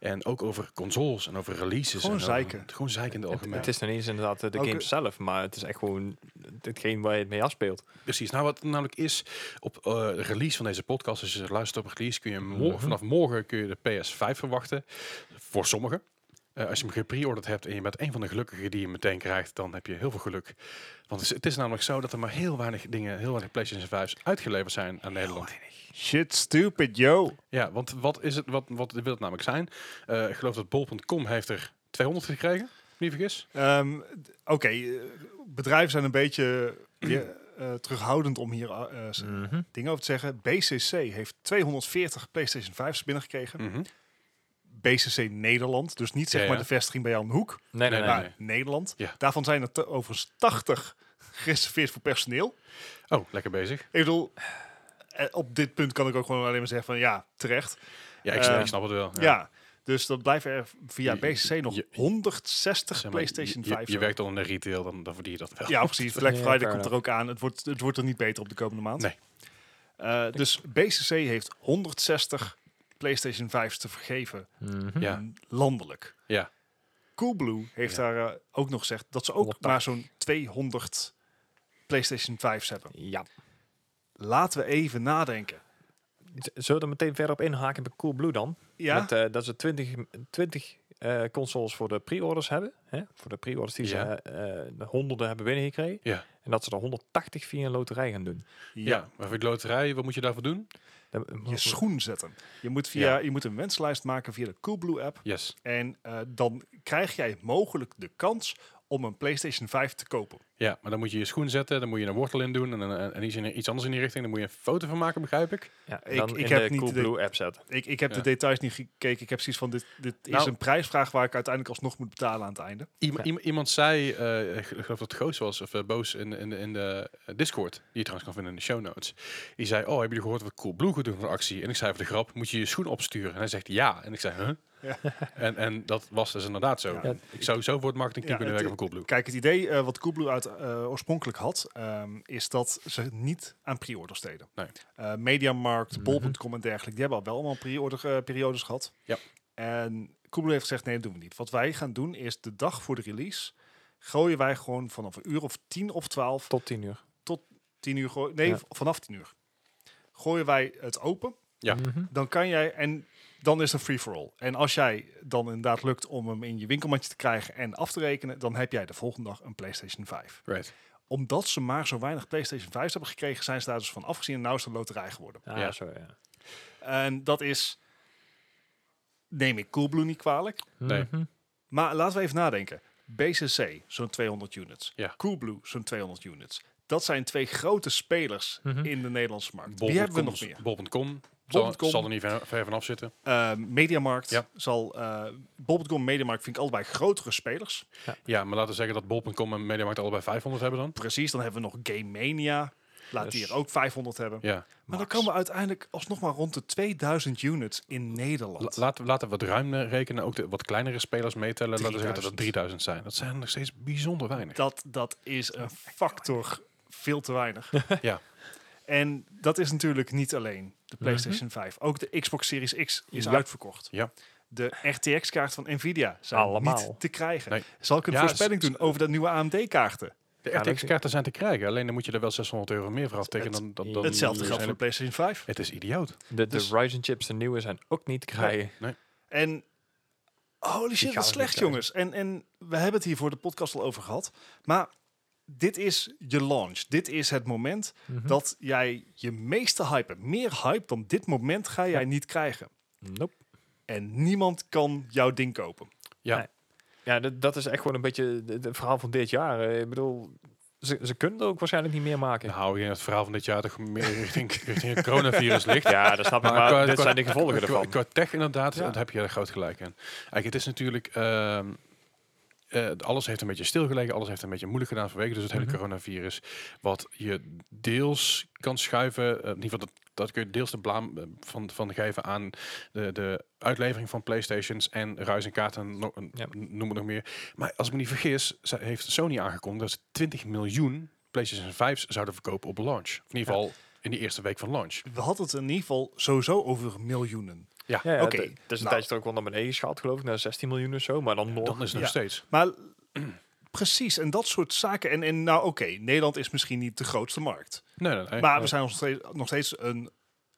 [SPEAKER 1] En ook over consoles en over releases.
[SPEAKER 2] Gewoon
[SPEAKER 1] en dan-
[SPEAKER 2] zeiken.
[SPEAKER 1] gewoon zeiken in de
[SPEAKER 3] Het,
[SPEAKER 1] algemeen.
[SPEAKER 3] het is dan niet eens inderdaad eh, de
[SPEAKER 2] Ook,
[SPEAKER 3] game
[SPEAKER 2] eh,
[SPEAKER 3] zelf, maar het is echt gewoon hetgeen waar je het mee afspeelt.
[SPEAKER 1] Precies. Nou, wat het namelijk is, op eh, de release van deze podcast, dus als je luistert op release, kun je mo-
[SPEAKER 3] Mhm.
[SPEAKER 1] vanaf morgen kun je de PS5 verwachten. Voor sommigen. Eh, als je hem gepreorderd hebt en je bent een van de gelukkigen die je meteen krijgt, dan heb je heel veel geluk. Want het is, het is namelijk zo dat er maar heel weinig dingen, heel weinig PlayStation 5's uitgeleverd zijn aan Nederland.
[SPEAKER 2] Shit, stupid, yo.
[SPEAKER 1] Ja, want wat is het, wat, wat wil het namelijk zijn? Eh, ik geloof dat bol.com heeft er 200 gekregen, niet vergis.
[SPEAKER 2] Ehm, d- Oké, eh, bedrijven zijn een beetje ja, eh, terughoudend om hier eh, eh,
[SPEAKER 1] Mhm.
[SPEAKER 2] dingen over te zeggen. BCC heeft 240 PlayStation 5's binnengekregen.
[SPEAKER 1] Mm. Mhm.
[SPEAKER 2] BCC Nederland, dus niet zeg
[SPEAKER 1] Ja, ja.
[SPEAKER 2] maar de vestiging bij jou om de hoek,
[SPEAKER 3] Nee, nee,
[SPEAKER 1] Nee,
[SPEAKER 3] nee.
[SPEAKER 1] maar-
[SPEAKER 2] maar Nederland.
[SPEAKER 1] Ja.
[SPEAKER 2] Daarvan zijn er te- overigens 80 gereserveerd voor personeel.
[SPEAKER 1] Oh, lekker bezig.
[SPEAKER 2] Ik bedoel, eh, op dit punt kan ik ook gewoon alleen maar zeggen van ja, terecht.
[SPEAKER 1] Ja, ik snap,
[SPEAKER 2] Eh,
[SPEAKER 1] ik snap het wel.
[SPEAKER 2] Ja. Dus dat blijft er via
[SPEAKER 1] Je-
[SPEAKER 2] BCC nog
[SPEAKER 1] je-
[SPEAKER 2] 160
[SPEAKER 1] Zeg maar,
[SPEAKER 2] PlayStation
[SPEAKER 1] je- je-
[SPEAKER 2] 5.
[SPEAKER 1] Je, werkt al in de retail, dan, dan verdien je dat wel.
[SPEAKER 2] Ja, precies. Black
[SPEAKER 3] Ja,
[SPEAKER 2] Friday
[SPEAKER 3] fair
[SPEAKER 2] komt er ook aan. Het wordt, het wordt er niet beter op de komende maand.
[SPEAKER 1] Nee.
[SPEAKER 2] Eh, dus BCC heeft 160 PlayStation 5's te vergeven.
[SPEAKER 1] Ja.
[SPEAKER 2] Mm, Landelijk.
[SPEAKER 1] Ja.
[SPEAKER 2] Coolblue heeft daar eh, ook nog gezegd dat ze ook
[SPEAKER 3] Honderd
[SPEAKER 2] maar zo'n 200 PlayStation 5's hebben.
[SPEAKER 3] Ja.
[SPEAKER 2] Laten we even nadenken.
[SPEAKER 3] Z- Zullen we er meteen verder op inhaken bij Coolblue dan?
[SPEAKER 2] Ja,
[SPEAKER 3] Met, eh, dat ze 20, 20 eh, consoles voor de pre-orders hebben. Hè? Voor de pre-orders die
[SPEAKER 1] Ja.
[SPEAKER 3] ze eh, eh, de honderden hebben binnengekregen.
[SPEAKER 1] Ja.
[SPEAKER 3] En dat ze er 180 via een loterij gaan doen.
[SPEAKER 1] Ja, maar voor de loterij, wat moet je daarvoor doen?
[SPEAKER 3] Dan-
[SPEAKER 2] je schoen zetten. Je moet, via, je moet een wenslijst maken via de Coolblue app.
[SPEAKER 1] Yes.
[SPEAKER 2] En eh, dan krijg jij mogelijk de kans om een PlayStation 5 te kopen.
[SPEAKER 1] Ja, maar dan moet je je schoen zetten, dan moet je een wortel in doen en, en, en iets, in, iets anders in die richting. Dan moet je een foto van maken, begrijp ik.
[SPEAKER 3] ja,
[SPEAKER 2] Ik-
[SPEAKER 3] dan
[SPEAKER 2] ik
[SPEAKER 3] in
[SPEAKER 2] heb
[SPEAKER 3] de
[SPEAKER 2] niet de-
[SPEAKER 3] Coolblue app zetten.
[SPEAKER 2] Ik, ik heb
[SPEAKER 1] Ja.
[SPEAKER 2] de details niet gekeken. Ik heb zoiets van, dit, dit is
[SPEAKER 1] Nou.
[SPEAKER 2] een prijsvraag waar ik uiteindelijk alsnog moet betalen aan het einde.
[SPEAKER 1] Iem-
[SPEAKER 3] Ja.
[SPEAKER 1] iem- iemand zei, eh, ik geloof dat het Goos was, of eh, Boos in, in, in de eh, Discord, die je trouwens kan vinden in de show notes. Die zei, oh, hebben jullie gehoord wat Coolblue gaat doen voor de actie? En ik zei voor de grap, moet je je schoen opsturen? En hij zegt ja. En ik zei, huh?
[SPEAKER 2] Ja.
[SPEAKER 1] En, en dat was dus inderdaad zo.
[SPEAKER 2] Ja.
[SPEAKER 1] En ik zou zo voor het marketingteam
[SPEAKER 2] Ja,
[SPEAKER 1] kunnen
[SPEAKER 2] het-
[SPEAKER 1] werken van Coolblue.
[SPEAKER 2] Kijk, het idee eh, wat Coolblue uit, eh, oorspronkelijk had, ehm, is dat ze niet aan pre-orders deden.
[SPEAKER 1] Nee.
[SPEAKER 2] Eh, Mediamarkt, Bol.com en dergelijke, die hebben al wel allemaal pre-order eh, periodes gehad.
[SPEAKER 1] Ja.
[SPEAKER 2] En Coolblue heeft gezegd, nee, dat doen we niet. Wat wij gaan doen is de dag voor de release gooien wij gewoon vanaf een uur of tien of twaalf,
[SPEAKER 3] Tot 10 uur.
[SPEAKER 2] tien uur, gooi- nee,
[SPEAKER 3] Ja.
[SPEAKER 2] v- vanaf tien uur, gooien wij het open.
[SPEAKER 1] Ja.
[SPEAKER 3] Mhm.
[SPEAKER 2] dan kan jij en dan is het een free-for-all. En als jij dan inderdaad lukt om hem in je winkelmandje te krijgen en af te rekenen, dan heb jij de volgende dag een PlayStation 5.
[SPEAKER 1] Right.
[SPEAKER 2] Omdat ze maar zo weinig PlayStation 5's hebben gekregen, zijn ze daar dus van afgezien en nou is het een loterij geworden.
[SPEAKER 3] Ah,
[SPEAKER 1] Ja.
[SPEAKER 3] Zo, ja.
[SPEAKER 2] En dat is, neem ik Coolblue niet kwalijk,
[SPEAKER 1] Nee.
[SPEAKER 3] Mhm.
[SPEAKER 2] maar laten we even nadenken. BCC, zo'n 200 units.
[SPEAKER 1] Ja.
[SPEAKER 2] Coolblue, zo'n 200 units. Dat zijn twee grote spelers
[SPEAKER 3] Mhm.
[SPEAKER 2] in de Nederlandse markt.
[SPEAKER 1] Bol.com
[SPEAKER 2] Wie hebben we nog meer?
[SPEAKER 1] Bol.com. Zal,
[SPEAKER 2] Bol.com.
[SPEAKER 1] zal er niet ver, ver vanaf zitten.
[SPEAKER 2] Eh, Mediamarkt
[SPEAKER 1] Ja.
[SPEAKER 2] zal... eh Bol.com en Mediamarkt vind ik allebei grotere spelers.
[SPEAKER 1] Ja, maar laten we zeggen dat Bol.com en Mediamarkt allebei 500 hebben dan.
[SPEAKER 2] Precies, dan hebben we nog Game Mania. Laat die
[SPEAKER 3] Dus-
[SPEAKER 2] er ook 500 hebben.
[SPEAKER 1] Ja.
[SPEAKER 2] Maar dan komen we uiteindelijk alsnog maar rond de 2000 units in
[SPEAKER 1] La-
[SPEAKER 2] Nederland.
[SPEAKER 1] Laten, we- laten we wat ruim eh, rekenen. Ook de wat kleinere spelers meetellen. Laten we zeggen dat het 3000
[SPEAKER 2] 3000.
[SPEAKER 1] zijn. Dat zijn er nog steeds bijzonder weinig.
[SPEAKER 2] Dat, dat is een factor veel te weinig.
[SPEAKER 1] Ja. Mhm.
[SPEAKER 2] En dat is natuurlijk niet alleen de PlayStation 5. Ook de Xbox Series X is
[SPEAKER 3] Ja.
[SPEAKER 2] uitverkocht.
[SPEAKER 1] Ja.
[SPEAKER 2] De RTX-kaart van Nvidia zijn
[SPEAKER 3] Allemaal.
[SPEAKER 2] niet te krijgen.
[SPEAKER 1] Nee.
[SPEAKER 2] Zal ik een
[SPEAKER 1] Ja, Oh,
[SPEAKER 2] voorspelling
[SPEAKER 1] s-
[SPEAKER 2] doen over dat nieuwe AMD-kaarten?
[SPEAKER 1] De
[SPEAKER 3] Ja, dat-
[SPEAKER 1] RTX-kaarten zijn te krijgen. Alleen dan moet je er wel 600 euro meer voor aftekenen. Dan, dan, dan
[SPEAKER 2] Hetzelfde
[SPEAKER 1] dan-
[SPEAKER 2] geldt voor de PlayStation 5.
[SPEAKER 1] Het is idioot.
[SPEAKER 3] De, de
[SPEAKER 2] Dus-
[SPEAKER 3] Ryzen chips, de nieuwe, zijn ook niet te krijgen.
[SPEAKER 2] En holy shit,
[SPEAKER 3] gaan
[SPEAKER 2] wat
[SPEAKER 3] er
[SPEAKER 2] slecht
[SPEAKER 3] niet uit.
[SPEAKER 2] jongens. En, en we hebben het hier voor de podcast al over gehad. Maar dit is je launch. Dit is het moment
[SPEAKER 3] Mhm.
[SPEAKER 2] dat jij je meeste hype hebt. Meer hype dan dit moment ga jij niet krijgen.
[SPEAKER 3] Nope.
[SPEAKER 2] En niemand kan jouw ding kopen.
[SPEAKER 1] Ja.
[SPEAKER 3] Nee. Ja, dat, dat is echt gewoon een beetje het verhaal van dit jaar. Eh, Ik bedoel, ze, ze kunnen er ook waarschijnlijk niet meer maken.
[SPEAKER 1] Nou, in het verhaal van dit jaar toch meer richting, richting het coronavirus ligt.
[SPEAKER 3] Ja, dat snap ik, maar, dit zijn de gevolgen
[SPEAKER 1] qua,
[SPEAKER 3] ervan.
[SPEAKER 1] Qua tech inderdaad,
[SPEAKER 3] Ja.
[SPEAKER 1] daar heb je er groot gelijk in. Eigenlijk, het is natuurlijk... ehm, eh, alles heeft een beetje stilgelegen. Alles heeft een beetje moeilijk gedaan vanwege dus het hele
[SPEAKER 3] Mhm.
[SPEAKER 1] coronavirus. Wat je deels kan schuiven... eh, in ieder geval, dat, dat kun je deels de blaam eh, van, van geven aan de, de uitlevering van Playstations en ruis en kaarten, no-
[SPEAKER 3] Ja.
[SPEAKER 1] noem het nog meer. Maar als ik me niet vergis, ze- heeft Sony aangekondigd dat ze 20 miljoen PlayStation 5 zouden verkopen op launch. Of in ieder geval in de eerste week van launch.
[SPEAKER 2] We hadden het in ieder geval sowieso over miljoenen.
[SPEAKER 3] Ja, ja,
[SPEAKER 2] Oké,
[SPEAKER 3] het- Het is dus een
[SPEAKER 2] nou.
[SPEAKER 3] tijdje toch ook wel naar beneden geschaald, geloof ik, naar 16 miljoen of zo. Maar dan nog.
[SPEAKER 1] Dan is het nog
[SPEAKER 2] Ja.
[SPEAKER 1] steeds.
[SPEAKER 2] Maar precies, en dat soort zaken. En, en nou oké, Nederland is misschien niet de grootste markt.
[SPEAKER 1] Nee, nee, nee.
[SPEAKER 2] Maar we zijn nog steeds, nog steeds een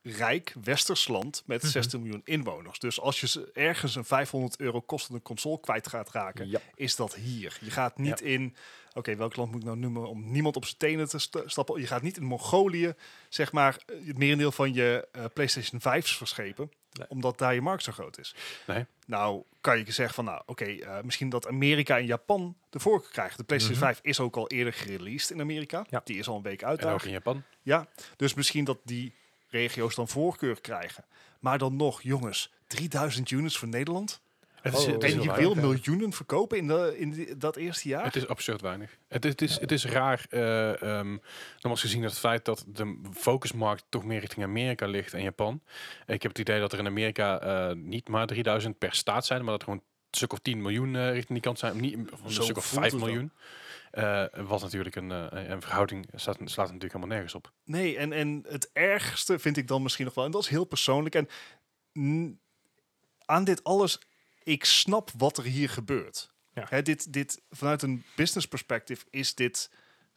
[SPEAKER 2] rijk westers land met
[SPEAKER 1] Mhm.
[SPEAKER 2] 16 miljoen inwoners. Dus als je ze- ergens een 500 euro kostende console kwijt gaat raken,
[SPEAKER 3] Ja.
[SPEAKER 2] is dat hier. Je gaat niet in, oké, welk land moet ik nou noemen om niemand op zijn tenen te sta- stappen? Je gaat niet in Mongolië, zeg maar, eh, het merendeel van je eh, PlayStation 5's verschepen,
[SPEAKER 3] Nee.
[SPEAKER 2] omdat daar je markt zo groot is.
[SPEAKER 1] Nee.
[SPEAKER 2] Nou, kan je zeggen van, nou, oké, eh, misschien dat Amerika en Japan de voorkeur krijgen. De PlayStation 5 is ook al eerder gereleased in Amerika.
[SPEAKER 3] Ja.
[SPEAKER 2] Die is al een week uit
[SPEAKER 1] Mhm. en
[SPEAKER 2] daar.
[SPEAKER 1] ook in Japan.
[SPEAKER 2] Ja, dus misschien dat die regio's dan voorkeur krijgen. Maar dan nog, jongens, 3000 units voor Nederland.
[SPEAKER 1] Het is,
[SPEAKER 3] Oh.
[SPEAKER 1] het is
[SPEAKER 2] En
[SPEAKER 1] heel
[SPEAKER 2] je
[SPEAKER 3] waar,
[SPEAKER 1] weinig.
[SPEAKER 2] wil
[SPEAKER 3] ja.
[SPEAKER 2] miljoenen verkopen in, de, in die- dat eerste jaar?
[SPEAKER 1] Het is absurd weinig. Het, is- het, is, het is raar, eh ehm nogmaals gezien het feit dat de focusmarkt toch meer richting Amerika ligt en Japan. Ik heb het idee dat er in Amerika eh, niet maar 3000 per staat zijn, maar dat er gewoon een stuk of 10 miljoen eh, richting die kant zijn. Niet, of een
[SPEAKER 2] Zo
[SPEAKER 1] stuk of
[SPEAKER 2] voelt
[SPEAKER 1] 5
[SPEAKER 2] het wel.
[SPEAKER 1] miljoen. Eh, wat natuurlijk een, eh, een verhouding staat, slaat natuurlijk helemaal nergens op.
[SPEAKER 2] Nee, en, en het ergste vind ik dan misschien nog wel. En dat is heel persoonlijk. En mm, aan dit alles, ik snap wat er hier gebeurt.
[SPEAKER 3] Ja.
[SPEAKER 2] Hè, dit, dit, vanuit een business perspective is dit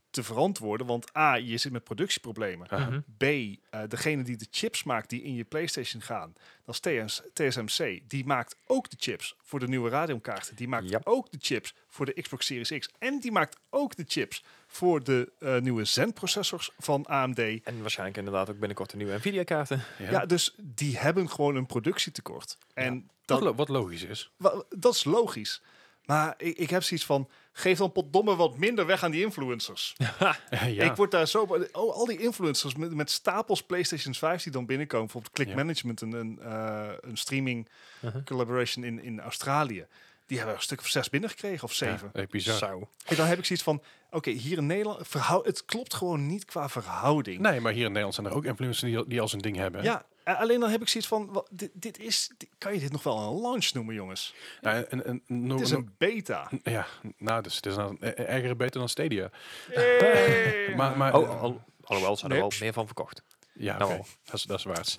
[SPEAKER 2] te verantwoorden. Want A, je zit met productieproblemen.
[SPEAKER 1] Haha.
[SPEAKER 3] Mhm.
[SPEAKER 2] B, eh, degene die de chips maakt die in je PlayStation gaan, dat is TS TSMC. Die maakt ook de chips voor de nieuwe Radeonkaarten. Die maakt
[SPEAKER 3] Ja.
[SPEAKER 2] ook de chips voor de Xbox Series X. En die maakt ook de chips voor de eh, nieuwe Zen-processors van AMD.
[SPEAKER 3] En waarschijnlijk inderdaad ook binnenkort de nieuwe Nvidia-kaarten.
[SPEAKER 1] Ja.
[SPEAKER 2] Ja. dus die hebben gewoon een productietekort. En
[SPEAKER 1] wat,
[SPEAKER 2] dat,
[SPEAKER 1] lo- wat logisch is.
[SPEAKER 2] wa- dat is logisch. Maar ik, ik heb zoiets van, geef dan potdomme wat minder weg aan die influencers.
[SPEAKER 1] ja.
[SPEAKER 2] Ik word daar zo... Oh, al die influencers met, met stapels PlayStation's 5 die dan binnenkomen. Bijvoorbeeld Click
[SPEAKER 1] Ja. Uh-huh.
[SPEAKER 2] Management, een, een, eh, een streaming
[SPEAKER 3] Mhm.
[SPEAKER 2] collaboration in, in Australië. Die hebben er een stuk of zes binnengekregen of
[SPEAKER 1] Ja,
[SPEAKER 2] zeven.
[SPEAKER 1] eh, bizar.
[SPEAKER 3] Zo.
[SPEAKER 2] En dan heb ik zoiets van, oké, hier in Nederland... Verhou het klopt gewoon niet qua verhouding.
[SPEAKER 1] Nee, maar hier in Nederland zijn er ook influencers die, al- die al zijn ding hebben.
[SPEAKER 2] Ja, a- alleen dan heb ik zoiets van, wa- dit, dit is... dit- kan je dit nog wel een launch noemen, jongens?
[SPEAKER 1] Nou, en, en, en, no-
[SPEAKER 2] Het is
[SPEAKER 1] no-
[SPEAKER 2] een beta.
[SPEAKER 1] Ja, nou, dus het is nou een- een- erger beter dan Stadia. Maar, maar
[SPEAKER 3] Oh, al, alhoewel, ze hebben er
[SPEAKER 2] Nips.
[SPEAKER 3] wel meer van verkocht.
[SPEAKER 1] ja,
[SPEAKER 3] nou
[SPEAKER 1] oké.
[SPEAKER 3] al.
[SPEAKER 1] dat is dat is waard.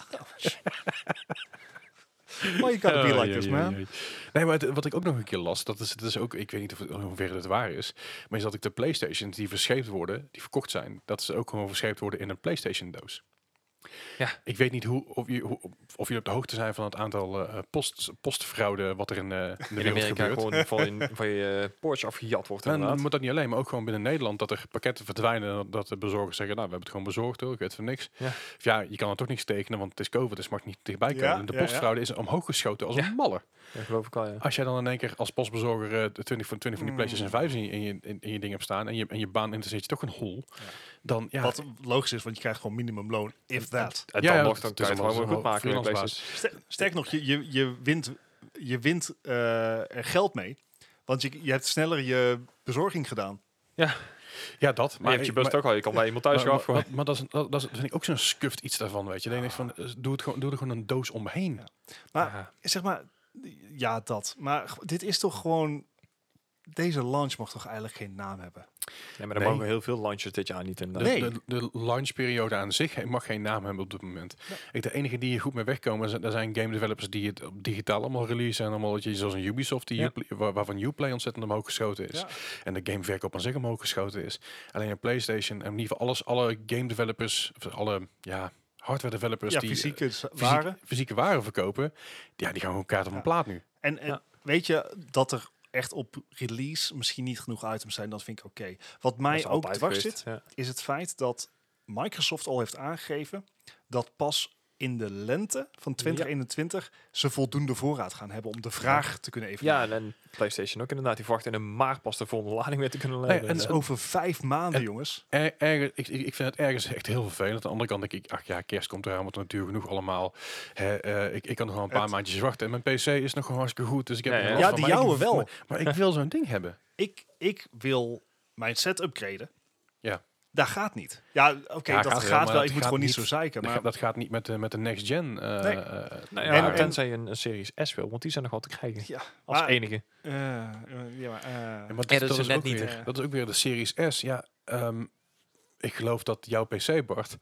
[SPEAKER 2] Maar je kan het
[SPEAKER 1] Oh,
[SPEAKER 2] niet like
[SPEAKER 1] jee,
[SPEAKER 2] this,
[SPEAKER 1] jee,
[SPEAKER 2] man.
[SPEAKER 1] jee. Nee, maar het- wat ik ook nog een keer las, dat is, dat is ook, ik weet niet of het, hoe ver het waar is, maar is dat ik de PlayStations die verscheept worden, die verkocht zijn, dat ze ook gewoon verscheept worden in een PlayStation doos.
[SPEAKER 3] Ja.
[SPEAKER 1] Ik weet niet hoe, of je, hoe, of jullie op de hoogte zijn van het aantal eh, post, postfraude wat er in, eh, in de
[SPEAKER 3] In
[SPEAKER 1] wereld
[SPEAKER 3] Amerika
[SPEAKER 1] gebeurt.
[SPEAKER 3] gewoon van je, van je eh, Porsche afgejat wordt
[SPEAKER 1] En dan
[SPEAKER 3] inderdaad.
[SPEAKER 1] moet dat niet alleen, maar ook gewoon binnen Nederland dat er pakketten verdwijnen en dat- dat de bezorgers zeggen, nou, we hebben het gewoon bezorgd hoor, ik weet van niks.
[SPEAKER 3] Ja.
[SPEAKER 1] Of ja, je kan er toch niks tekenen, want het is COVID, dus het mag niet dichtbij komen.
[SPEAKER 2] Ja,
[SPEAKER 1] En de
[SPEAKER 2] ja, ja.
[SPEAKER 1] postfraude is omhoog geschoten als
[SPEAKER 3] Ja.
[SPEAKER 1] een malle.
[SPEAKER 3] Dat geloof ik wel, ja.
[SPEAKER 1] Als jij dan in één keer als postbezorger eh, de 20 van 20 van die
[SPEAKER 2] Mm.
[SPEAKER 1] PlayStation 5 in je, in, je- in, in je ding hebt staan en je, en je baan interesseert je toch een hol, dan ja...
[SPEAKER 2] Wat logisch is, want je krijgt gewoon minimumloon, if that.
[SPEAKER 3] En
[SPEAKER 1] ja,
[SPEAKER 3] dan
[SPEAKER 1] ja, het
[SPEAKER 3] nog, dan
[SPEAKER 1] is
[SPEAKER 3] kan je het
[SPEAKER 1] allemaal
[SPEAKER 3] gewoon weer goed
[SPEAKER 1] zo'n
[SPEAKER 3] maken. met
[SPEAKER 1] freelance
[SPEAKER 3] PlayStation.
[SPEAKER 2] Ster- Sterk nog, je, je, je wint, je wint eh, er geld mee. Want je, je hebt sneller je bezorging gedaan.
[SPEAKER 1] Ja, dat.
[SPEAKER 3] Maar je hebt je best
[SPEAKER 1] maar-
[SPEAKER 3] ook al. Je kan bij iemand thuis
[SPEAKER 1] maar,
[SPEAKER 3] gaan afgooien.
[SPEAKER 1] maar- maar dat, is, dat, dat is, vind ik ook zo'n scuft iets daarvan, weet je. Dan denk ik van, eh, doe, het gewoon, doe er gewoon een doos omheen.
[SPEAKER 2] Maar
[SPEAKER 3] Ja.
[SPEAKER 2] zeg maar, ja, dat. Maar g- dit is toch gewoon. Deze launch mag toch eigenlijk geen naam hebben?
[SPEAKER 3] Ja, maar er
[SPEAKER 1] Nee.
[SPEAKER 3] mogen heel veel launches dit jaar niet in.
[SPEAKER 1] De,
[SPEAKER 3] eh, de-
[SPEAKER 2] Nou, Nee.
[SPEAKER 1] de, Dus de launchperiode aan zich he- mag geen naam hebben op dit moment. Ik, de enige die hier goed mee wegkomen, zijn, er zijn game developers die het op digitaal allemaal releasen. En allemaal, dat je, zoals een Ubisoft, die
[SPEAKER 3] Ja.
[SPEAKER 1] Uplay- waar- waarvan Uplay ontzettend omhoog geschoten is.
[SPEAKER 2] Ja.
[SPEAKER 1] En de gameverkoop aan zich omhoog geschoten is. Alleen een PlayStation en in ieder geval alles, alle game developers, of alle ja, hardware developers
[SPEAKER 2] ja,
[SPEAKER 1] die eh,
[SPEAKER 2] fysieke s-
[SPEAKER 1] fysiek-
[SPEAKER 2] waren.
[SPEAKER 1] fysieke waren verkopen, ja, die gaan gewoon kaart op een
[SPEAKER 2] Ja.
[SPEAKER 1] plaat nu.
[SPEAKER 2] En, en
[SPEAKER 3] Ja.
[SPEAKER 2] weet je dat er echt op release misschien niet genoeg items zijn, dat vind ik oké. Wat
[SPEAKER 3] Dat is
[SPEAKER 2] mij ook
[SPEAKER 3] altijd
[SPEAKER 2] dwars
[SPEAKER 3] geweest,
[SPEAKER 2] zit,
[SPEAKER 3] ja.
[SPEAKER 2] is het feit dat Microsoft al heeft aangegeven dat pas in de lente van 2021 ze voldoende voorraad gaan hebben om de vraag te kunnen
[SPEAKER 3] Ja,
[SPEAKER 2] evalueren.
[SPEAKER 3] en, en PlayStation ook inderdaad. Die verwachten in een maart pas de volgende lading weer te kunnen
[SPEAKER 1] Nee,
[SPEAKER 3] leveren.
[SPEAKER 1] en-
[SPEAKER 2] dat is
[SPEAKER 1] en-
[SPEAKER 2] Dus over vijf maanden,
[SPEAKER 1] en-
[SPEAKER 2] jongens.
[SPEAKER 1] Er, ergens- ik, ik ik vind het ergens echt heel vervelend. Aan de andere kant denk ik, ach ja, kerst komt eraan, want natuurlijk genoeg allemaal. Hè, eh, ik, ik kan nog wel een paar
[SPEAKER 2] Het-
[SPEAKER 1] maandjes wachten. En mijn PC is nog gewoon hartstikke goed. Dus ik heb
[SPEAKER 3] Ja,
[SPEAKER 1] er
[SPEAKER 3] ja.
[SPEAKER 1] last
[SPEAKER 2] Ja,
[SPEAKER 1] van.
[SPEAKER 2] die
[SPEAKER 1] Maar ik-
[SPEAKER 2] jouwe wel.
[SPEAKER 1] Maar, maar ik wil zo'n ding hebben.
[SPEAKER 2] Ik, ik wil mijn set upgraden.
[SPEAKER 1] Ja.
[SPEAKER 2] Daar gaat niet. Ja, oké,
[SPEAKER 1] Ja,
[SPEAKER 2] dat
[SPEAKER 1] gaat
[SPEAKER 2] gaat,
[SPEAKER 1] wel, maar
[SPEAKER 2] wel.
[SPEAKER 1] dat
[SPEAKER 2] Ik moet
[SPEAKER 1] gaat
[SPEAKER 2] gewoon niet
[SPEAKER 1] niet-
[SPEAKER 2] zo zeiken.
[SPEAKER 1] Dat
[SPEAKER 2] Maar
[SPEAKER 1] gaat- dat gaat niet met, de met de next gen. eh,
[SPEAKER 2] Nee.
[SPEAKER 1] eh,
[SPEAKER 3] Nou
[SPEAKER 1] maar-
[SPEAKER 3] ja,
[SPEAKER 2] en-
[SPEAKER 3] tenzij je een, een Series S wil, want die zijn nog wel te krijgen.
[SPEAKER 2] ja,
[SPEAKER 3] Als
[SPEAKER 2] maar-
[SPEAKER 3] enige.
[SPEAKER 2] eh, eh, ja, maar, eh,
[SPEAKER 1] Ja, maar
[SPEAKER 4] Ja, dat is er net
[SPEAKER 1] ook
[SPEAKER 4] niet,
[SPEAKER 1] weer-
[SPEAKER 2] hè.
[SPEAKER 1] Dat is ook weer de Series S. Ja, ehm, ik geloof dat jouw PC, Bart,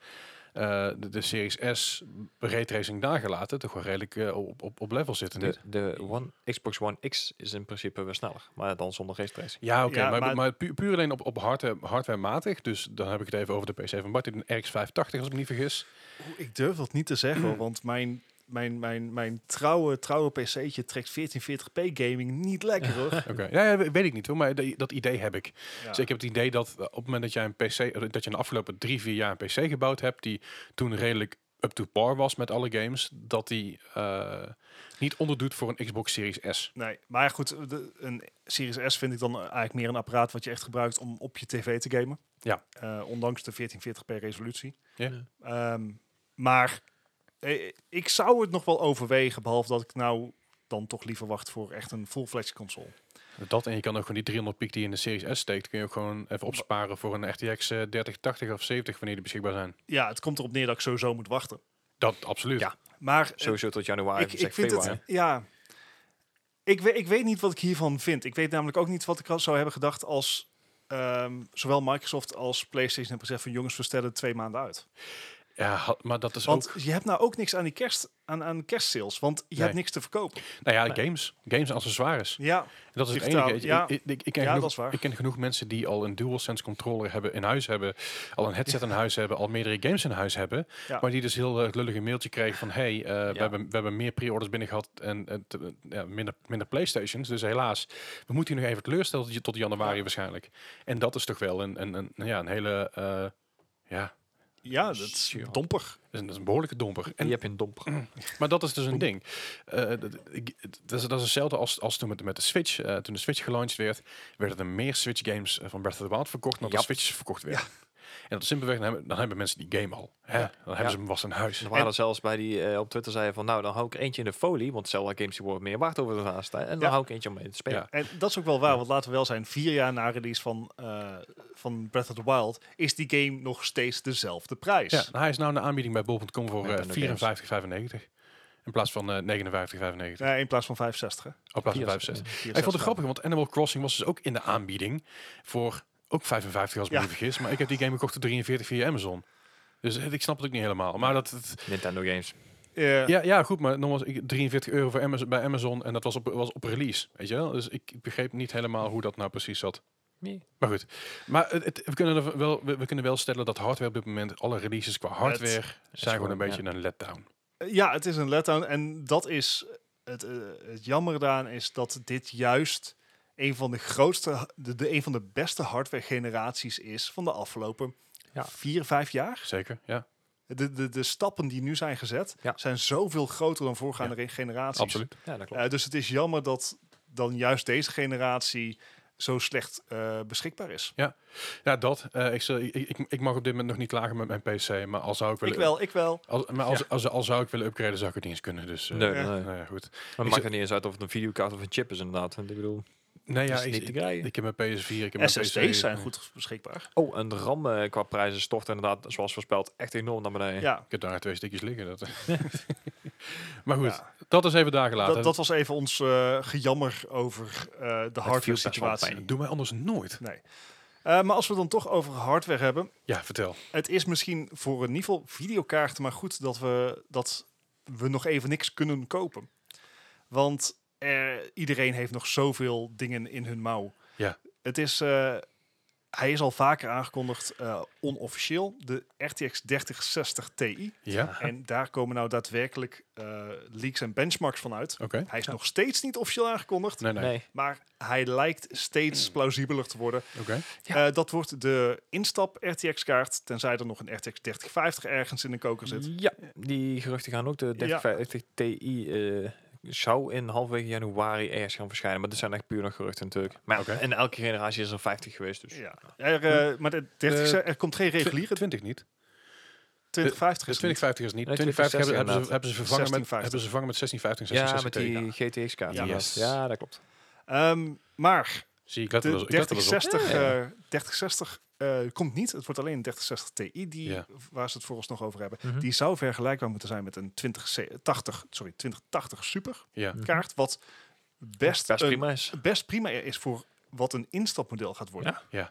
[SPEAKER 1] eh, de, de Series S raytracing daargelaten, toch wel redelijk eh, op, op, op level zitten.
[SPEAKER 3] De,
[SPEAKER 1] niet?
[SPEAKER 3] de One, Xbox One X is in principe weer sneller. Maar dan zonder race tracing.
[SPEAKER 1] Ja, oké,
[SPEAKER 2] Ja,
[SPEAKER 1] maar,
[SPEAKER 2] maar-
[SPEAKER 1] maar, pu- puur alleen op, eh, op hardware, hardwarematig. Dus dan heb ik het even over de PC van Bart, die een RX 580 als ik me niet vergis.
[SPEAKER 2] Oeh, Ik durf dat niet te zeggen, hoor, want mijn, mijn, mijn, mijn trouwe, trouwe pc'tje trekt 1440p gaming niet lekker hoor.
[SPEAKER 1] Oké, ja, ja, we- weet ik niet hoor, maar de- dat idee heb ik.
[SPEAKER 2] Ja.
[SPEAKER 1] Dus ik heb het idee dat eh, op het moment dat jij een PC, dat je in de afgelopen drie, vier jaar een PC gebouwd hebt, die toen redelijk up to par was met alle games, dat die eh, niet onderdoet voor een Xbox Series S.
[SPEAKER 2] Nee, maar ja, goed, de, een Series S vind ik dan eh, eigenlijk meer een apparaat wat je echt gebruikt om op je tv te gamen.
[SPEAKER 1] Ja.
[SPEAKER 2] Eh, ondanks de 1440p resolutie.
[SPEAKER 1] Ja.
[SPEAKER 2] Ehm, maar eh, ik zou het nog wel overwegen, behalve dat ik nou dan toch liever wacht voor echt een full-fledged console.
[SPEAKER 1] Dat en je kan ook gewoon die 300 piek die je in de Series S steekt, kun je ook gewoon even opsparen voor een RTX eh, 3080 of 70 wanneer die beschikbaar zijn.
[SPEAKER 2] Ja, het komt erop neer dat ik sowieso moet wachten.
[SPEAKER 1] Dat absoluut.
[SPEAKER 3] Ja.
[SPEAKER 2] Maar eh,
[SPEAKER 3] Sowieso tot januari.
[SPEAKER 2] ik, ik vind het, ja. Ik, we- ik weet niet wat ik hiervan vind. Ik weet namelijk ook niet wat ik al zou hebben gedacht als ehm, zowel Microsoft als PlayStation hebben gezegd van jongens, we stellen het twee maanden uit.
[SPEAKER 1] Ja, ha- maar dat is
[SPEAKER 2] Want
[SPEAKER 1] ook.
[SPEAKER 2] je hebt nou ook niks aan die kerst, aan, aan kerstsales, want je
[SPEAKER 1] Nee.
[SPEAKER 2] hebt niks te verkopen.
[SPEAKER 1] Nou ja, games. Games en accessoires.
[SPEAKER 2] Ja,
[SPEAKER 1] Dat is het
[SPEAKER 2] Digitaal,
[SPEAKER 1] enige. Ik-
[SPEAKER 2] ja.
[SPEAKER 1] Ik, ik, ik, ken
[SPEAKER 2] Ja,
[SPEAKER 1] genoeg,
[SPEAKER 2] dat is waar.
[SPEAKER 1] ik ken genoeg mensen die al een DualSense controller hebben in huis hebben, al een headset in huis hebben, al meerdere games in huis hebben,
[SPEAKER 2] Ja.
[SPEAKER 1] maar die dus heel eh, lullig een mailtje kregen van hey, eh, we,
[SPEAKER 3] Ja.
[SPEAKER 1] hebben, we hebben meer pre-orders binnen gehad en eh, te- ja, minder, minder Playstations, dus helaas, we moeten je nog even teleurstellen tot- tot januari waarschijnlijk. En dat is toch wel een, een, een, ja, een hele, eh, ja,
[SPEAKER 2] ja dat is
[SPEAKER 3] Sure.
[SPEAKER 2] domper.
[SPEAKER 1] dat is een, dat is een behoorlijke domper.
[SPEAKER 3] En
[SPEAKER 1] En
[SPEAKER 3] je hebt een domper.
[SPEAKER 1] maar dat is dus een ding. Eh, dat, ik- het- dat, is, dat is hetzelfde als, als toen met, met de Switch. Eh, toen de Switch gelanceerd werd, werden er meer Switch games eh, van Breath of the Wild verkocht dan de
[SPEAKER 3] Ja.
[SPEAKER 1] Switches verkocht werden. En dat is simpelweg, dan hebben, dan hebben mensen die game al. Hè? Dan hebben ze hem vast in huis.
[SPEAKER 3] Er waren er zelfs bij die eh, op Twitter zeiden van nou dan hou ik eentje in de folie, want zelfde games die worden meer waard over de laatste tijd. En dan
[SPEAKER 2] Ja.
[SPEAKER 3] hou ik eentje om mee te spelen.
[SPEAKER 1] Ja.
[SPEAKER 2] En dat is ook wel waar, want laten we wel zijn, vier jaar na release van, eh, van Breath of the Wild is die game nog steeds dezelfde prijs.
[SPEAKER 1] Ja, nou, hij is nou in de aanbieding bij bol.com voor
[SPEAKER 3] Met
[SPEAKER 1] eh,
[SPEAKER 3] Nintendo
[SPEAKER 1] 54,95. In plaats van eh, 59,95.
[SPEAKER 2] Nee, in plaats van 65. hè.
[SPEAKER 1] Op plaats van 65.
[SPEAKER 3] 64.
[SPEAKER 1] Ik vond het grappig, want Animal Crossing was dus ook in de aanbieding voor ook 55 als ik me
[SPEAKER 2] Ja.
[SPEAKER 1] niet vergis. Maar ik heb die game gekocht voor 43 via Amazon. Dus eh, ik snap het ook niet helemaal. Maar dat, het,
[SPEAKER 3] Nintendo games.
[SPEAKER 2] Eh,
[SPEAKER 1] Ja, ja, goed, maar nogmaals, ik- 43 euro voor Amazon, bij Amazon en dat was op, was op release, weet je wel? Dus ik begreep niet helemaal hoe dat nou precies zat.
[SPEAKER 3] Nee.
[SPEAKER 1] Maar goed, maar het, het- we, kunnen er wel, we, we kunnen wel stellen dat hardware op dit moment, alle releases qua hardware, zijn gewoon een
[SPEAKER 3] gewoon,
[SPEAKER 1] beetje een letdown.
[SPEAKER 2] Ja, het is een letdown. En dat is het, eh, het jammer daaraan is dat dit juist een van de grootste, de, de- een van de beste hardware generaties is van de afgelopen
[SPEAKER 3] Ja.
[SPEAKER 2] vier, vijf jaar.
[SPEAKER 1] Zeker, ja,
[SPEAKER 2] De, de, de stappen die nu zijn gezet,
[SPEAKER 3] Ja.
[SPEAKER 2] zijn zoveel groter dan voorgaande re- generaties.
[SPEAKER 1] absoluut.
[SPEAKER 3] Ja, dat klopt.
[SPEAKER 2] Eh, dus het is jammer dat dan juist deze generatie zo slecht eh, beschikbaar is.
[SPEAKER 1] Ja, dat. eh, ik, zal- ik, ik, ik mag op dit moment nog niet klagen met mijn PC, maar al zou ik
[SPEAKER 2] Ik
[SPEAKER 1] willen...
[SPEAKER 2] wel, ik wel.
[SPEAKER 1] Als, maar als, als, al zou ik willen upgraden, zou ik het niet eens kunnen, dus... eh,
[SPEAKER 3] nee,
[SPEAKER 2] ja.
[SPEAKER 3] nee.
[SPEAKER 1] nou ja, goed.
[SPEAKER 3] Maar het maakt er niet eens uit of het een videokaart of een chip is inderdaad. Want Ik bedoel,
[SPEAKER 1] Nee, ja,
[SPEAKER 3] is niet
[SPEAKER 1] ik,
[SPEAKER 3] te
[SPEAKER 1] ik,
[SPEAKER 3] krijgen.
[SPEAKER 1] ik heb mijn PS4, ik heb mijn PC.
[SPEAKER 2] SSD's zijn goed beschikbaar.
[SPEAKER 3] Oh, en de RAM eh, qua prijzen stort inderdaad, zoals voorspeld, echt enorm naar beneden.
[SPEAKER 2] Ja,
[SPEAKER 1] Ik heb daar twee stukjes liggen. Dat. maar goed,
[SPEAKER 2] Ja.
[SPEAKER 1] dat is even dagen later.
[SPEAKER 2] dat, dat was even ons eh, gejammer over eh, de hardware
[SPEAKER 3] viel best wel
[SPEAKER 2] situatie.
[SPEAKER 3] mee.
[SPEAKER 1] Doe mij anders nooit.
[SPEAKER 2] Nee. Eh, maar als we het dan toch over hardware hebben.
[SPEAKER 1] Ja, vertel.
[SPEAKER 2] Het is misschien voor een niveau videokaarten maar goed dat we, dat we nog even niks kunnen kopen. Want er- iedereen heeft nog zoveel dingen in hun mouw.
[SPEAKER 1] Ja.
[SPEAKER 2] Het is, eh, hij is al vaker aangekondigd, eh, onofficieel, de RTX 3060 Ti.
[SPEAKER 1] Ja,
[SPEAKER 2] En daar komen nou daadwerkelijk eh, leaks en benchmarks van uit.
[SPEAKER 1] oké.
[SPEAKER 2] Hij is nog steeds niet officieel aangekondigd,
[SPEAKER 1] Nee, nee.
[SPEAKER 3] Nee.
[SPEAKER 2] maar hij lijkt steeds plausibeler te worden.
[SPEAKER 1] Oké.
[SPEAKER 3] Ja.
[SPEAKER 2] Eh, dat wordt de instap RTX-kaart, tenzij er nog een RTX 3050 ergens in de koker zit.
[SPEAKER 3] Ja, die geruchten gaan ook. De 3050 Ti eh, zou in halfwege januari ergens gaan verschijnen. Maar dit zijn echt puur nog geruchten natuurlijk. Maar
[SPEAKER 1] Oké.
[SPEAKER 3] ja, in elke generatie is er 50 geweest. Dus.
[SPEAKER 2] Ja. Er, eh, maar de 30,
[SPEAKER 1] Eh,
[SPEAKER 2] er komt geen reguliere
[SPEAKER 1] 20 niet.
[SPEAKER 2] 2050
[SPEAKER 1] eh,
[SPEAKER 2] is er niet.
[SPEAKER 1] 2050 is niet.
[SPEAKER 3] Nee,
[SPEAKER 1] 2050 hebben, hebben, ze,
[SPEAKER 3] 2060
[SPEAKER 1] hebben, ze vervangen met,
[SPEAKER 2] 1650.
[SPEAKER 1] hebben ze vervangen met 1650 en
[SPEAKER 3] Ja,
[SPEAKER 1] 1660
[SPEAKER 3] met die GTX-kaart.
[SPEAKER 1] Ja.
[SPEAKER 3] Ja,
[SPEAKER 1] Yes.
[SPEAKER 3] ja, dat klopt.
[SPEAKER 2] Ehm, maar
[SPEAKER 1] Zie ik, let er wel
[SPEAKER 2] de
[SPEAKER 1] eens- ik let er wel eens op.
[SPEAKER 2] 3060,
[SPEAKER 3] Ja, ja.
[SPEAKER 2] eh 3060 eh, komt niet. Het wordt alleen een 3060 Ti, die,
[SPEAKER 1] Ja.
[SPEAKER 2] waar ze het voor ons nog over hebben.
[SPEAKER 3] Mhm.
[SPEAKER 2] Die zou vergelijkbaar moeten zijn met een 2080, sorry, 2080 Super
[SPEAKER 1] Ja.
[SPEAKER 3] Mhm.
[SPEAKER 2] kaart. Wat best,
[SPEAKER 3] Best
[SPEAKER 2] een-
[SPEAKER 3] prima is.
[SPEAKER 2] best prima is voor wat een instapmodel gaat worden.
[SPEAKER 3] Ja.
[SPEAKER 1] Ja.
[SPEAKER 3] Ik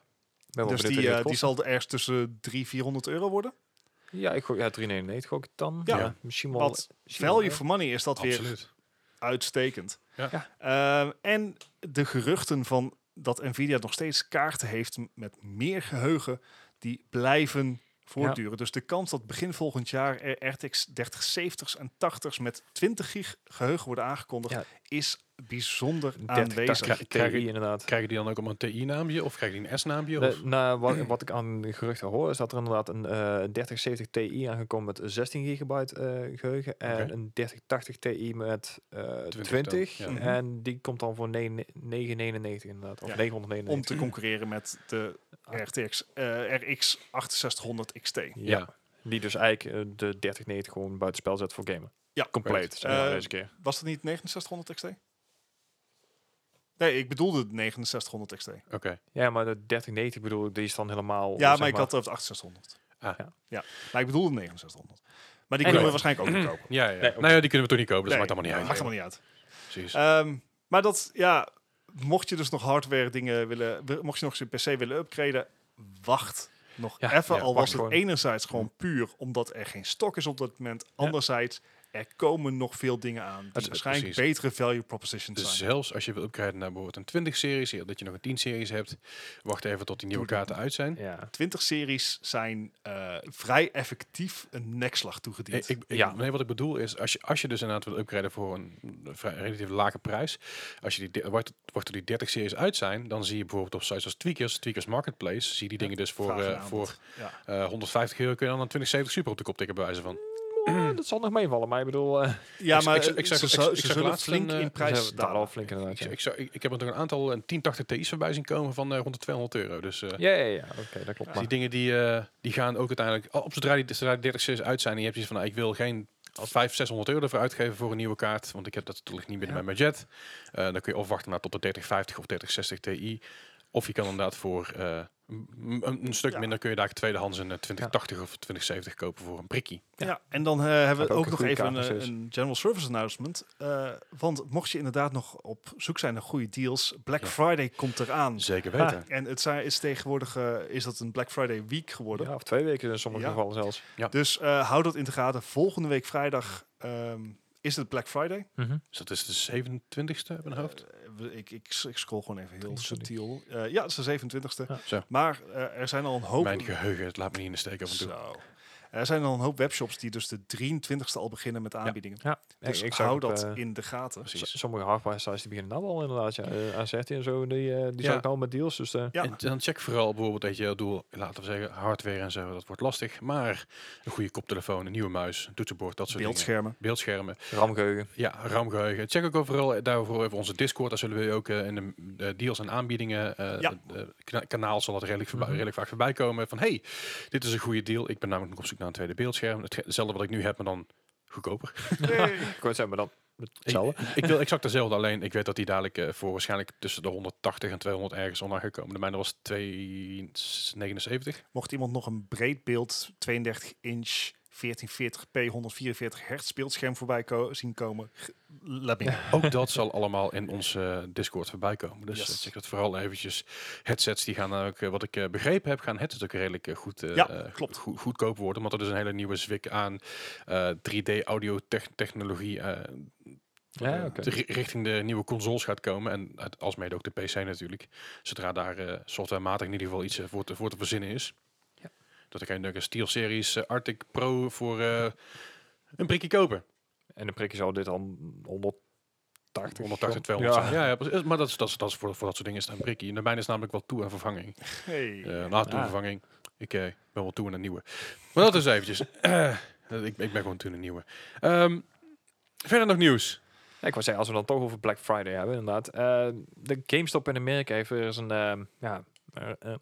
[SPEAKER 3] Ben wel
[SPEAKER 2] Dus
[SPEAKER 3] benieuwd
[SPEAKER 2] die,
[SPEAKER 3] wat
[SPEAKER 2] eh,
[SPEAKER 3] dit
[SPEAKER 2] die
[SPEAKER 3] kost.
[SPEAKER 2] zal er ergens tussen 300, 400 euro worden.
[SPEAKER 3] Ja, ik gooi, ja, 399 gok ik dan.
[SPEAKER 2] Ja.
[SPEAKER 3] Ja. misschien wel.
[SPEAKER 2] Wat
[SPEAKER 3] misschien wel,
[SPEAKER 2] value
[SPEAKER 3] hè.
[SPEAKER 2] for money is dat weer
[SPEAKER 1] Absoluut.
[SPEAKER 2] uitstekend.
[SPEAKER 1] Ja.
[SPEAKER 2] Eh, en de geruchten van dat Nvidia nog steeds kaarten heeft m- met meer geheugen, die blijven voortduren. Dus de kans dat begin volgend jaar er RTX 3070's en 80's met 20 gig geheugen worden aangekondigd,
[SPEAKER 3] Ja.
[SPEAKER 2] is bijzonder
[SPEAKER 3] 30,
[SPEAKER 2] aanwezig.
[SPEAKER 3] 80
[SPEAKER 1] Krijg-
[SPEAKER 3] Ti inderdaad.
[SPEAKER 1] Krijgen die dan ook allemaal een TI-naampje of krijgen die een S-naampje?
[SPEAKER 3] Nee,
[SPEAKER 1] of-
[SPEAKER 3] nou, wat, wat ik aan de geruchten hoor, is dat er inderdaad een eh 3070 Ti aangekomen met 16 gigabyte eh, geheugen. En
[SPEAKER 1] Oké.
[SPEAKER 3] een 3080 Ti met eh 20.
[SPEAKER 1] dan,
[SPEAKER 2] ja. Mhm.
[SPEAKER 3] En die komt dan voor 9 999 inderdaad. Of
[SPEAKER 2] Ja.
[SPEAKER 3] 999.
[SPEAKER 2] Om te concurreren met de RTX, eh, RX 6800 XT.
[SPEAKER 3] ja. Die dus eigenlijk eh, de 3090 gewoon buitenspel zet voor gamen.
[SPEAKER 2] Ja.
[SPEAKER 3] Compleet,
[SPEAKER 1] Correct.
[SPEAKER 3] zeg maar,
[SPEAKER 2] Eh,
[SPEAKER 3] deze keer.
[SPEAKER 2] Was dat niet 6900 XT? Nee, ik bedoelde de 6900 XT.
[SPEAKER 1] Oké.
[SPEAKER 3] Ja, maar de 3090 bedoel ik, die is dan helemaal... eh,
[SPEAKER 2] Ja, maar,
[SPEAKER 3] zeg
[SPEAKER 2] ik had het over de 6800.
[SPEAKER 1] Ah.
[SPEAKER 3] Ja.
[SPEAKER 2] Ja, maar ik bedoelde 6900. Maar die
[SPEAKER 3] Anyway.
[SPEAKER 2] kunnen we waarschijnlijk ook niet kopen.
[SPEAKER 1] Ja, ja.
[SPEAKER 3] Nee, oké.
[SPEAKER 1] Nou ja, die kunnen we toch niet kopen. Dus
[SPEAKER 2] Nee,
[SPEAKER 1] maakt allemaal niet uit.
[SPEAKER 2] Maakt helemaal niet uit.
[SPEAKER 1] Precies.
[SPEAKER 2] Ehm, maar dat, ja, mocht je dus nog hardware dingen willen, wi- mocht je nog je PC willen upgraden, wacht nog
[SPEAKER 3] Ja,
[SPEAKER 2] even.
[SPEAKER 1] ja,
[SPEAKER 2] al
[SPEAKER 3] wacht
[SPEAKER 2] was het
[SPEAKER 3] gewoon.
[SPEAKER 2] enerzijds gewoon puur omdat er geen stok is op dat moment. Anderzijds, er komen nog veel dingen aan
[SPEAKER 1] Dat
[SPEAKER 2] die
[SPEAKER 1] is-
[SPEAKER 2] waarschijnlijk
[SPEAKER 1] precies.
[SPEAKER 2] betere value propositions zijn.
[SPEAKER 1] Dus zelfs als je wil upgraden naar bijvoorbeeld een 20-series, dat je nog een 10-series hebt, wacht even tot die nieuwe
[SPEAKER 2] Doe dat.
[SPEAKER 1] kaarten uit zijn.
[SPEAKER 3] Ja.
[SPEAKER 2] 20 series zijn eh, vrij effectief een nekslag
[SPEAKER 1] Eh,
[SPEAKER 2] toegediend.
[SPEAKER 1] Ik, ik-
[SPEAKER 3] Ja.
[SPEAKER 1] Nee, wat ik bedoel is, als je, als je dus inderdaad wil upgraden voor een vrij, relatief lage prijs, als je die, de- wacht, wacht tot die 30 series uit zijn, dan zie je bijvoorbeeld op sites als Tweakers, Tweakers Marketplace, zie je die dingen dus voor,
[SPEAKER 2] Vraag en
[SPEAKER 1] eh,
[SPEAKER 2] aanbod.
[SPEAKER 1] voor
[SPEAKER 2] ja.
[SPEAKER 1] eh, 150 euro kun je dan een 2070 Super op de kop tikken bij wijze van.
[SPEAKER 3] Ah, dat zal nog meevallen, maar ik bedoel... eh,
[SPEAKER 2] Ja,
[SPEAKER 1] Ik-
[SPEAKER 2] maar
[SPEAKER 1] ik- ik-
[SPEAKER 2] ik,
[SPEAKER 1] ik zag-
[SPEAKER 2] ze,
[SPEAKER 1] ik-
[SPEAKER 2] zou-
[SPEAKER 1] ik
[SPEAKER 2] ze
[SPEAKER 1] zag
[SPEAKER 2] zullen
[SPEAKER 1] laatst
[SPEAKER 2] flink
[SPEAKER 1] een, eh,
[SPEAKER 2] in
[SPEAKER 3] ze
[SPEAKER 2] prijs
[SPEAKER 3] hebben daar
[SPEAKER 2] dalen.
[SPEAKER 3] al flink inderdaad.
[SPEAKER 1] Ik,
[SPEAKER 3] ja.
[SPEAKER 1] ik, zou- ik, ik heb er toch een aantal een 1080 Ti's voorbij zien komen van eh, rond de 200 euro. Dus eh,
[SPEAKER 3] Ja, ja, ja. Oké, dat klopt.
[SPEAKER 1] Dus
[SPEAKER 3] maar.
[SPEAKER 1] Die dingen die, eh, die gaan ook uiteindelijk, al- op zodra die, zodra die 30 series uit zijn, en je hebt iets van, nou, ik wil geen 500, 600 euro ervoor uitgeven voor een nieuwe kaart, want ik heb dat natuurlijk niet binnen
[SPEAKER 3] Ja.
[SPEAKER 1] mijn budget. Eh, dan kun je of wachten naar tot de 3050 of 3060 Ti, of je kan inderdaad voor eh, m- m- een, stuk
[SPEAKER 2] Ja.
[SPEAKER 1] minder kun je daar tweedehands een eh, 2080 of 2070 kopen voor een prikkie.
[SPEAKER 2] Ja. en dan eh, hebben we
[SPEAKER 3] ook
[SPEAKER 2] ook
[SPEAKER 3] een
[SPEAKER 2] nog
[SPEAKER 3] goede
[SPEAKER 2] even
[SPEAKER 3] kaart nog
[SPEAKER 2] een, eh,
[SPEAKER 3] steeds.
[SPEAKER 2] een general service announcement. Eh, want mocht je inderdaad nog op zoek zijn naar goede deals, Black
[SPEAKER 1] Ja.
[SPEAKER 2] Friday komt eraan.
[SPEAKER 1] Zeker
[SPEAKER 3] weten.
[SPEAKER 1] weten.
[SPEAKER 3] Ah.
[SPEAKER 2] En het zijn- is tegenwoordig eh, is dat een Black Friday week geworden.
[SPEAKER 3] Ja, of twee weken in sommige
[SPEAKER 2] Ja.
[SPEAKER 3] gevallen zelfs.
[SPEAKER 2] Dus eh, hou dat in de gaten. Volgende week vrijdag ehm, is het Black Friday.
[SPEAKER 1] Dus dat is de 27ste uit mijn hoofd.
[SPEAKER 2] Eh, we- ik, ik, ik scroll gewoon even heel
[SPEAKER 3] 23.
[SPEAKER 2] subtiel. Eh, ja, het is de 27e.
[SPEAKER 3] Ja.
[SPEAKER 1] Zo.
[SPEAKER 2] Maar eh, er zijn al een hoop...
[SPEAKER 1] Mijn geheugen, het laat me niet in de steek af en toe.
[SPEAKER 2] Zo. eh, Er zijn al een hoop webshops die dus de 23e al beginnen met aanbiedingen.
[SPEAKER 3] Ja,
[SPEAKER 2] Dus
[SPEAKER 3] ik zag
[SPEAKER 2] hou
[SPEAKER 3] op,
[SPEAKER 2] dat
[SPEAKER 3] eh,
[SPEAKER 2] in de gaten.
[SPEAKER 1] Precies.
[SPEAKER 3] s- sommige hardware sites die beginnen nou al inderdaad. Ja, eh, AZT en zo, die, eh, die
[SPEAKER 1] Ja.
[SPEAKER 3] zag ik nou met deals. Dus eh,
[SPEAKER 2] Ja.
[SPEAKER 1] En dan check vooral bijvoorbeeld dat je doel, laten we zeggen, hardware en zo, dat wordt lastig. Maar een goede koptelefoon, een nieuwe muis, een toetsenbord, dat soort
[SPEAKER 2] Beeldschermen.
[SPEAKER 1] dingen. Beeldschermen.
[SPEAKER 3] ramgeheugen.
[SPEAKER 1] Ja, ramgeheugen. Check ook overal eh, daarvoor even onze Discord. Daar zullen we ook eh, in de de deals en aanbiedingen eh,
[SPEAKER 2] Ja.
[SPEAKER 1] eh, kana- kanaal zal dat redelijk, voorbij-
[SPEAKER 3] Mhm.
[SPEAKER 1] redelijk vaak voorbij komen. Van hey, dit is een goede deal. Ik ben namelijk nog op zoek naar een tweede beeldscherm. Hetge- Hetzelfde wat ik nu heb, maar dan goedkoper.
[SPEAKER 2] Hey.
[SPEAKER 3] Ik wou zeggen, maar dan
[SPEAKER 1] Ik,
[SPEAKER 3] hetzelfde.
[SPEAKER 1] ik wil exact dezelfde, alleen ik weet dat die dadelijk eh, voor waarschijnlijk tussen de 180 en 200 ergens online gekomen. De mijne was 279.
[SPEAKER 2] Mocht iemand nog een breed beeld 32 inch 1440p 144 hertz beeldscherm voorbij ko- zien komen, g- let me know.
[SPEAKER 1] Ook dat zal allemaal in onze eh, Discord voorbij komen. Dus
[SPEAKER 2] Yes.
[SPEAKER 1] eh, check dat vooral eventjes. Headsets die gaan ook, eh, wat ik eh, begrepen heb, gaan headsets ook redelijk eh, goed, eh,
[SPEAKER 2] Ja,
[SPEAKER 1] eh,
[SPEAKER 2] klopt.
[SPEAKER 1] goed- goedkoop worden. Omdat er dus een hele nieuwe zwik aan eh, 3D audio tech- technologie eh,
[SPEAKER 3] Ja,
[SPEAKER 1] eh,
[SPEAKER 3] oké.
[SPEAKER 1] te- ri- richting de nieuwe consoles gaat komen. En uit- alsmede ook de PC natuurlijk. Zodra daar eh, softwarematig in ieder geval iets eh, voor, te, voor te verzinnen is.
[SPEAKER 3] Ja.
[SPEAKER 1] Dat ik een SteelSeries eh, Arctic Pro voor eh, een prikje kopen.
[SPEAKER 3] En dan prik je zo dit dan 180.
[SPEAKER 1] 180, 200. Ja, ja, precies. Eh, maar dat is, dat is, dat is voor, voor dat soort dingen is het een prikkie. En de mijne is namelijk wel toe aan vervanging.
[SPEAKER 2] Hey.
[SPEAKER 1] Eh na toe aan
[SPEAKER 3] Ah.
[SPEAKER 1] vervanging. Ik eh, ben wel toe aan een nieuwe. Maar dat is eventjes. Eh, ik, ik ben gewoon toe aan een nieuwe. Ehm, verder nog nieuws.
[SPEAKER 3] Ja, ik wou zeggen, als we dan toch over Black Friday hebben, inderdaad. Eh, de GameStop in Amerika heeft weer eens een, ehm, ja, eh, eh,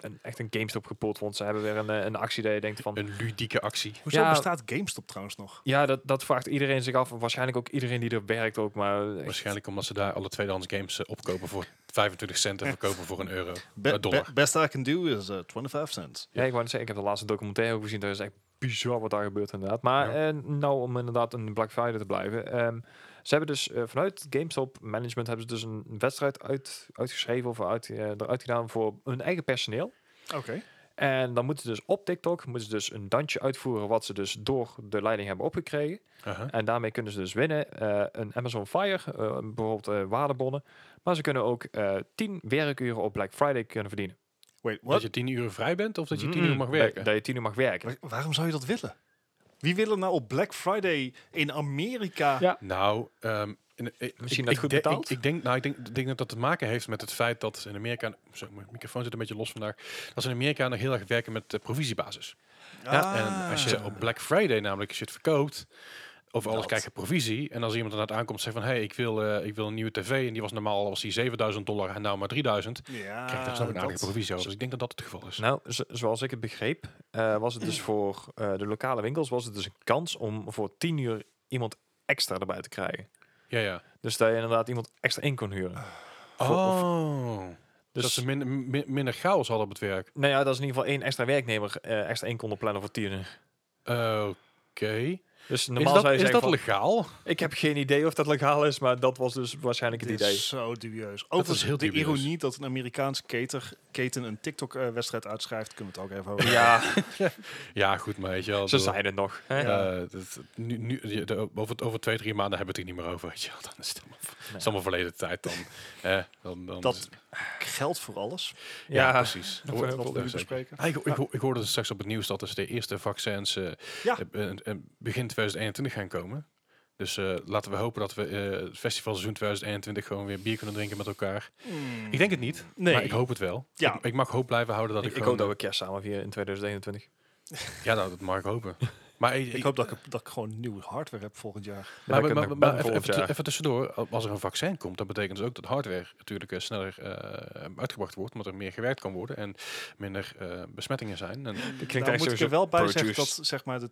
[SPEAKER 3] een, echt een GameStop gepoeld. Want ze hebben weer een, eh, een actie dat je denkt van...
[SPEAKER 1] Een ludieke actie.
[SPEAKER 2] Hoezo
[SPEAKER 3] Ja.
[SPEAKER 2] bestaat GameStop trouwens nog?
[SPEAKER 3] Ja, dat, dat vraagt iedereen zich af. Waarschijnlijk ook iedereen die er werkt ook. Maar echt-
[SPEAKER 1] Waarschijnlijk omdat ze daar alle tweedehands games eh, opkopen voor 25 cent en verkopen voor een euro.
[SPEAKER 2] Be-
[SPEAKER 1] Eh, dollar.
[SPEAKER 2] be- best I can do is eh, 25 cent.
[SPEAKER 3] Ja, ik wou net zeggen, ik heb de laatste documentaire ook gezien. Dat is echt bizar wat daar gebeurt inderdaad. Maar eh, nou, om inderdaad een Black Friday te blijven. ehm, ze hebben dus eh, vanuit GameStop Management hebben ze dus een wedstrijd uit, uitgeschreven of uit, eh, eruit gedaan voor hun eigen personeel.
[SPEAKER 2] Oké.
[SPEAKER 3] En dan moeten ze dus op TikTok moeten ze dus een dansje uitvoeren wat ze dus door de leiding hebben opgekregen.
[SPEAKER 1] Aha.
[SPEAKER 3] En daarmee kunnen ze dus winnen eh, een Amazon Fire, eh, bijvoorbeeld eh, waardebonnen. Maar ze kunnen ook eh 10 werkuren op Black Friday kunnen verdienen.
[SPEAKER 2] Wait,
[SPEAKER 1] Dat
[SPEAKER 2] what?
[SPEAKER 1] je 10 uur vrij bent of dat je 10
[SPEAKER 3] Mm,
[SPEAKER 1] uur mag
[SPEAKER 3] dat-
[SPEAKER 1] werken.
[SPEAKER 3] Dat je 10 uur mag werken.
[SPEAKER 2] Wa- waarom zou je dat willen? Wie wil er nou op Black Friday in Amerika?
[SPEAKER 3] Ja.
[SPEAKER 1] Nou, ehm, in- ik-
[SPEAKER 3] Misschien
[SPEAKER 1] ik-
[SPEAKER 3] dat
[SPEAKER 1] ik
[SPEAKER 3] goed
[SPEAKER 1] denk-
[SPEAKER 3] betaald?
[SPEAKER 1] Ik, ik denk, nou, ik denk, ik denk dat dat te maken heeft met het feit dat in Amerika, zo, mijn microfoon zit een beetje los vandaag, dat ze in Amerika nog heel erg werken met eh, provisiebasis.
[SPEAKER 2] Ah.
[SPEAKER 1] En als je op Black Friday namelijk shit verkoopt, over alles
[SPEAKER 2] Dat.
[SPEAKER 1] krijg je provisie. En als iemand inderdaad aankomt en zegt van, hé, hey, ik, wil, eh, ik wil een nieuwe tv en die was normaal was die 7000 dollar en nou maar 3000,
[SPEAKER 2] ja,
[SPEAKER 1] krijg je daar snel een aardige
[SPEAKER 2] Ah, dat-
[SPEAKER 1] provisie over. Dus ik denk dat dat het geval is.
[SPEAKER 3] Nou, zo- zoals ik het begreep, eh, was het dus voor eh, de lokale winkels was het dus een kans om voor 10 uur iemand extra erbij te krijgen.
[SPEAKER 1] Ja, ja.
[SPEAKER 3] Dus dat je inderdaad iemand extra in kon huren.
[SPEAKER 1] Ah. Oh. Dus
[SPEAKER 3] Dus
[SPEAKER 1] dat ze minder min- minder chaos hadden op het werk.
[SPEAKER 3] nou ja, dat is in ieder geval één extra werknemer eh, extra in konden plannen voor 10 uur.
[SPEAKER 1] Oké.
[SPEAKER 3] Dus
[SPEAKER 1] Is
[SPEAKER 3] normaal
[SPEAKER 1] dat,
[SPEAKER 3] zou je
[SPEAKER 1] is
[SPEAKER 3] zeggen
[SPEAKER 1] dat
[SPEAKER 3] van,
[SPEAKER 1] legaal?
[SPEAKER 3] Ik heb geen idee of dat legaal is, maar dat was dus waarschijnlijk het
[SPEAKER 2] Dit
[SPEAKER 3] idee.
[SPEAKER 2] is zo dubieus. Overigens,
[SPEAKER 1] heel
[SPEAKER 2] de
[SPEAKER 1] dubieus.
[SPEAKER 2] ironie dat een Amerikaanse keten, keten een TikTok-wedstrijd uitschrijft, kunnen we het ook even over.
[SPEAKER 3] Ja,
[SPEAKER 1] Ja, goed, maar weet je wel.
[SPEAKER 3] ze
[SPEAKER 1] ik bedoel,
[SPEAKER 3] zeiden het nog. hè?
[SPEAKER 1] eh, dat- nu, nu, je- de- over, over twee, drie maanden hebben we het er niet meer over. Weet je wel. Dan is het allemaal, het is allemaal verleden tijd. Dan, eh, dan, dan
[SPEAKER 2] Dat geldt voor alles.
[SPEAKER 1] ja,
[SPEAKER 3] ja,
[SPEAKER 1] precies.
[SPEAKER 3] dat we-
[SPEAKER 2] Wat
[SPEAKER 1] dat
[SPEAKER 2] we nu
[SPEAKER 1] is zeker.
[SPEAKER 2] bespreken.
[SPEAKER 1] Ah, ik, ik, ho- ik hoorde het straks op het nieuws dat dus de eerste vaccins eh,
[SPEAKER 2] Ja.
[SPEAKER 1] eh, eh, eh, begin 2021 gaan komen. Dus eh, laten we hopen dat we eh, het festivalseizoen 2021 gewoon weer bier kunnen drinken met elkaar. Ik denk het niet,
[SPEAKER 2] Hmm. Nee.
[SPEAKER 1] maar ik hoop het wel.
[SPEAKER 2] Ja.
[SPEAKER 1] Ik, ik mag hoop blijven houden dat ik,
[SPEAKER 3] ik, ik
[SPEAKER 1] gewoon, eh,
[SPEAKER 3] hoop dat we kerst samen vieren in 2021.
[SPEAKER 1] Ja, nou, dat mag ik hopen. Maar, ik,
[SPEAKER 2] Ik hoop dat ik, dat ik gewoon nieuw hardware heb volgend jaar.
[SPEAKER 1] maar,
[SPEAKER 3] Dan
[SPEAKER 1] maar-
[SPEAKER 3] kunnen we
[SPEAKER 1] maar-
[SPEAKER 3] bellen
[SPEAKER 1] maar even,
[SPEAKER 3] volgend
[SPEAKER 1] even-
[SPEAKER 3] jaar.
[SPEAKER 1] even tussendoor, a- als er een vaccin komt, dat betekent dus ook dat hardware natuurlijk eh, sneller eh, uitgebracht wordt, omdat er meer gewerkt kan worden en minder eh, besmettingen zijn. En,
[SPEAKER 3] Dat klinkt
[SPEAKER 2] Nou,
[SPEAKER 3] echt
[SPEAKER 2] moet ik
[SPEAKER 3] sowieso
[SPEAKER 2] er wel bij zeggen dat
[SPEAKER 3] produced.
[SPEAKER 2] zeg maar, de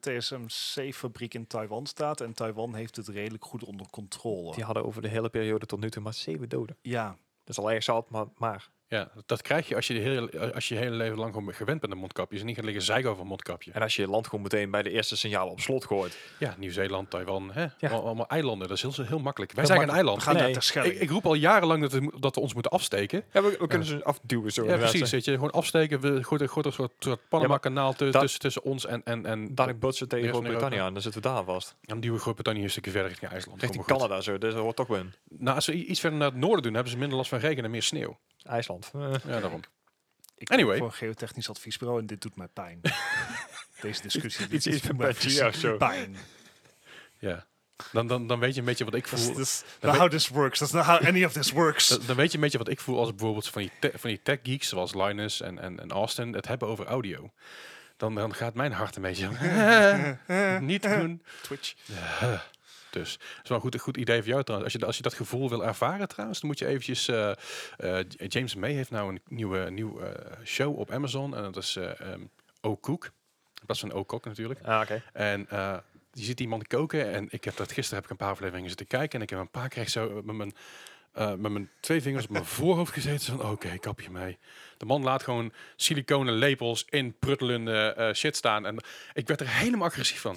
[SPEAKER 2] TSMC-fabriek in Taiwan staat. En Taiwan heeft het redelijk goed onder controle.
[SPEAKER 3] Die hadden over de hele periode tot nu toe maar 7 doden.
[SPEAKER 2] Ja,
[SPEAKER 3] Dat is al erg zat, maar, maar.
[SPEAKER 1] ja, dat krijg je als je, de hele, als je je hele leven lang gewoon gewend bent aan mondkapjes en niet gaat liggen zeiken over een mondkapje.
[SPEAKER 3] En als je je land gewoon meteen bij de eerste signalen op slot gooit.
[SPEAKER 1] Ja, Nieuw-Zeeland, Taiwan, hè?
[SPEAKER 3] Ja.
[SPEAKER 1] Al- allemaal eilanden, dat is heel, heel makkelijk. Wij
[SPEAKER 3] Heel
[SPEAKER 1] zijn geen
[SPEAKER 2] we
[SPEAKER 1] eiland.
[SPEAKER 2] gaan
[SPEAKER 3] Nee.
[SPEAKER 2] naar Terschelling.
[SPEAKER 1] Ik, ik roep al jarenlang dat we, mo- dat we ons moeten afsteken.
[SPEAKER 3] Ja, we, we kunnen ze afduwen zo.
[SPEAKER 1] Ja,
[SPEAKER 3] inderdaad,
[SPEAKER 1] precies.
[SPEAKER 3] hè.
[SPEAKER 1] Weet je, gewoon afsteken. We gooien gooien een soort, soort Panama-kanaal tu-
[SPEAKER 3] dat-
[SPEAKER 1] tussen, tussen ons en, en, en
[SPEAKER 3] Dadelijk botsen tegen
[SPEAKER 1] Eerst in
[SPEAKER 3] Groot-Brittannië aan, dan zitten we daar vast.
[SPEAKER 1] Dan duwen we Groot-Brittannië een stukje verder richting IJsland.
[SPEAKER 3] Richting
[SPEAKER 1] Kom maar goed.
[SPEAKER 3] Canada zo, dus dat hoort toch wel in.
[SPEAKER 1] Nou, als we i- iets verder naar het noorden doen, hebben ze minder last van regen en meer sneeuw.
[SPEAKER 3] IJsland. Eh,
[SPEAKER 1] Ja, daarom.
[SPEAKER 2] Ik
[SPEAKER 1] Anyway.
[SPEAKER 2] werk voor een geotechnisch adviesbureau en dit doet mij pijn. Deze discussie dit
[SPEAKER 3] Iets- iets
[SPEAKER 2] doet
[SPEAKER 3] met
[SPEAKER 2] mij
[SPEAKER 3] Pangea of zo.
[SPEAKER 2] Pijn.
[SPEAKER 1] Ja. Dan, dan, dan weet je een beetje wat ik
[SPEAKER 2] Dat is-
[SPEAKER 1] voel.
[SPEAKER 2] dat is not how this works. That's not how any of this works.
[SPEAKER 1] Dan, dan weet je een beetje wat ik voel als bijvoorbeeld van die, te- van die tech geeks zoals Linus en, en, en Austin het hebben over audio. Dan, dan gaat mijn hart een beetje. niet doen.
[SPEAKER 2] Twitch.
[SPEAKER 1] Dus het is wel een goed, een goed idee voor jou trouwens. Als je, da- als je dat gevoel wil ervaren trouwens, dan moet je eventjes... eh, eh, J- James May heeft nou een nieuwe, nieuw eh, show op Amazon. En dat is eh ehm O'Cook. In plaats van O'Cock natuurlijk.
[SPEAKER 3] ah, oké.
[SPEAKER 1] En eh, je ziet iemand koken en ik heb dat gisteren heb ik een paar afleveringen zitten kijken en ik heb een paar keer echt zo met mijn, eh, met mijn twee vingers op mijn voorhoofd gezeten. Zo Van oké, kapje mee. De man laat gewoon siliconen lepels in pruttelende eh, shit staan en ik werd er helemaal agressief van.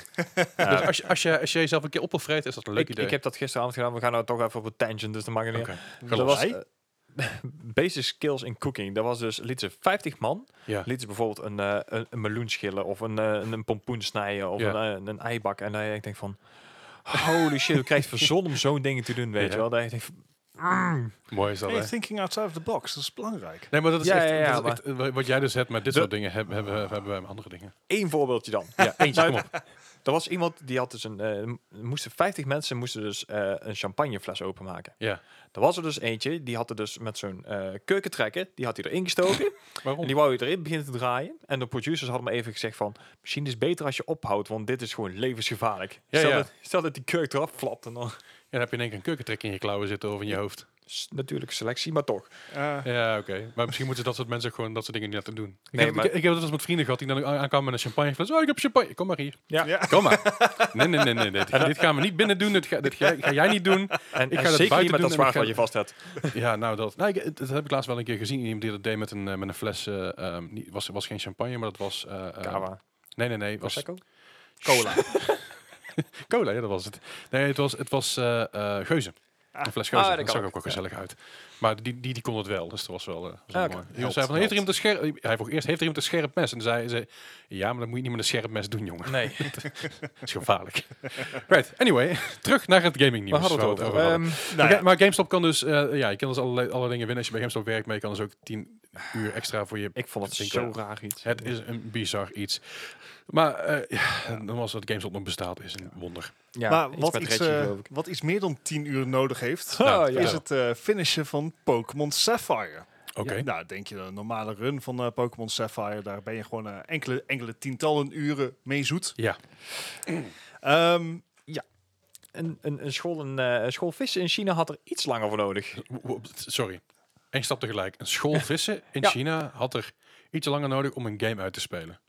[SPEAKER 1] Dus als je, als je, als je jezelf een keer op wil vreten, is dat een leuk
[SPEAKER 3] ik,
[SPEAKER 1] idee.
[SPEAKER 3] ik heb dat gisteravond gedaan. We gaan nou toch even op een tangent, dus dat maakt niet uit.
[SPEAKER 1] Oké, ga
[SPEAKER 3] Dat
[SPEAKER 1] los.
[SPEAKER 3] was, eh, basic skills in cooking. Dat was dus, liet ze 50 man,
[SPEAKER 1] ja.
[SPEAKER 3] liet ze bijvoorbeeld een, eh, een, een meloen schillen of een, eh, een, een pompoen snijden of
[SPEAKER 1] Ja.
[SPEAKER 3] een, eh, een, ei bakken. En dan denk ik denk van, holy shit, hoe krijg je het verzon om zo'n dingen te doen, weet
[SPEAKER 1] Ja.
[SPEAKER 3] je wel. Dan denk ik van, mm.
[SPEAKER 1] Mooi is dat, hè?
[SPEAKER 2] Hey, thinking outside of the box, dat is belangrijk.
[SPEAKER 1] Nee, maar dat is,
[SPEAKER 3] Ja,
[SPEAKER 1] echt,
[SPEAKER 3] ja, ja,
[SPEAKER 1] dat is echt, eh, wat jij dus hebt met dit
[SPEAKER 3] De-
[SPEAKER 1] soort dingen, heb- hebben, hebben wij met andere dingen.
[SPEAKER 3] Eén voorbeeldje dan. Nou,
[SPEAKER 1] Ja, eentje, kom op.
[SPEAKER 3] Er was iemand die had dus een, eh, m- moesten 50 mensen moesten dus eh, een champagnefles openmaken.
[SPEAKER 1] Ja.
[SPEAKER 3] Er was er dus eentje, die had er dus met zo'n eh keukentrekker, die had hij erin gestoken.
[SPEAKER 1] Waarom?
[SPEAKER 3] En die wou je erin beginnen te draaien. En de producers hadden me even gezegd van... Misschien is het beter als je ophoudt, want dit is gewoon levensgevaarlijk.
[SPEAKER 1] Ja,
[SPEAKER 3] stel,
[SPEAKER 1] ja.
[SPEAKER 3] Dat, stel dat die keuk eraf flapt en dan...
[SPEAKER 1] Ja, dan heb je in één keer een keukentrek in je klauwen zitten of in je hoofd.
[SPEAKER 3] S- Natuurlijk selectie, maar toch.
[SPEAKER 2] Eh,
[SPEAKER 1] Ja, oké. Maar misschien moeten dat soort mensen ook gewoon dat soort dingen niet laten doen. Ik,
[SPEAKER 3] Nee,
[SPEAKER 1] heb,
[SPEAKER 3] maar-
[SPEAKER 1] ik, ik heb dat eens met vrienden gehad die dan aan- aankwamen met een champagnefles. Oh, ik heb champagne. Kom maar hier.
[SPEAKER 3] Ja.
[SPEAKER 2] Ja.
[SPEAKER 1] Kom maar. Nee, nee, nee. nee, dit, dit gaan we niet binnen doen. Dit ga, dit ga, ga jij niet doen.
[SPEAKER 3] En,
[SPEAKER 1] Ik
[SPEAKER 3] ik
[SPEAKER 1] ga dat
[SPEAKER 3] zeker
[SPEAKER 1] buiten
[SPEAKER 3] niet met
[SPEAKER 1] doen
[SPEAKER 3] dat
[SPEAKER 1] en
[SPEAKER 3] zwaard
[SPEAKER 1] ik ga-
[SPEAKER 3] wat je vast hebt.
[SPEAKER 1] Ja, nou dat. Nou, ik, dat heb ik laatst wel een keer gezien. Iemand die dat deed met een, eh, met een fles. eh, ehm, niet, was, was geen champagne, maar dat was... eh, eh,
[SPEAKER 3] Kawa.
[SPEAKER 1] Nee, nee, nee. Was
[SPEAKER 3] Prosecco?
[SPEAKER 1] cola. cola, ja, dat was het. Nee, het was, het was eh, eh, geuze. Een fles
[SPEAKER 3] Ah,
[SPEAKER 1] geuze.
[SPEAKER 3] dat
[SPEAKER 1] dat
[SPEAKER 3] kan
[SPEAKER 1] zag
[SPEAKER 3] ook.
[SPEAKER 1] ook wel gezellig uit. Maar die, die, die kon het wel, dus dat was wel, eh, was wel
[SPEAKER 3] Ah, oké.
[SPEAKER 1] mooi. Iemand
[SPEAKER 3] Held,
[SPEAKER 1] zei van,
[SPEAKER 3] held.
[SPEAKER 1] heeft er iemand een scherp... Hij vroeg eerst, heeft er iemand een scherp mes? En dan zei ze, ja, maar dat moet je niet met een scherp mes doen, jongen.
[SPEAKER 3] Nee,
[SPEAKER 1] Dat is gevaarlijk. right, anyway, terug naar het gaming
[SPEAKER 3] we
[SPEAKER 1] nieuws.
[SPEAKER 3] hadden het over. Ehm,
[SPEAKER 2] nou
[SPEAKER 1] Ga-
[SPEAKER 2] ja.
[SPEAKER 1] Maar GameStop kan dus, eh, ja, je kan dus allerlei, allerlei dingen winnen. Als je bij GameStop werkt, maar je kan dus ook 10 uur extra voor je
[SPEAKER 3] ik vond het
[SPEAKER 1] Vind ik
[SPEAKER 3] zo
[SPEAKER 1] ook.
[SPEAKER 3] raar iets.
[SPEAKER 1] het is een bizar iets. Maar eh ja, dan was dat GameStop nog bestaat, is een wonder.
[SPEAKER 3] ja,
[SPEAKER 2] maar
[SPEAKER 3] iets
[SPEAKER 2] wat
[SPEAKER 3] met
[SPEAKER 2] iets,
[SPEAKER 3] Reggie,
[SPEAKER 2] eh,
[SPEAKER 3] geloof ik.
[SPEAKER 2] wat iets meer dan 10 uur nodig heeft,
[SPEAKER 3] Ah,
[SPEAKER 1] nou,
[SPEAKER 3] ja.
[SPEAKER 2] is het eh, finishen van Pokémon Sapphire.
[SPEAKER 1] Oké.
[SPEAKER 2] Nou, denk je een normale run van eh, Pokémon Sapphire, daar ben je gewoon eh, enkele, enkele tientallen uren mee zoet.
[SPEAKER 1] Ja.
[SPEAKER 2] Ehm,
[SPEAKER 3] een, een, een, school, een, eh, een school vissen in China had er iets langer voor nodig.
[SPEAKER 1] W- w- Sorry. Eén stap tegelijk. Een school vissen in
[SPEAKER 3] Ja.
[SPEAKER 1] China had er iets langer nodig om een game uit te spelen.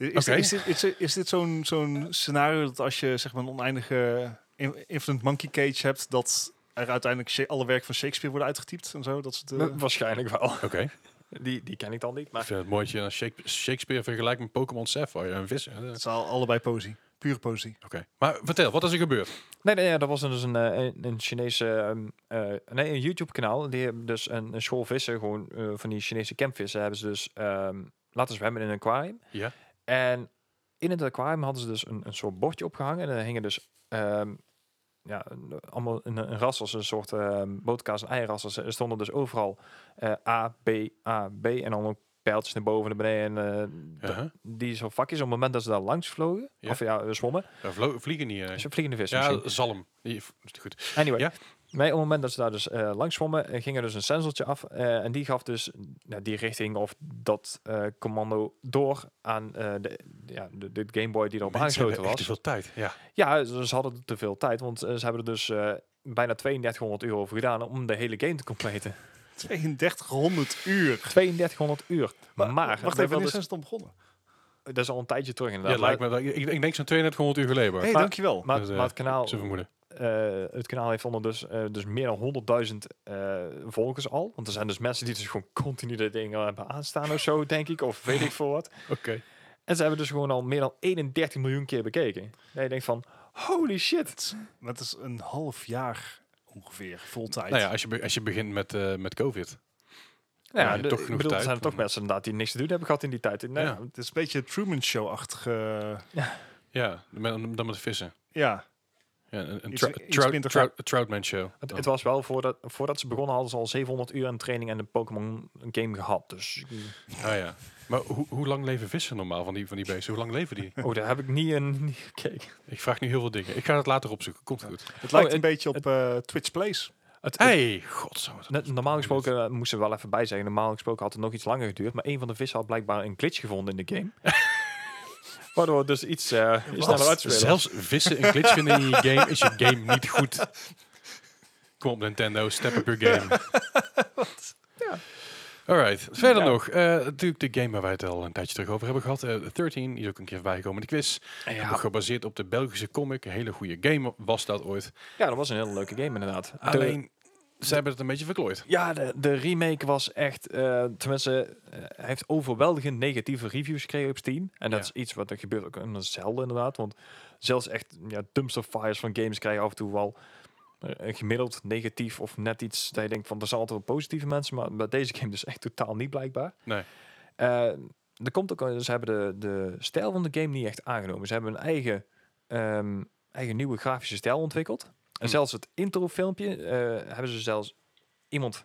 [SPEAKER 2] is, dit-
[SPEAKER 1] Oké.
[SPEAKER 2] is dit, is, dit- is dit zo'n zo'n scenario dat als je zeg maar een oneindige in- Infinite Monkey Cage hebt, dat er uiteindelijk Sha- alle werk van Shakespeare worden uitgetypt en zo? Dat soort, eh,
[SPEAKER 3] Waarschijnlijk wel.
[SPEAKER 1] Oké.
[SPEAKER 3] Die, die ken ik dan niet,
[SPEAKER 1] Ik
[SPEAKER 3] maar...
[SPEAKER 1] vind het mooi dat je dan Shake- Shakespeare vergelijkt met Pokémon Sapphire en vissen. Eh, Oké.
[SPEAKER 2] Het is al- allebei poëzie. Pure poëzie.
[SPEAKER 1] Maar vertel, wat is er gebeurd?
[SPEAKER 3] Nee, nee, ja, dat was dus een, eh, een, een Chinese, ehm, eh, nee, een YouTube-kanaal. Die hebben dus een, een school vissen, gewoon eh, van die Chinese campvissen, hebben ze dus ehm, laten zwemmen in een aquarium.
[SPEAKER 1] Ja.
[SPEAKER 3] En in het aquarium hadden ze dus een, een soort bordje opgehangen. En daar hingen dus ehm, ja, een- allemaal een, een ras als een soort ehm boterkaas en eirassers. Er stonden dus overal eh, A, B, A, B en dan ook pijltjes naar boven en naar beneden. En, eh,
[SPEAKER 1] Uh-huh.
[SPEAKER 3] Die zo vakjes op het moment dat ze daar langs vlogen,
[SPEAKER 1] Ja.
[SPEAKER 3] of ja, eh, zwommen,
[SPEAKER 1] Ja, vlo- vliegen niet. eh.
[SPEAKER 3] is een vliegende vis. misschien.
[SPEAKER 1] Ja, zalm. Die- Goed.
[SPEAKER 3] Anyway,
[SPEAKER 1] Ja.
[SPEAKER 3] nee, op het moment dat ze daar dus eh langs zwommen, eh, ging er dus een sensortje af. eh, en die gaf dus nou, die richting of dat eh, commando door aan eh, de, ja, de, de Game Boy die erop
[SPEAKER 1] Mensen hebben
[SPEAKER 3] aangesloten
[SPEAKER 1] echt te
[SPEAKER 3] was.
[SPEAKER 1] veel tijd. Ja.
[SPEAKER 3] Ja, ze, ze hadden te veel tijd, want eh, ze hebben er dus eh, bijna 3200 euro over gedaan om de hele game te completen.
[SPEAKER 2] 3200 uur.
[SPEAKER 3] 3200 uur. Maar,
[SPEAKER 2] wacht
[SPEAKER 3] we
[SPEAKER 2] even,
[SPEAKER 3] wilden-
[SPEAKER 2] wanneer zijn ze dan begonnen?
[SPEAKER 3] dat is al een tijdje terug
[SPEAKER 1] dus- Ja,
[SPEAKER 3] inderdaad.
[SPEAKER 1] lijkt
[SPEAKER 3] maar,
[SPEAKER 1] me, wel- ik, ik denk zo'n 3200 uur geleden.
[SPEAKER 2] Hé,
[SPEAKER 1] hoor.
[SPEAKER 2] hey,
[SPEAKER 3] Maar-
[SPEAKER 2] dankjewel.
[SPEAKER 3] maar,
[SPEAKER 1] Dus, eh,
[SPEAKER 3] maar het kanaal
[SPEAKER 1] Zo vermoeden.
[SPEAKER 3] eh, het kanaal heeft onder dus, eh, dus meer dan 100.000 eh, volgers al. Want er zijn dus mensen die dus gewoon continu dat ding al hebben aanstaan of zo, denk ik. Of weet ik veel wat.
[SPEAKER 1] Oké.
[SPEAKER 3] En ze hebben dus gewoon al meer dan 31 miljoen keer bekeken. En je denkt van, holy shit.
[SPEAKER 2] Maar het is een half jaar ongeveer, fulltime.
[SPEAKER 1] Nou ja, als je, be- als je begint met, eh, met COVID.
[SPEAKER 3] Nou
[SPEAKER 1] Ja,
[SPEAKER 3] ja,
[SPEAKER 1] je hebt
[SPEAKER 3] de-
[SPEAKER 1] toch
[SPEAKER 3] ik
[SPEAKER 1] genoeg
[SPEAKER 3] bedoel,
[SPEAKER 1] tijd
[SPEAKER 3] er zijn
[SPEAKER 1] om-
[SPEAKER 3] toch mensen inderdaad die niks te doen hebben gehad in die tijd. Nou,
[SPEAKER 1] Ja.
[SPEAKER 2] Het is een beetje Truman Show-achtige...
[SPEAKER 1] Ja, met- dan met vissen.
[SPEAKER 2] Ja,
[SPEAKER 1] Ja, een een
[SPEAKER 2] Iets-
[SPEAKER 1] trou-
[SPEAKER 2] iets
[SPEAKER 1] trou-
[SPEAKER 2] minder
[SPEAKER 1] trou- Troutman show.
[SPEAKER 3] Het,
[SPEAKER 1] Dan.
[SPEAKER 3] het was wel, voordat, voordat ze begonnen hadden ze al 700 uur aan training en de Pokémon game gehad. Dus,
[SPEAKER 1] Ah ja. Maar hoe hoe lang leven vissen normaal van die, van die beesten? Hoe lang leven die?
[SPEAKER 3] oh, daar heb ik niet een niet gekeken.
[SPEAKER 1] Ik vraag nu heel veel dingen. Ik ga het later opzoeken. Komt goed.
[SPEAKER 2] het lijkt een
[SPEAKER 3] het-
[SPEAKER 2] beetje op eh, Twitch Plays.
[SPEAKER 3] Het,
[SPEAKER 1] Hey, godsamme.
[SPEAKER 3] Net- normaal gesproken eh, moesten we wel even bij zeggen. Normaal gesproken had het nog iets langer geduurd. Maar een van de vissen had blijkbaar een glitch gevonden in de game. Waardoor het dus iets eh sneller uitspelen.
[SPEAKER 1] Zelfs vissen een glitch vinden in je game is je game niet goed. Kom op Nintendo, step up your game.
[SPEAKER 3] Ja.
[SPEAKER 1] Alright, verder
[SPEAKER 3] Ja.
[SPEAKER 1] nog. eh, natuurlijk de game waar wij het al een tijdje terug over hebben gehad. eh 13 die is ook een keer voorbij gekomen in de quiz.
[SPEAKER 3] Ja,
[SPEAKER 1] Gebaseerd op de Belgische comic. Een hele goede game was dat ooit.
[SPEAKER 3] ja, dat was een hele leuke game inderdaad. De-
[SPEAKER 1] Alleen, ze hebben het een beetje verklooid.
[SPEAKER 3] ja, de, de remake was echt, eh, tenminste, eh, hij heeft overweldigend negatieve reviews gekregen op Steam. En dat
[SPEAKER 1] Ja.
[SPEAKER 3] is iets wat er gebeurt ook in zelden inderdaad. Want zelfs echt ja, dumpster fires van games krijgen af en toe wel eh, een gemiddeld negatief of net iets dat je denkt van, er zijn altijd wel positieve mensen. Maar bij deze game dus echt totaal niet blijkbaar.
[SPEAKER 1] Nee.
[SPEAKER 3] Eh, er komt ook, een- ze hebben de, de stijl van de game niet echt aangenomen. Ze hebben een eigen, ehm, eigen nieuwe grafische stijl ontwikkeld.
[SPEAKER 1] Hm.
[SPEAKER 3] En zelfs het introfilmpje eh, hebben ze zelfs iemand.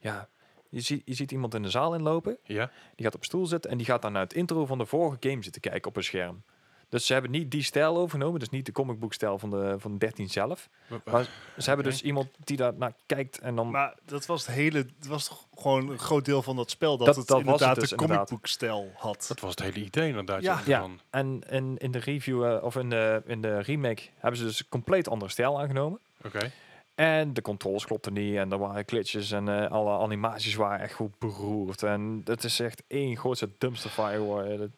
[SPEAKER 3] Ja, je, ziet je ziet iemand in de zaal inlopen.
[SPEAKER 1] Ja?
[SPEAKER 3] Die gaat op een stoel zitten en die gaat dan naar het intro van de vorige game zitten kijken op een scherm. Dus ze hebben niet die stijl overgenomen. Dus niet de comicboekstijl van de van 13 zelf. Maar ze hebben dus iemand die daar naar kijkt en dan.
[SPEAKER 2] Maar dat was het hele, dat was toch gewoon een groot deel van dat spel dat,
[SPEAKER 3] Dat-
[SPEAKER 2] het
[SPEAKER 3] dat was het
[SPEAKER 2] inderdaad
[SPEAKER 3] dus,
[SPEAKER 2] de
[SPEAKER 3] inderdaad.
[SPEAKER 2] comicboekstijl had.
[SPEAKER 1] Dat was het hele idee inderdaad.
[SPEAKER 2] Ja.
[SPEAKER 1] Joh,
[SPEAKER 3] Ja.
[SPEAKER 1] van-
[SPEAKER 3] En in, in de review eh, of in de, in de remake hebben ze dus een compleet andere stijl aangenomen.
[SPEAKER 1] Oké.
[SPEAKER 3] En de controls klopten niet en er waren glitches en eh, alle animaties waren echt goed beroerd. En het is echt één grootste dumpster fire. hoor. Dat-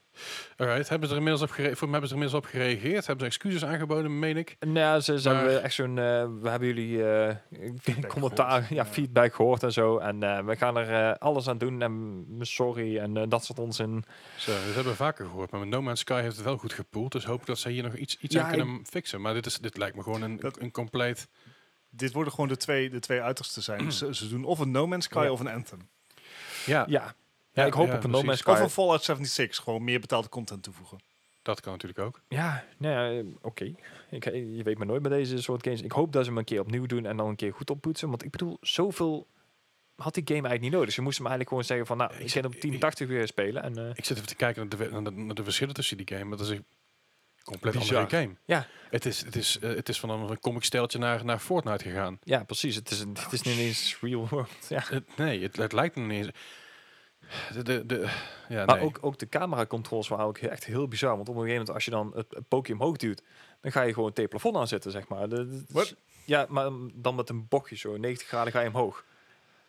[SPEAKER 1] Alright, hebben ze er inmiddels op, gere- voor, hebben ze er inmiddels op gereageerd? Hebben ze excuses aangeboden, meen ik?
[SPEAKER 3] Nou, ja, ze, ze
[SPEAKER 1] Maar-
[SPEAKER 3] hebben echt zo'n. eh, we hebben jullie eh, commentaar,
[SPEAKER 2] gehoord.
[SPEAKER 3] ja, feedback gehoord en zo. En eh, we gaan er eh, alles aan doen. En mm, sorry en eh, dat soort onzin.
[SPEAKER 1] Zo, dat hebben we vaker gehoord. Maar met No Man's Sky heeft het wel goed gepoeld. Dus hoop ik dat ze hier nog iets, iets
[SPEAKER 3] Ja,
[SPEAKER 1] aan kunnen fixen. Maar dit, is, dit lijkt me gewoon een,
[SPEAKER 2] Dat-
[SPEAKER 1] een compleet...
[SPEAKER 2] Dit worden gewoon de twee, de twee uitersten zijn. ze, ze doen of een No Man's Sky
[SPEAKER 3] Hm. Ja.
[SPEAKER 2] of een Anthem.
[SPEAKER 1] Ja,
[SPEAKER 3] Ja, ja, ik hoop
[SPEAKER 1] ja,
[SPEAKER 3] op een No
[SPEAKER 1] precies.
[SPEAKER 3] Man's
[SPEAKER 2] Of
[SPEAKER 3] Sky.
[SPEAKER 2] een Fallout 76, gewoon meer betaalde content toevoegen.
[SPEAKER 1] dat kan natuurlijk ook.
[SPEAKER 3] Ja, nou ja, eh, oké. Ik- eh, Je weet maar nooit bij deze soort games. Ik hoop dat ze hem een keer opnieuw doen en dan een keer goed oppoetsen. Want ik bedoel, zoveel had die game eigenlijk niet nodig. Ze moesten hem eigenlijk gewoon zeggen van, nou, ik
[SPEAKER 1] Ik-
[SPEAKER 3] ga hem op 1080 weer spelen. En, eh,
[SPEAKER 1] Ik zit even te kijken naar de, we- naar de, naar de verschillen tussen die game. maar Dat is een compleet
[SPEAKER 3] Bizar.
[SPEAKER 1] andere game.
[SPEAKER 3] Ja.
[SPEAKER 1] Het is, het is, eh, het is van een comic steltje naar, naar Fortnite gegaan.
[SPEAKER 3] ja, precies. Het is, het is niet eens real world. Ja.
[SPEAKER 1] Het- nee, het, het lijkt me niet eens... De, de, de- ja, Ah,
[SPEAKER 3] Maar
[SPEAKER 1] nee.
[SPEAKER 3] ook, ook de cameracontroles waren ook echt heel bizar. Want op een gegeven moment, als je dan het het pookje omhoog duwt, dan ga je gewoon tegen het plafond aanzetten, zeg maar. De- de-
[SPEAKER 2] Wat?
[SPEAKER 3] Ja, maar dan met een bochtje zo, 90 graden ga je omhoog.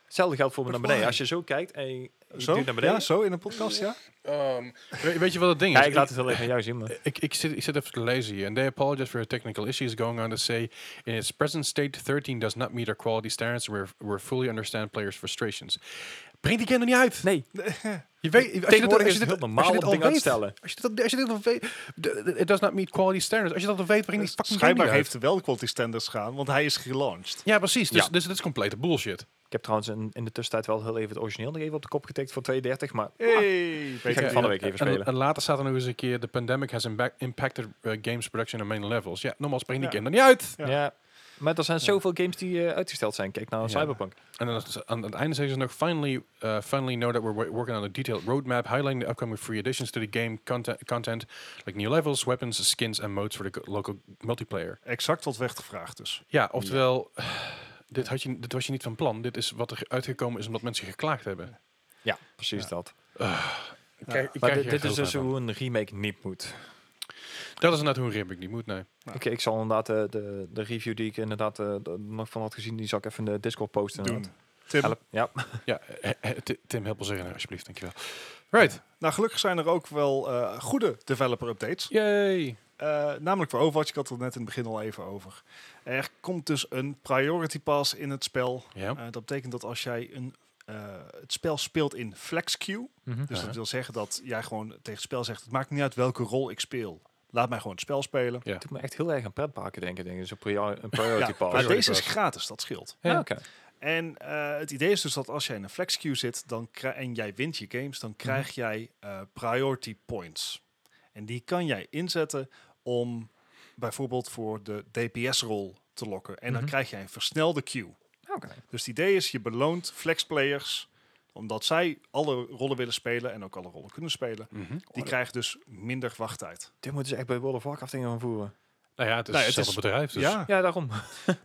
[SPEAKER 3] Hetzelfde geldt voor me
[SPEAKER 2] But
[SPEAKER 3] naar beneden.
[SPEAKER 2] why?
[SPEAKER 3] Als je zo kijkt en je je
[SPEAKER 2] Zo?
[SPEAKER 3] duwt naar beneden...
[SPEAKER 2] Ja, zo in een podcast, ja?
[SPEAKER 1] Ehm, weet, weet je wat het ding
[SPEAKER 3] Ja,
[SPEAKER 1] is?
[SPEAKER 3] ik laat het wel even aan jou zien, maar...
[SPEAKER 1] Ik, ik, zit, ik zit even te lezen hier. And they apologize for technical issues going on to say, in its present state, 13 does not meet our quality standards. We we fully understand players' frustrations. Breng die game er niet uit.
[SPEAKER 3] Nee,
[SPEAKER 1] Je weet, als je dit-
[SPEAKER 3] tegenwoordig
[SPEAKER 1] als
[SPEAKER 3] is
[SPEAKER 1] je dit-
[SPEAKER 3] het heel
[SPEAKER 1] als je
[SPEAKER 3] normaal
[SPEAKER 1] dit
[SPEAKER 3] om
[SPEAKER 1] al
[SPEAKER 3] dingen uit te
[SPEAKER 1] weet,
[SPEAKER 3] stellen.
[SPEAKER 1] als je dat- als je dit al weet, d- d- it does not meet quality standards. Als je dat al weet, breng die fucking game
[SPEAKER 2] Dus Schijnbaar
[SPEAKER 1] niet
[SPEAKER 2] heeft
[SPEAKER 1] uit.
[SPEAKER 2] er wel de quality standards gaan, want hij is gelaunched.
[SPEAKER 1] Ja, precies. Dus,
[SPEAKER 3] Ja.
[SPEAKER 1] dus dit is complete bullshit.
[SPEAKER 3] Ik heb trouwens in, in de tussentijd wel heel even het origineel nog even op de kop getikt voor 2,30, maar
[SPEAKER 2] Hey, weet
[SPEAKER 3] ga
[SPEAKER 2] je
[SPEAKER 3] ik
[SPEAKER 1] Ja,
[SPEAKER 3] van de
[SPEAKER 1] ja.
[SPEAKER 3] week even
[SPEAKER 1] En-
[SPEAKER 3] spelen.
[SPEAKER 1] En later staat er nog eens een keer, the pandemic has imba- impacted eh, games production on main levels. Ja, nogmaals, breng die
[SPEAKER 2] Ja.
[SPEAKER 1] game er niet uit.
[SPEAKER 2] Ja.
[SPEAKER 3] Ja. maar er zijn zoveel games die eh, uitgesteld zijn. Kijk nou
[SPEAKER 1] Ja.
[SPEAKER 3] Cyberpunk.
[SPEAKER 1] En dan is- aan het einde zeggen ze nog, finally, uh, finally know that we're wo- working on a detailed roadmap highlighting the upcoming free additions to the game content, content like new levels, weapons, skins en modes for the go- local multiplayer.
[SPEAKER 2] Exact wat weggevraagd dus.
[SPEAKER 1] Ja, oftewel, dit, had je, dit was je niet van plan. Dit is wat er uitgekomen is omdat mensen geklaagd hebben.
[SPEAKER 3] Ja, precies dat.
[SPEAKER 1] Ik krijg- ik
[SPEAKER 3] Maar
[SPEAKER 1] krijg
[SPEAKER 3] dit,
[SPEAKER 1] hier
[SPEAKER 3] dit
[SPEAKER 1] heel
[SPEAKER 3] is dus
[SPEAKER 1] veel
[SPEAKER 3] hoe een remake niet moet.
[SPEAKER 1] van. Dat is inderdaad hoe een remake niet moet, nee.
[SPEAKER 2] Ja.
[SPEAKER 3] Ik, ik zal inderdaad eh, de, de review die ik inderdaad eh, d- nog van had gezien, die zal ik even in de Discord posten.
[SPEAKER 2] Doen.
[SPEAKER 3] inderdaad.
[SPEAKER 2] Tim,
[SPEAKER 3] Help. Ja,
[SPEAKER 1] Ja, eh, eh, Ti- Tim, help ons erin, alsjeblieft, dankjewel. Right,
[SPEAKER 2] nou gelukkig zijn er ook wel eh, goede developer updates.
[SPEAKER 1] yay!
[SPEAKER 2] Eh, namelijk voor Overwatch, ik had het er net in het begin al even over. Er komt dus een priority pass in het spel.
[SPEAKER 1] Ja,
[SPEAKER 2] Eh, dat betekent dat als jij een, eh, het spel speelt in flex queue, Dus
[SPEAKER 1] Ja.
[SPEAKER 2] dat wil zeggen dat jij gewoon tegen het spel zegt: het maakt niet uit welke rol ik speel. Laat mij gewoon het spel spelen.
[SPEAKER 1] Ja.
[SPEAKER 3] het doet me echt heel erg aan pretparken denken, denk ik. Zo'n prior- een priority pass.
[SPEAKER 2] maar
[SPEAKER 1] Priority
[SPEAKER 2] deze is
[SPEAKER 1] pass.
[SPEAKER 2] gratis, dat scheelt.
[SPEAKER 3] Ja,
[SPEAKER 1] Ja.
[SPEAKER 3] oké.
[SPEAKER 2] En eh, het idee is dus dat als jij in een flex queue zit dan krij- en jij wint je games, dan
[SPEAKER 1] Mhm.
[SPEAKER 2] krijg jij eh, priority points. En die kan jij inzetten om bijvoorbeeld voor de DPS-rol te lokken. En dan
[SPEAKER 3] Mhm.
[SPEAKER 2] krijg jij een versnelde queue.
[SPEAKER 3] Ah, Oké.
[SPEAKER 2] Dus het idee is, je beloont flexplayers omdat zij alle rollen willen spelen en ook alle rollen kunnen spelen.
[SPEAKER 1] Mhm.
[SPEAKER 2] Die krijgen dus minder wachttijd.
[SPEAKER 3] Dit moeten ze echt bij World of Warcraft dingen gaan voeren.
[SPEAKER 1] Nou ja, het is
[SPEAKER 2] Nou, het
[SPEAKER 1] hetzelfde
[SPEAKER 2] is-
[SPEAKER 1] bedrijf, dus
[SPEAKER 2] ja,
[SPEAKER 3] Ja, daarom.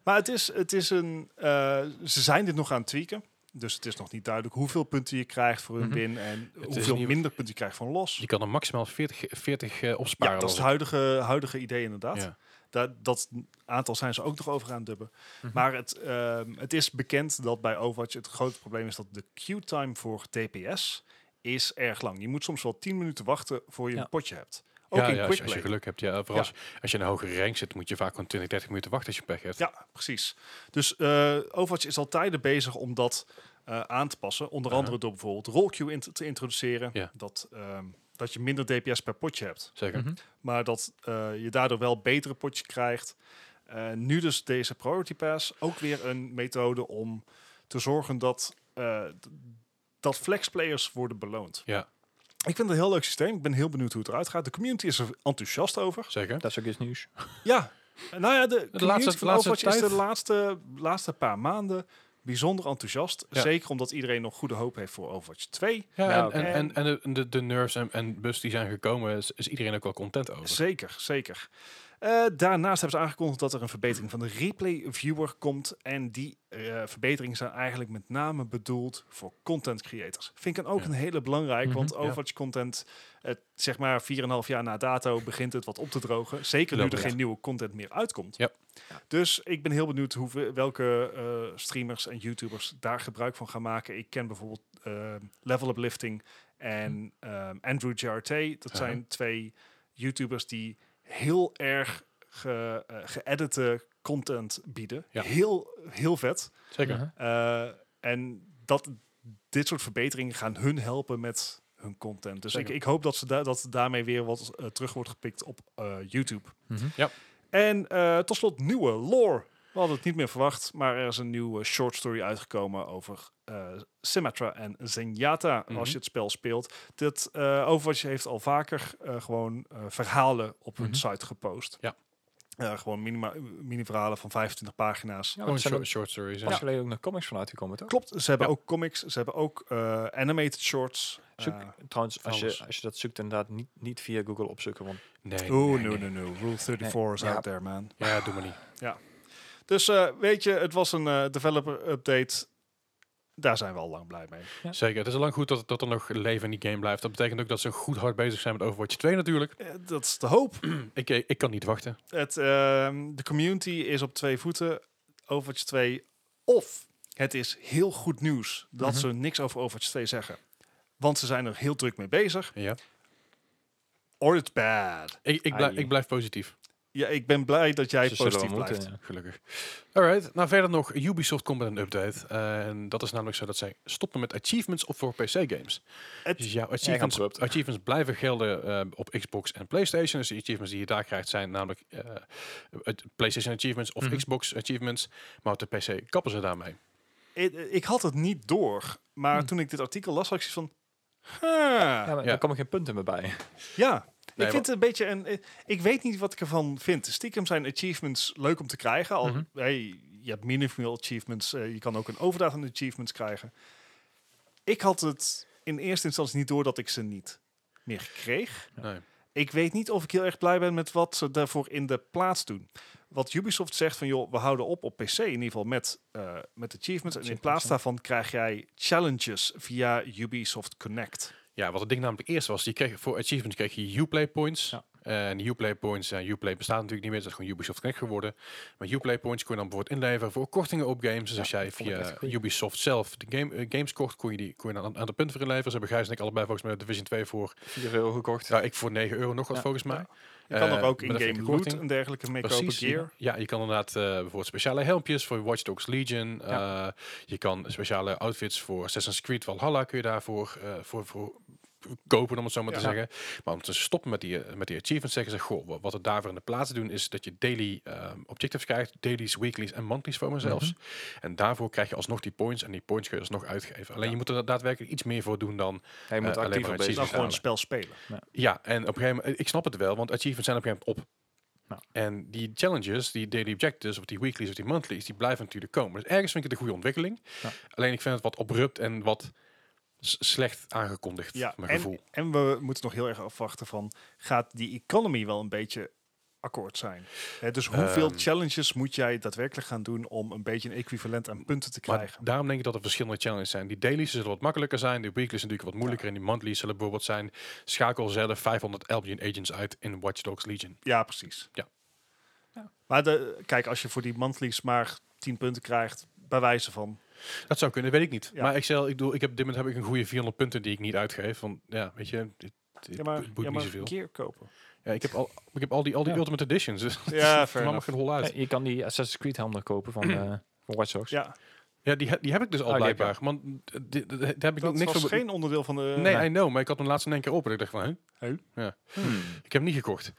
[SPEAKER 2] Maar het is, het is een. eh, ze zijn dit nog aan het tweaken. Dus het is nog niet duidelijk hoeveel punten je krijgt voor een
[SPEAKER 3] Mhm.
[SPEAKER 2] win en
[SPEAKER 1] is
[SPEAKER 2] hoeveel
[SPEAKER 1] niet-
[SPEAKER 2] minder punten je krijgt van los.
[SPEAKER 1] Je kan er maximaal 40, 40 eh, opsparen.
[SPEAKER 2] Ja, dat is het
[SPEAKER 1] als
[SPEAKER 2] huidige, huidige idee inderdaad.
[SPEAKER 1] het-
[SPEAKER 2] Daar, dat aantal zijn ze ook nog over aan het dubben. Maar het, ehm, het is bekend dat bij Overwatch het grote probleem is dat de queue time voor DPS is erg lang. Je moet soms wel 10 minuten wachten voor je
[SPEAKER 3] Ja.
[SPEAKER 2] een potje hebt. Ook
[SPEAKER 1] Ja, ja
[SPEAKER 2] in
[SPEAKER 1] als, je, als je
[SPEAKER 2] quickplay.
[SPEAKER 1] geluk hebt. Ja, vooral Als, als je in een hoge rank zit, moet je vaak gewoon 20, 30 minuten wachten als je pech hebt.
[SPEAKER 2] Ja, precies. Dus eh, Overwatch is al tijden bezig om dat eh, aan te passen. Onder
[SPEAKER 1] Aha.
[SPEAKER 2] andere door bijvoorbeeld rollqueue in te, te introduceren.
[SPEAKER 1] Ja.
[SPEAKER 2] Dat, ehm, dat je minder DPS per potje hebt.
[SPEAKER 1] Zeker.
[SPEAKER 3] Mhm.
[SPEAKER 2] Maar dat eh, je daardoor wel betere potjes krijgt. Eh, nu dus deze Priority Pass. Ook weer een methode om te zorgen dat, eh, d- dat flexplayers worden beloond.
[SPEAKER 1] Ja,
[SPEAKER 2] Ik vind het een heel leuk systeem. Ik ben heel benieuwd hoe het eruit gaat. De community is er enthousiast over.
[SPEAKER 1] zeker.
[SPEAKER 3] Dat is ook iets nieuws.
[SPEAKER 2] Ja, nou ja, de, community
[SPEAKER 1] laatste-
[SPEAKER 2] van
[SPEAKER 1] laatste
[SPEAKER 2] Overwatch is
[SPEAKER 1] tijd-
[SPEAKER 2] de laatste, laatste paar maanden bijzonder enthousiast.
[SPEAKER 1] Ja.
[SPEAKER 2] Zeker omdat iedereen nog goede hoop heeft voor Overwatch 2.
[SPEAKER 1] Ja,
[SPEAKER 3] Ja,
[SPEAKER 1] en,
[SPEAKER 3] oké.
[SPEAKER 1] en, en, en de, de, de nerfs en, en bus die zijn gekomen, is, is iedereen ook wel content over.
[SPEAKER 2] Zeker, zeker. Eh, daarnaast hebben ze aangekondigd dat er een verbetering van de replay viewer komt. En die eh, verbeteringen zijn eigenlijk met name bedoeld voor content creators. Vind ik dan ook
[SPEAKER 1] Ja.
[SPEAKER 2] een hele belangrijk, want
[SPEAKER 1] Mhm, ja.
[SPEAKER 2] Overwatch content, eh, zeg maar 4,5 jaar na dato, begint het wat op te drogen. Zeker nu
[SPEAKER 1] Klopt,
[SPEAKER 2] er
[SPEAKER 1] ja.
[SPEAKER 2] geen nieuwe content meer uitkomt.
[SPEAKER 1] Ja.
[SPEAKER 2] Dus ik ben heel benieuwd hoe, welke eh, streamers en YouTubers daar gebruik van gaan maken. Ik ken bijvoorbeeld eh, Level Uplifting en
[SPEAKER 1] Mhm.
[SPEAKER 2] ehm, Andrew JRT. Dat
[SPEAKER 1] Aha.
[SPEAKER 2] zijn twee YouTubers die heel erg ge, eh, geëdite content bieden.
[SPEAKER 1] Ja.
[SPEAKER 2] Heel, heel vet.
[SPEAKER 1] Zeker.
[SPEAKER 3] Mhm.
[SPEAKER 2] Eh, en dat, dit soort verbeteringen gaan hun helpen met hun content. Dus ik,
[SPEAKER 1] Zeker.
[SPEAKER 2] ik hoop dat, ze da dat daarmee weer wat eh, terug wordt gepikt op eh, YouTube.
[SPEAKER 3] Mhm.
[SPEAKER 2] En eh, tot slot nieuwe lore. We hadden het niet meer verwacht, maar er is een nieuwe short story uitgekomen over eh Symmetra en Zenyatta
[SPEAKER 1] Mhm.
[SPEAKER 2] als je het spel speelt. Dit eh Overwatch heeft al vaker eh, gewoon eh, verhalen op hun
[SPEAKER 3] Mhm.
[SPEAKER 2] site gepost.
[SPEAKER 1] Ja.
[SPEAKER 2] Eh, gewoon minima- mini-verhalen van 25 pagina's.
[SPEAKER 3] Ja,
[SPEAKER 1] Gewoon
[SPEAKER 3] want er zijn
[SPEAKER 1] short, short
[SPEAKER 3] ook
[SPEAKER 1] stories.
[SPEAKER 3] pas
[SPEAKER 1] Ja.
[SPEAKER 3] geleden ook nog comics van uitgekomen, toch?
[SPEAKER 2] Klopt, ze hebben
[SPEAKER 1] Ja.
[SPEAKER 2] ook comics, ze hebben ook eh, animated shorts.
[SPEAKER 3] Zoek,
[SPEAKER 2] Eh,
[SPEAKER 3] trouwens, als
[SPEAKER 1] alles.
[SPEAKER 3] je, als je dat zoekt, inderdaad niet, niet via Google opzoeken. Want
[SPEAKER 1] Nee,
[SPEAKER 2] Oeh,
[SPEAKER 1] nee,
[SPEAKER 2] no,
[SPEAKER 1] nee.
[SPEAKER 2] no, no. Rule 34 is
[SPEAKER 3] Ja.
[SPEAKER 2] out there, man.
[SPEAKER 1] Ja, doe maar niet.
[SPEAKER 2] Dus eh, weet je, het was een eh, developer update. Daar zijn we al lang blij mee.
[SPEAKER 1] Zeker. Het is al lang goed dat, dat er nog leven in die game blijft. Dat betekent ook dat ze goed hard bezig zijn met Overwatch 2 natuurlijk.
[SPEAKER 2] Eh, dat is de hoop.
[SPEAKER 1] Ik, eh, ik kan niet wachten.
[SPEAKER 2] Het, ehm, de community is op twee voeten. Overwatch 2 of het is heel goed nieuws dat
[SPEAKER 3] Mhm.
[SPEAKER 2] ze niks over Overwatch 2 zeggen. Want ze zijn er heel druk mee bezig.
[SPEAKER 1] Ja.
[SPEAKER 2] Or it's bad.
[SPEAKER 1] Ik, ik, blijf,
[SPEAKER 3] Ai.
[SPEAKER 1] ik blijf positief.
[SPEAKER 2] Ja, ik ben blij dat jij
[SPEAKER 3] ze zullen wel
[SPEAKER 2] positief blijft.
[SPEAKER 3] moeten, ja.
[SPEAKER 1] Gelukkig. Alright. Nou, verder nog. Ubisoft komt met een update. Eh, en dat is namelijk zo dat zij stoppen met achievements op voor PC-games.
[SPEAKER 2] Het-
[SPEAKER 1] Dus jouw
[SPEAKER 3] gaan
[SPEAKER 1] achievements,
[SPEAKER 3] corrupt.
[SPEAKER 1] achievements blijven gelden eh, op Xbox en PlayStation. Dus de achievements die je daar krijgt zijn namelijk eh, het PlayStation achievements of
[SPEAKER 3] Mhm.
[SPEAKER 1] Xbox achievements. Maar op de PC kappen ze daarmee.
[SPEAKER 2] Ik, ik had het niet door. Maar
[SPEAKER 3] Hmm.
[SPEAKER 2] toen ik dit artikel las, was ik van... huh,
[SPEAKER 3] ja,
[SPEAKER 2] Ja,
[SPEAKER 3] maar
[SPEAKER 1] Ja.
[SPEAKER 3] daar komen geen punten meer bij.
[SPEAKER 1] Nee,
[SPEAKER 2] ik vind het een beetje een... eh, Ik weet niet wat ik ervan vind. Stiekem zijn achievements leuk om te krijgen. Al,
[SPEAKER 3] Mhm.
[SPEAKER 2] hey, je hebt minimaal achievements. eh, je kan ook een overdaad aan achievements krijgen. Ik had het in eerste instantie niet door dat ik ze niet meer kreeg.
[SPEAKER 1] Nee.
[SPEAKER 2] Ik weet niet of ik heel erg blij ben met wat ze daarvoor in de plaats doen. Wat Ubisoft zegt van joh, we houden op op PC in ieder geval met, eh, met achievements. En in
[SPEAKER 3] Achievements,
[SPEAKER 2] plaats
[SPEAKER 3] ja.
[SPEAKER 2] daarvan krijg jij challenges via Ubisoft Connect.
[SPEAKER 1] Ja, wat het ding namelijk eerst was, je kreeg, voor achievements kreeg je Uplay points.
[SPEAKER 3] Ja.
[SPEAKER 1] En die Uplay points, en Uplay bestaat natuurlijk niet meer, dat is gewoon Ubisoft Connect geworden. Maar Uplay points kon je dan bijvoorbeeld inleveren voor kortingen op games. Dus als jij
[SPEAKER 3] dat vond ik echt
[SPEAKER 1] via
[SPEAKER 3] een goeie.
[SPEAKER 1] Ubisoft zelf de game, eh, games kocht, kon je, die, kon je dan aan, aan de punten voor inleveren. Ze hebben Gijs en ik allebei volgens mij Division 2 voor,
[SPEAKER 3] 4 euro gekocht.
[SPEAKER 1] ja, ik voor 9 euro nog wat
[SPEAKER 3] Ja.
[SPEAKER 1] volgens mij.
[SPEAKER 2] Je kan
[SPEAKER 1] Eh,
[SPEAKER 2] er ook
[SPEAKER 1] met een flinke
[SPEAKER 2] in-game loot
[SPEAKER 1] korting.
[SPEAKER 2] en dergelijke mee kopen. Gear.
[SPEAKER 1] Ja, je kan inderdaad eh, bijvoorbeeld speciale helmpjes voor Watch Dogs Legion. eh, je kan speciale outfits voor Assassin's Creed Valhalla kun je daarvoor eh, voor, voor kopen, om het zo maar te
[SPEAKER 3] Ja.
[SPEAKER 1] zeggen. Maar om te stoppen met die, eh, met die achievements zeggen ze, goh, wa- wat we daarvoor in de plaats doen is dat je daily ehm, objectives krijgt, dailies, weeklies en monthlies voor mezelf.
[SPEAKER 2] Mhm.
[SPEAKER 1] En daarvoor krijg je alsnog die points en die points kun je alsnog uitgeven. Alleen je moet er daadwerkelijk iets meer voor doen dan
[SPEAKER 3] Hij
[SPEAKER 1] Eh,
[SPEAKER 3] moet
[SPEAKER 1] alleen
[SPEAKER 3] actief
[SPEAKER 1] maar
[SPEAKER 3] op
[SPEAKER 1] het
[SPEAKER 3] bezig
[SPEAKER 2] Dan
[SPEAKER 1] cheaten.
[SPEAKER 3] zijn.
[SPEAKER 2] gewoon
[SPEAKER 1] halen.
[SPEAKER 2] het spel spelen.
[SPEAKER 1] ja, en op een gegeven moment, ik snap het wel, want achievements zijn op een gegeven moment op.
[SPEAKER 3] Ja.
[SPEAKER 2] Nou.
[SPEAKER 1] En die challenges, die daily objectives, of die weeklies, of die monthlies, die blijven natuurlijk komen. Dus ergens vind ik het een goede ontwikkeling.
[SPEAKER 3] Ja.
[SPEAKER 1] Alleen ik vind het wat abrupt en wat s- slecht aangekondigd,
[SPEAKER 2] Ja,
[SPEAKER 1] mijn
[SPEAKER 2] en,
[SPEAKER 1] gevoel.
[SPEAKER 2] en we moeten nog heel erg afwachten van... gaat die economy wel een beetje akkoord zijn. Hè, dus hoeveel
[SPEAKER 1] Ehm.
[SPEAKER 2] challenges moet jij daadwerkelijk gaan doen om een beetje een equivalent aan punten te
[SPEAKER 1] Maar
[SPEAKER 2] krijgen?
[SPEAKER 1] daarom denk ik dat er verschillende challenges zijn. Die dailies zullen wat makkelijker zijn, die weeklies natuurlijk wat moeilijker en die monthlies zullen bijvoorbeeld zijn. Schakel zelf 500 Albion agents uit in Watch Dogs Legion.
[SPEAKER 2] Ja, precies.
[SPEAKER 1] Ja.
[SPEAKER 3] Ja.
[SPEAKER 2] Maar de, kijk, als je voor die monthlies maar 10 punten krijgt, bij wijze van.
[SPEAKER 1] Dat zou kunnen, weet ik niet.
[SPEAKER 2] Ja.
[SPEAKER 1] Maar ik, stel, ik, doe, ik heb op dit moment heb ik een goede 400 punten die ik niet uitgeef. Want ja, weet je, dit, dit
[SPEAKER 2] Ja, maar,
[SPEAKER 1] boeit
[SPEAKER 2] ja,
[SPEAKER 1] niet
[SPEAKER 2] maar
[SPEAKER 1] zoveel.
[SPEAKER 2] gear kopen.
[SPEAKER 1] Ja, ik, heb al, ik heb al die, al die
[SPEAKER 3] Ja.
[SPEAKER 1] Ultimate Editions, dus
[SPEAKER 2] Ja,
[SPEAKER 1] dat
[SPEAKER 2] fair
[SPEAKER 1] mag
[SPEAKER 2] enough.
[SPEAKER 1] geen hol uit.
[SPEAKER 3] Eh, je kan die Assassin's Creed helm nog kopen van, eh van Watch Dogs.
[SPEAKER 2] Ja,
[SPEAKER 1] Ja, die, he- die heb ik dus al
[SPEAKER 3] Oh, die heb je
[SPEAKER 1] blijkbaar. Want eh, di- di- daar heb ik
[SPEAKER 2] dat
[SPEAKER 1] niks
[SPEAKER 2] was
[SPEAKER 1] van... be-
[SPEAKER 2] geen eh, onderdeel van de... Ah,
[SPEAKER 1] Nee, I know, maar ik had hem laatst in één keer open. Ik dacht van, hè?
[SPEAKER 3] Hmm.
[SPEAKER 1] Ik heb hem niet gekocht.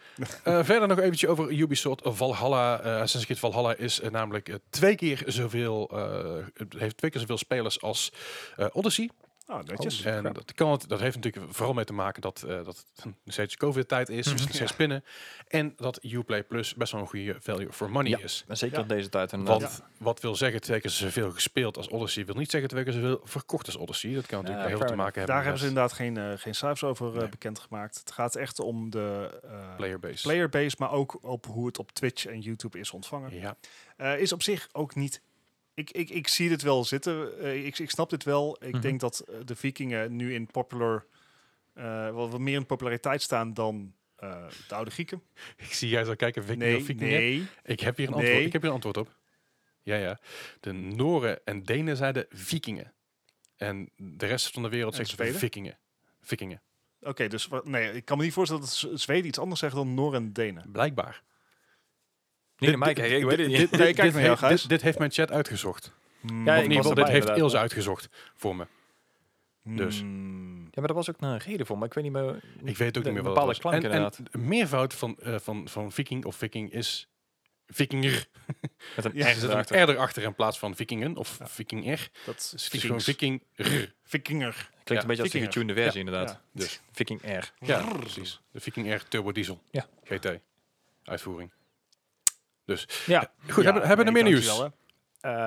[SPEAKER 1] Eh, verder nog eventjes over Ubisoft Valhalla. eh Assassin's Creed Valhalla is eh, namelijk eh, twee keer zoveel, eh, het heeft twee keer zoveel spelers als eh, Odyssey.
[SPEAKER 2] Nou, netjes.
[SPEAKER 1] en dat, kan, het- dat heeft natuurlijk vooral mee te maken dat, eh, dat het nog steeds COVID-tijd is,
[SPEAKER 3] Mhm.
[SPEAKER 1] dus nog steeds pinnen. En dat Uplay Plus best wel een goede value for money
[SPEAKER 3] Ja.
[SPEAKER 1] is.
[SPEAKER 3] En eh, zeker
[SPEAKER 2] Ja.
[SPEAKER 3] in deze tijd.
[SPEAKER 1] Want
[SPEAKER 3] inderdaad.
[SPEAKER 1] wat wil zeggen, twee keer zoveel gespeeld als Odyssey, wil niet zeggen twee keer zoveel verkocht als Odyssey. Dat kan natuurlijk
[SPEAKER 3] Ja,
[SPEAKER 1] heel veel te
[SPEAKER 3] fair
[SPEAKER 1] maken hebben
[SPEAKER 2] Daar hebben ze
[SPEAKER 1] met
[SPEAKER 2] inderdaad geen, eh, geen cijfers over eh,
[SPEAKER 1] Nee.
[SPEAKER 2] bekendgemaakt. Het gaat echt om de eh,
[SPEAKER 1] playerbase.
[SPEAKER 2] playerbase, maar ook op hoe het op Twitch en YouTube is ontvangen.
[SPEAKER 1] Ja.
[SPEAKER 2] Eh, is op zich ook niet... Ik, ik, ik zie dit wel zitten. Eh, ik, ik snap dit wel. Ik
[SPEAKER 3] Mhm.
[SPEAKER 2] denk dat eh, de vikingen nu in popular... eh wat, wat meer in populariteit staan dan eh, de oude Grieken.
[SPEAKER 1] Ik zie jij zo kijken, Viking of Viking.
[SPEAKER 2] nee.
[SPEAKER 1] Ik heb hier een
[SPEAKER 2] Nee.
[SPEAKER 1] antwoord. Ik heb hier een antwoord op. Ja, ja. De Noren en Denen zeiden vikingen. En de rest van de wereld
[SPEAKER 2] En
[SPEAKER 1] zegt
[SPEAKER 2] Zweden?
[SPEAKER 1] vikingen. Vikingen.
[SPEAKER 2] Oké, dus wa- nee, ik kan me niet voorstellen dat Z- Zweden iets anders zeggen dan Noor en Denen.
[SPEAKER 1] Blijkbaar.
[SPEAKER 3] Niet naar mij kijken, ik weet het niet.
[SPEAKER 2] dit- Nee, kijk naar jou,
[SPEAKER 1] heeft,
[SPEAKER 2] Gijs.
[SPEAKER 1] dit, dit heeft mijn chat uitgezocht.
[SPEAKER 3] Ja,
[SPEAKER 1] Of
[SPEAKER 3] ik
[SPEAKER 1] in ieder
[SPEAKER 3] was
[SPEAKER 1] geval,
[SPEAKER 3] erbij,
[SPEAKER 1] dit heeft
[SPEAKER 3] inderdaad.
[SPEAKER 1] Ilse uitgezocht voor me. dus.
[SPEAKER 2] Hmm.
[SPEAKER 3] Ja, maar daar was ook een reden voor, maar ik weet niet meer...
[SPEAKER 1] Ik weet ook
[SPEAKER 3] De
[SPEAKER 1] niet meer wat
[SPEAKER 3] bepaalde
[SPEAKER 1] het was. En-
[SPEAKER 3] klank
[SPEAKER 1] en, de meervoud van, eh, van, van viking of viking is vikinger.
[SPEAKER 3] Met een
[SPEAKER 2] Ja,
[SPEAKER 1] Er
[SPEAKER 3] R
[SPEAKER 1] zit
[SPEAKER 3] erachter.
[SPEAKER 1] een R erachter in plaats van vikingen of
[SPEAKER 2] Ja.
[SPEAKER 1] vikinger.
[SPEAKER 2] Dat
[SPEAKER 1] Dus het is gewoon viking.
[SPEAKER 2] Vikinger.
[SPEAKER 3] Klinkt een beetje als de
[SPEAKER 2] Vikinger.
[SPEAKER 3] getunede versie, inderdaad.
[SPEAKER 2] ja.
[SPEAKER 3] Dus Viking R.
[SPEAKER 1] Ja, precies. De Viking R Turbo Diesel.
[SPEAKER 3] Ja.
[SPEAKER 1] GT. Uitvoering. Dus
[SPEAKER 3] Ja.
[SPEAKER 1] goed,
[SPEAKER 2] Ja,
[SPEAKER 1] hebben, hebben we
[SPEAKER 2] nee,
[SPEAKER 1] er meer nieuws?
[SPEAKER 2] dankjewel, hè.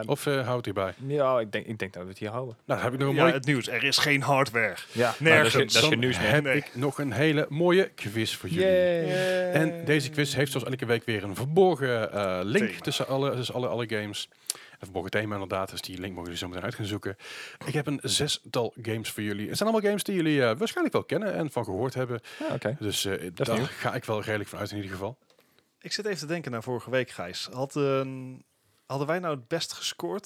[SPEAKER 1] Of eh houdt hierbij?
[SPEAKER 3] Ehm, ja, ik denk, ik denk dat we het hier houden.
[SPEAKER 1] Nou, dan heb ik nog een
[SPEAKER 2] Ja,
[SPEAKER 1] mooie,
[SPEAKER 2] het nieuws. Er is geen hardware.
[SPEAKER 3] Ja,
[SPEAKER 2] Nergens.
[SPEAKER 3] maar Dat is, geen- dat is geen
[SPEAKER 1] dan
[SPEAKER 3] nieuws meer.
[SPEAKER 1] heb
[SPEAKER 2] Nee.
[SPEAKER 1] ik nog een hele mooie quiz voor jullie. En deze quiz heeft zoals elke week weer een verborgen eh, link
[SPEAKER 2] Thema.
[SPEAKER 1] tussen alle, tussen alle, alle games. Een verborgen thema inderdaad, dus die link mogen jullie zo meteen uit gaan zoeken. Ik heb een zestal games voor jullie. Het zijn allemaal games die jullie eh, waarschijnlijk wel kennen en van gehoord hebben.
[SPEAKER 3] Ja, Ah, Oké.
[SPEAKER 1] Dus eh
[SPEAKER 3] is nieuw.
[SPEAKER 1] daar ga ik wel redelijk van uit in ieder geval.
[SPEAKER 2] Ik zit even te denken naar vorige week, Gijs. Had, een- hadden wij nou het best gescoord?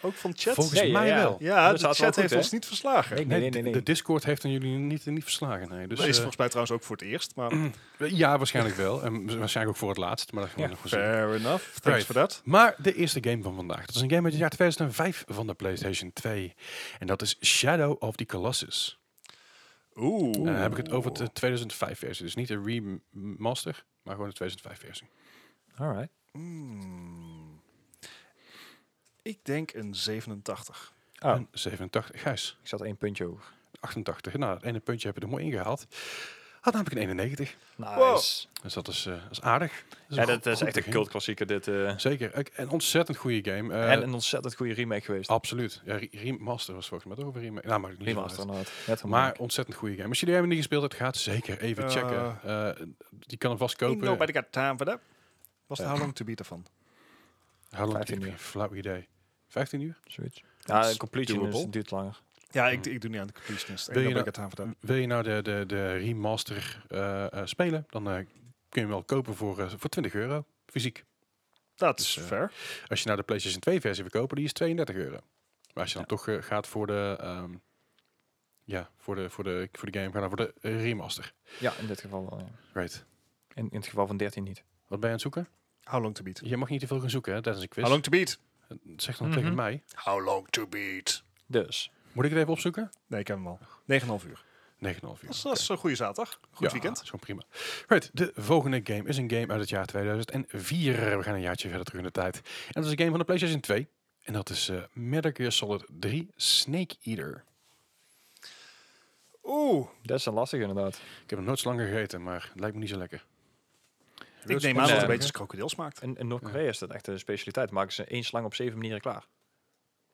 [SPEAKER 2] Ook van chat?
[SPEAKER 1] Volgens
[SPEAKER 3] Nee,
[SPEAKER 1] mij
[SPEAKER 3] ja, ja.
[SPEAKER 1] wel.
[SPEAKER 2] ja,
[SPEAKER 3] We zaten
[SPEAKER 2] de chat
[SPEAKER 3] wel goed,
[SPEAKER 2] heeft
[SPEAKER 3] hè?
[SPEAKER 2] ons niet verslagen.
[SPEAKER 3] Nee,
[SPEAKER 2] Dat
[SPEAKER 3] nee, nee,
[SPEAKER 1] de-
[SPEAKER 3] nee. nee.
[SPEAKER 1] De Discord heeft jullie niet, niet verslagen. Nee. Dus,
[SPEAKER 2] is
[SPEAKER 1] eh,
[SPEAKER 2] volgens mij trouwens ook voor het eerst. Maar
[SPEAKER 1] ja, waarschijnlijk wel. En wa- waarschijnlijk ook voor het laatst. Maar dat gaan we
[SPEAKER 3] Ja.
[SPEAKER 1] nog wel zien.
[SPEAKER 2] fair enough. Thanks
[SPEAKER 1] Right.
[SPEAKER 2] voor dat.
[SPEAKER 1] Maar de eerste game van vandaag. Dat is een game uit het jaar 2005 van de PlayStation 2. En dat is Shadow of the Colossus.
[SPEAKER 2] Oeh.
[SPEAKER 1] En dan Eh, heb ik het over de 2005 versie. Dus niet de remaster, maar gewoon de 2005 versie.
[SPEAKER 3] Alright.
[SPEAKER 2] Hmm. Ik denk een 87.
[SPEAKER 3] Oh,
[SPEAKER 1] En 87, Gijs.
[SPEAKER 3] ik zat één puntje over.
[SPEAKER 1] 88. Nou, het ene puntje heb je er mooi ingehaald. Ah, Had namelijk een 91.
[SPEAKER 3] Nice.
[SPEAKER 1] Dus dat is, eh, dat is aardig. Dat is
[SPEAKER 3] Ja,
[SPEAKER 1] een
[SPEAKER 3] dat
[SPEAKER 1] goed-
[SPEAKER 3] is
[SPEAKER 1] goed
[SPEAKER 3] echt een
[SPEAKER 1] begin.
[SPEAKER 3] cult klassieker dit. eh.
[SPEAKER 1] Zeker. Ik- Een ontzettend goede game. Eh,
[SPEAKER 3] en een ontzettend goede remake geweest.
[SPEAKER 1] Absoluut. Ja, re- Remaster was volgens mij toch over remake. Nou, maar niet zoveel
[SPEAKER 3] Remaster
[SPEAKER 1] uit.
[SPEAKER 3] inderdaad. Net een
[SPEAKER 1] Maar
[SPEAKER 3] remake.
[SPEAKER 1] ontzettend goede game. Als jullie hem niet gespeeld hebt, gaat zeker even
[SPEAKER 2] Eh.
[SPEAKER 1] checken. Eh, die kan hem vast
[SPEAKER 2] Ain't
[SPEAKER 1] kopen.
[SPEAKER 2] nobody got time for that. Was de
[SPEAKER 1] Eh.
[SPEAKER 2] How Long To Beat ervan?
[SPEAKER 1] How long
[SPEAKER 3] 15
[SPEAKER 1] 15 uur.
[SPEAKER 3] uur.
[SPEAKER 1] Flauw idee. 15 uur?
[SPEAKER 3] Zoiets. Ja,
[SPEAKER 2] is
[SPEAKER 3] een completion is,
[SPEAKER 2] doable.
[SPEAKER 3] duurt langer.
[SPEAKER 2] Ja, ik, ik doe niet aan de completionist. Ain't
[SPEAKER 1] Hmm. Wil je
[SPEAKER 2] nobody got time for that.
[SPEAKER 1] Wil je nou de, de, de remaster eh, eh, spelen, dan eh, kun je hem wel kopen voor, eh, voor 20 euro. Fysiek.
[SPEAKER 2] Dat
[SPEAKER 1] Dus,
[SPEAKER 2] is
[SPEAKER 1] eh,
[SPEAKER 2] fair.
[SPEAKER 1] Als je nou de PlayStation 2 versie wil kopen, die is 32 euro. Maar als je dan toch eh, gaat voor de... ehm, ja, voor de, voor, de, voor de game, ga dan voor de eh, remaster.
[SPEAKER 3] Ja, in dit geval wel. ja.
[SPEAKER 1] Right.
[SPEAKER 3] In, in het geval van 13 niet.
[SPEAKER 1] Wat ben je aan het zoeken?
[SPEAKER 2] How Long To Beat.
[SPEAKER 1] Je mag niet te veel gaan zoeken, hè? Dat is een quiz.
[SPEAKER 2] How Long To Beat.
[SPEAKER 1] Zeg dan
[SPEAKER 3] Mhm.
[SPEAKER 1] tegen mij.
[SPEAKER 2] How Long To Beat.
[SPEAKER 3] Dus.
[SPEAKER 1] Moet ik het even opzoeken? 9,5
[SPEAKER 2] Nee, ik heb hem al. 9,5 uur.
[SPEAKER 1] uur.
[SPEAKER 2] Dat is,
[SPEAKER 1] Oké.
[SPEAKER 2] dat is een goede zaterdag. Goed
[SPEAKER 1] Ja,
[SPEAKER 2] weekend.
[SPEAKER 1] Zo prima. Right, de volgende game is een game uit het jaar 2004. We gaan een jaartje verder terug in de tijd. En dat is een game van de PlayStation 2. En dat is eh Metal Gear Solid 3 Snake Eater.
[SPEAKER 2] Oeh,
[SPEAKER 3] Dat is een lastige inderdaad.
[SPEAKER 1] Ik heb hem nooit zo lang gegeten, maar het lijkt me niet zo lekker.
[SPEAKER 2] ik neem aan
[SPEAKER 3] spannend.
[SPEAKER 2] dat het
[SPEAKER 3] Eh,
[SPEAKER 2] een beetje krokodil smaakt.
[SPEAKER 3] In, in Noord-Korea is dat echt een specialiteit. Maken ze één slang op zeven manieren klaar.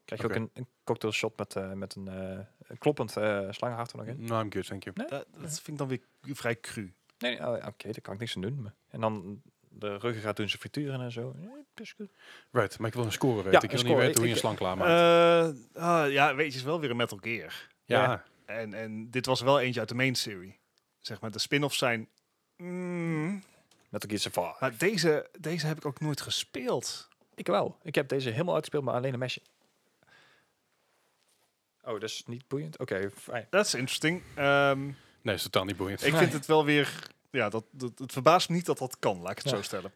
[SPEAKER 3] Krijg je
[SPEAKER 1] Oké.
[SPEAKER 3] ook een, een cocktail shot met, eh, met een eh, een kloppend eh slangenhart er nog in.
[SPEAKER 1] Nou,
[SPEAKER 2] Eh,
[SPEAKER 1] I'm good, thank you.
[SPEAKER 2] Dat, dat vind ik dan weer vrij cru.
[SPEAKER 3] ah, Nee, nee, oh ja, oké, daar kan ik niks aan doen. maar- En dan de ruggen gaat doen ze frituren en zo. Eh, best goed.
[SPEAKER 1] Right, maar ik wil een score weten.
[SPEAKER 3] Ja,
[SPEAKER 1] ik
[SPEAKER 3] een
[SPEAKER 1] wil niet
[SPEAKER 3] score.
[SPEAKER 1] weten hoe je
[SPEAKER 3] Ik-
[SPEAKER 1] een slang klaarmaakt.
[SPEAKER 2] Eh, ah, ja, weet je, het is wel weer een Metal Gear.
[SPEAKER 1] ja.
[SPEAKER 2] En, en dit was wel eentje uit de main serie. Zeg maar, de spin-offs zijn... mm,
[SPEAKER 3] Met een keer Survive.
[SPEAKER 2] maar deze, deze heb ik ook nooit gespeeld.
[SPEAKER 3] Ik wel. Ik heb deze helemaal uitgespeeld, maar alleen een mesje. Oh, dat is niet boeiend? Oké, fijn.
[SPEAKER 2] Dat is interesting. Ehm,
[SPEAKER 1] Nee, is totaal niet boeiend.
[SPEAKER 2] ik vind het wel weer... Ja, dat, dat, het verbaast me niet dat dat kan, laat ik het
[SPEAKER 3] Ja.
[SPEAKER 2] zo stellen.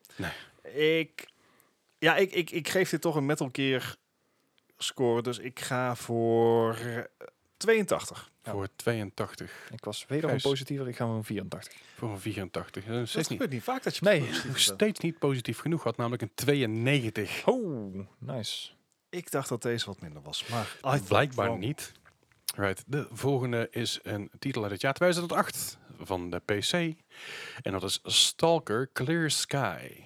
[SPEAKER 2] Ik, ja, ik, ik, ik geef dit toch een Metal Gear score. Dus ik ga voor eh, 82.
[SPEAKER 1] Voor 82.
[SPEAKER 3] Ik was wederom
[SPEAKER 1] Gijs.
[SPEAKER 3] positiever. Ik ga voor een 84.
[SPEAKER 1] Voor een 84. Dat is
[SPEAKER 2] Dat
[SPEAKER 1] steeds niet,
[SPEAKER 2] gebeurt niet vaak dat je...
[SPEAKER 3] Nee.
[SPEAKER 2] positief
[SPEAKER 1] nog
[SPEAKER 2] bent.
[SPEAKER 1] steeds niet positief genoeg had, namelijk een 92.
[SPEAKER 3] Oh, nice.
[SPEAKER 2] Ik dacht dat deze wat minder was, maar...
[SPEAKER 1] Oh, Blijkbaar
[SPEAKER 2] Wow.
[SPEAKER 1] niet. Right. De volgende is een titel uit het jaar 2008 van de PC. En dat is Stalker Clear Sky.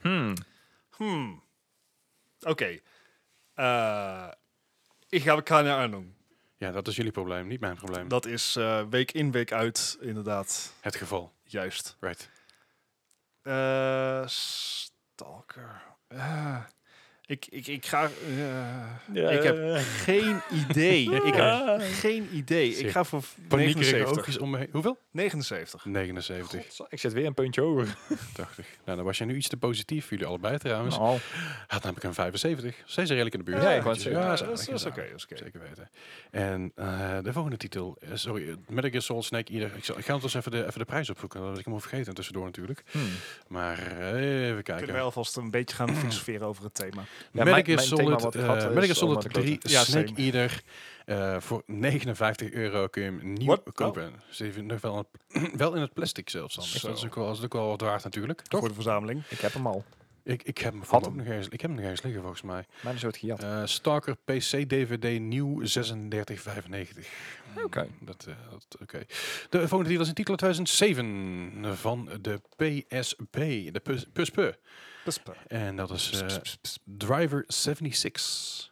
[SPEAKER 3] Hmm.
[SPEAKER 2] Hmm. Oké. Eh, ik ga keine Ahnung.
[SPEAKER 1] Ja, dat is jullie probleem, niet mijn probleem.
[SPEAKER 2] Dat is eh, week in, week uit, inderdaad.
[SPEAKER 1] Het geval.
[SPEAKER 2] Juist.
[SPEAKER 1] Right.
[SPEAKER 2] Eh, stalker. Eh, ik, ik, ik ga... eh, Ik heb geen idee. Ik heb geen idee. Ik ga voor
[SPEAKER 1] Paniekerige
[SPEAKER 2] 79.
[SPEAKER 1] oogjes om me heen. Hoeveel?
[SPEAKER 2] 79.
[SPEAKER 1] 79.
[SPEAKER 3] ik zet weer een puntje over.
[SPEAKER 1] 80. Nou, dan was je nu iets te positief voor jullie allebei trouwens.
[SPEAKER 3] Nou,
[SPEAKER 1] Hij had namelijk een 75. Steeds redelijk in de buurt.
[SPEAKER 3] Ja, ik wou
[SPEAKER 1] was
[SPEAKER 3] het zeggen.
[SPEAKER 2] Ja, dat is- dat is oké. dat is oké.
[SPEAKER 1] Zeker weten. En eh, de volgende titel, eh, sorry, eh, Metal Gear Solid Snake Eater. Ik, zal, ik ga anders even de, even de prijs opzoeken, dat ik hem al vergeten tussendoor natuurlijk.
[SPEAKER 3] hmm.
[SPEAKER 1] Maar eh, even
[SPEAKER 2] Kunnen
[SPEAKER 1] kijken.
[SPEAKER 2] we alvast een beetje gaan filosoferen over het thema.
[SPEAKER 3] Ja,
[SPEAKER 1] Metal
[SPEAKER 3] mijn-
[SPEAKER 1] Gear
[SPEAKER 3] mijn thema
[SPEAKER 1] Solid,
[SPEAKER 3] wat
[SPEAKER 1] eh,
[SPEAKER 3] gehad is
[SPEAKER 1] Metal Gear Solid
[SPEAKER 3] allemaal te
[SPEAKER 1] 3
[SPEAKER 3] kloten.
[SPEAKER 2] Ja,
[SPEAKER 1] Snake
[SPEAKER 2] same.
[SPEAKER 1] Eater. eh, voor 59 euro kun je hem nieuw
[SPEAKER 2] What?
[SPEAKER 1] kopen. Dus even nog wel, een, wel in het plastic zelfs dan. Dus
[SPEAKER 2] Zo.
[SPEAKER 1] dat is ook wel, dat is ook wel wat waard natuurlijk. Toch?
[SPEAKER 2] Voor de verzameling.
[SPEAKER 3] Ik heb hem al.
[SPEAKER 1] Ik, ik heb hem
[SPEAKER 3] Had
[SPEAKER 1] voor ook nog eens, ik heb hem nog eens liggen volgens mij.
[SPEAKER 3] Mijn is het gejat.
[SPEAKER 1] Eh, Stalker PC DVD nieuw 3695.
[SPEAKER 3] Oké.
[SPEAKER 1] Dat, eh, dat, oké. De volgende titel is een titel uit 2007 van de PSP. De Pus- PSP. En dat is eh, Driver 76.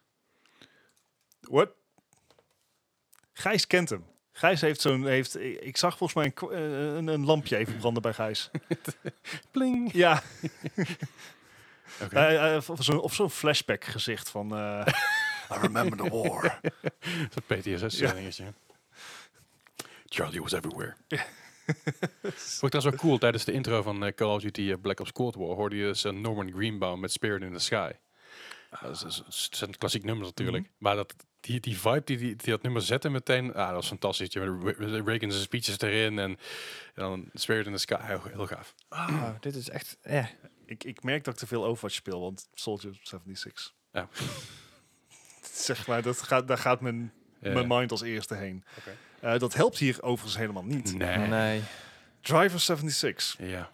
[SPEAKER 2] What? Gijs kent hem. Gijs heeft zo'n... Heeft, ik zag volgens mij een, k- eh, een, een lampje even branden bij Gijs.
[SPEAKER 1] Pling.
[SPEAKER 2] Ja,
[SPEAKER 1] Oké.
[SPEAKER 2] eh, eh, of zo'n of zo'n flashback gezicht van... eh, I remember the war.
[SPEAKER 1] Dat PTSS-dingetje. Charlie was everywhere. Vond ik trouwens wel cool tijdens de intro van eh, Call of Duty eh, Black Ops Cold War hoorde je eens, eh, Norman Greenbaum met Spirit in the Sky. Dat is, dat is- dat zijn klassiek nummers natuurlijk. Maar dat, die, die vibe die, die, die dat nummer zette meteen, ah, dat was fantastisch. Je hebt Re- Re- Reagan's speeches erin en, en dan Spirit in the Sky, heel, heel gaaf.
[SPEAKER 3] Ah, dit is echt... Eh.
[SPEAKER 2] ik, ik merk dat ik te veel Overwatch speel, want Soldier 76.
[SPEAKER 1] Ja.
[SPEAKER 2] Zeg maar, dat gaat, daar gaat mijn,
[SPEAKER 1] Eh,
[SPEAKER 2] mijn mind als eerste heen.
[SPEAKER 1] Oké. Mhm.
[SPEAKER 2] Eh, dat helpt hier overigens helemaal niet.
[SPEAKER 1] nee.
[SPEAKER 3] Nee.
[SPEAKER 2] Driver 76.
[SPEAKER 1] Ja.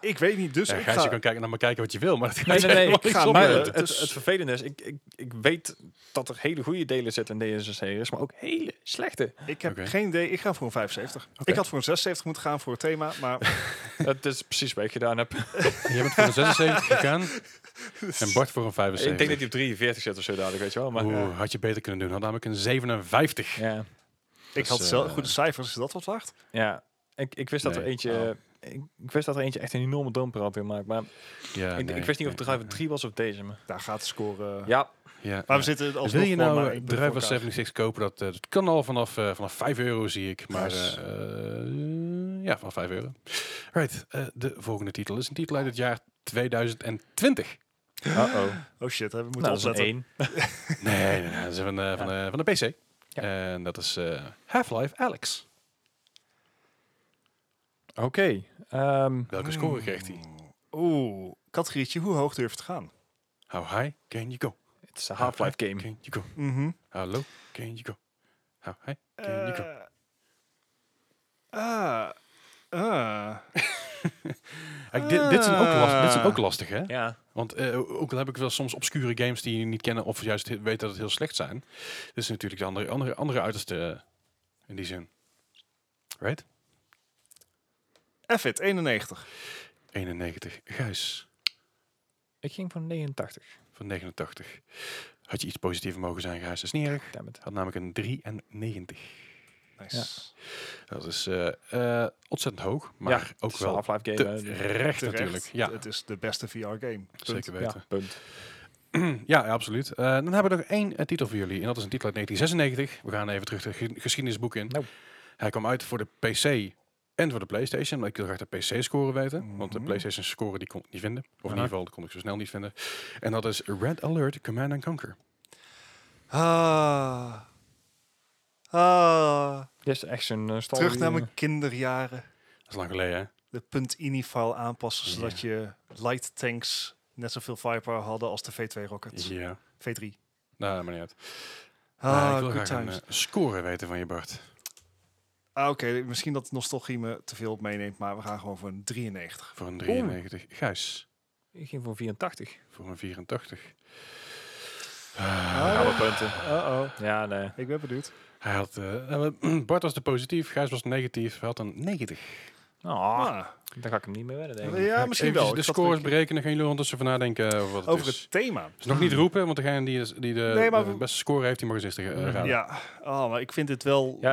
[SPEAKER 2] Ik weet niet, dus
[SPEAKER 1] ja,
[SPEAKER 2] ik
[SPEAKER 1] Gijs, je
[SPEAKER 2] ga...
[SPEAKER 1] kan kijken, naar me kijken wat je wil, maar dat
[SPEAKER 3] Nee,
[SPEAKER 1] gaat
[SPEAKER 3] nee, nee.
[SPEAKER 1] helemaal
[SPEAKER 3] Ik
[SPEAKER 1] niks
[SPEAKER 3] ga
[SPEAKER 1] op.
[SPEAKER 3] maar
[SPEAKER 2] eh,
[SPEAKER 3] het,
[SPEAKER 2] het
[SPEAKER 3] het,
[SPEAKER 2] is-
[SPEAKER 3] het vervelende is, ik, ik, ik weet dat er hele goede delen zitten in deze series, maar ook hele slechte.
[SPEAKER 2] Ik heb
[SPEAKER 1] Oké.
[SPEAKER 2] geen idee. Ik ga voor een 75. Ik had voor een 76 moeten gaan voor het thema, maar
[SPEAKER 3] dat is precies wat ik gedaan heb.
[SPEAKER 1] Je bent voor een 76 gegaan en Bart voor een 75.
[SPEAKER 3] Ik denk dat hij op 43 zit of zo dadelijk, weet je wel. Maar
[SPEAKER 1] Oeh, had je beter kunnen doen. Had namelijk een 57.
[SPEAKER 3] ja,
[SPEAKER 2] ik
[SPEAKER 1] is,
[SPEAKER 2] had zelf
[SPEAKER 1] eh,
[SPEAKER 2] goede cijfers. Is dat wat waard?
[SPEAKER 3] ja. Ik, ik wist dat er
[SPEAKER 1] Nee.
[SPEAKER 3] eentje... Ik, ik wist dat er eentje echt een enorme domper had gemaakt, maar
[SPEAKER 1] Ja,
[SPEAKER 3] ik, ik wist niet of het Driver 3 was of deze. Maar.
[SPEAKER 2] Daar gaat de score... eh,
[SPEAKER 3] Ja,
[SPEAKER 1] Ja,
[SPEAKER 2] Maar
[SPEAKER 1] ja.
[SPEAKER 2] we zitten als
[SPEAKER 1] Wil je nou eh, Driver 76 kopen? Dat, eh, dat kan al vanaf, eh, vanaf 5 euro, zie ik. Maar
[SPEAKER 2] Nice.
[SPEAKER 1] eh, eh, ja, vanaf 5 euro. Right, eh, de volgende titel is een titel uit het jaar 2020.
[SPEAKER 3] uh-oh.
[SPEAKER 2] Oh shit, hè, we moeten
[SPEAKER 3] Nou, dat is een
[SPEAKER 2] opzetten.
[SPEAKER 3] één.
[SPEAKER 1] nee, nee, nee, dat is van, eh, van, eh, van de PC.
[SPEAKER 3] Ja.
[SPEAKER 1] En dat is eh, Half-Life Alex.
[SPEAKER 3] Oké. ehm,
[SPEAKER 1] Welke score kreeg hij?
[SPEAKER 2] Hmm. Oeh, categorietje, hoe hoog durft het te gaan?
[SPEAKER 1] How high can you go?
[SPEAKER 3] Het is een Half-Life game.
[SPEAKER 1] Can you go?
[SPEAKER 2] Mhm.
[SPEAKER 1] How low can you go? How high can you go?
[SPEAKER 2] Eh, ah, ah.
[SPEAKER 3] Ah.
[SPEAKER 1] Kijk, dit, dit, zijn ook last, dit zijn ook
[SPEAKER 2] Ah.
[SPEAKER 1] lastig, hè?
[SPEAKER 3] Ja.
[SPEAKER 1] Want eh, ook al heb ik wel soms obscure games die je niet kennen of juist he- weet dat het heel slecht zijn. Dat is natuurlijk de andere, andere, andere uiterste eh, in die zin. Right?
[SPEAKER 2] F it, 91.
[SPEAKER 1] 91. Gijs
[SPEAKER 3] Ik ging voor 89.
[SPEAKER 1] van 89. Had je iets positiever mogen zijn, Gijs. Dat is niet erg.
[SPEAKER 3] Damn it.
[SPEAKER 1] Had namelijk een 93.
[SPEAKER 2] Nice.
[SPEAKER 1] Dat is eh, eh, ontzettend hoog, maar
[SPEAKER 3] het
[SPEAKER 1] ook
[SPEAKER 3] is een
[SPEAKER 1] wel
[SPEAKER 3] Half-Life game.
[SPEAKER 1] terecht,
[SPEAKER 3] eh,
[SPEAKER 2] Terecht,
[SPEAKER 1] natuurlijk. Ja,
[SPEAKER 2] Het is de beste VR-game.
[SPEAKER 1] zeker
[SPEAKER 3] ja,
[SPEAKER 1] weten.
[SPEAKER 3] punt.
[SPEAKER 1] Ja, ja, absoluut. Eh, dan hebben we nog één eh, titel voor jullie. En dat is een titel uit 1996. We gaan even terug de ge- geschiedenisboek in.
[SPEAKER 3] Nou.
[SPEAKER 1] Hij kwam uit voor de PC en voor de PlayStation. Maar ik wil graag de PC-score weten. Want de
[SPEAKER 2] Mhm.
[SPEAKER 1] PlayStation-score die kon ik niet vinden. Of in
[SPEAKER 3] Aha.
[SPEAKER 1] ieder geval, die kon ik zo snel niet vinden. En dat is Red Alert Command and Conquer.
[SPEAKER 2] Ah. Ah.
[SPEAKER 3] Dit is echt zo'n eh, stal
[SPEAKER 2] Terug
[SPEAKER 3] die,
[SPEAKER 2] naar
[SPEAKER 3] eh,
[SPEAKER 2] mijn kinderjaren.
[SPEAKER 1] Dat is lang geleden, hè?
[SPEAKER 2] De .ini-file aanpassen, zodat je light tanks net zoveel firepower hadden als de V2 rockets.
[SPEAKER 1] Ja.
[SPEAKER 2] V3.
[SPEAKER 1] Nou, maar niet uit. Eh,
[SPEAKER 2] Ah,
[SPEAKER 1] ik wil
[SPEAKER 2] good
[SPEAKER 1] graag een
[SPEAKER 2] times.
[SPEAKER 1] eh, score weten van je, Bart.
[SPEAKER 2] Ah, oké. Misschien dat nostalgie me te veel meeneemt, maar we gaan gewoon voor een 93.
[SPEAKER 1] Voor een 93. Gijs,
[SPEAKER 3] Ik ging voor 84.
[SPEAKER 1] voor een 84.
[SPEAKER 2] Ah,
[SPEAKER 3] Alle punten. Uh-oh. Ja, nee.
[SPEAKER 2] Ik ben benieuwd.
[SPEAKER 1] Hij had, eh, Bart was de positief, Gijs was de negatief. Hij had een 90.
[SPEAKER 3] Oh,
[SPEAKER 2] Ah.
[SPEAKER 3] Dan ga ik hem niet meer wedden, denk ik.
[SPEAKER 2] Ja,
[SPEAKER 1] Ga ik
[SPEAKER 2] misschien
[SPEAKER 1] eventjes
[SPEAKER 2] wel.
[SPEAKER 1] De
[SPEAKER 2] Ik zat
[SPEAKER 1] scores
[SPEAKER 2] te denken
[SPEAKER 1] berekenen, gaan jullie ondertussen van nadenken eh, over wat het
[SPEAKER 2] Over
[SPEAKER 1] is.
[SPEAKER 2] het thema.
[SPEAKER 1] Dus nog niet roepen, want degene die, is- die de,
[SPEAKER 2] Nee, maar
[SPEAKER 1] de
[SPEAKER 2] we-
[SPEAKER 1] beste score heeft, die mag eens tegen
[SPEAKER 3] Mhm.
[SPEAKER 1] raden.
[SPEAKER 2] Ja. Oh, maar ik vind dit wel...
[SPEAKER 3] Ja,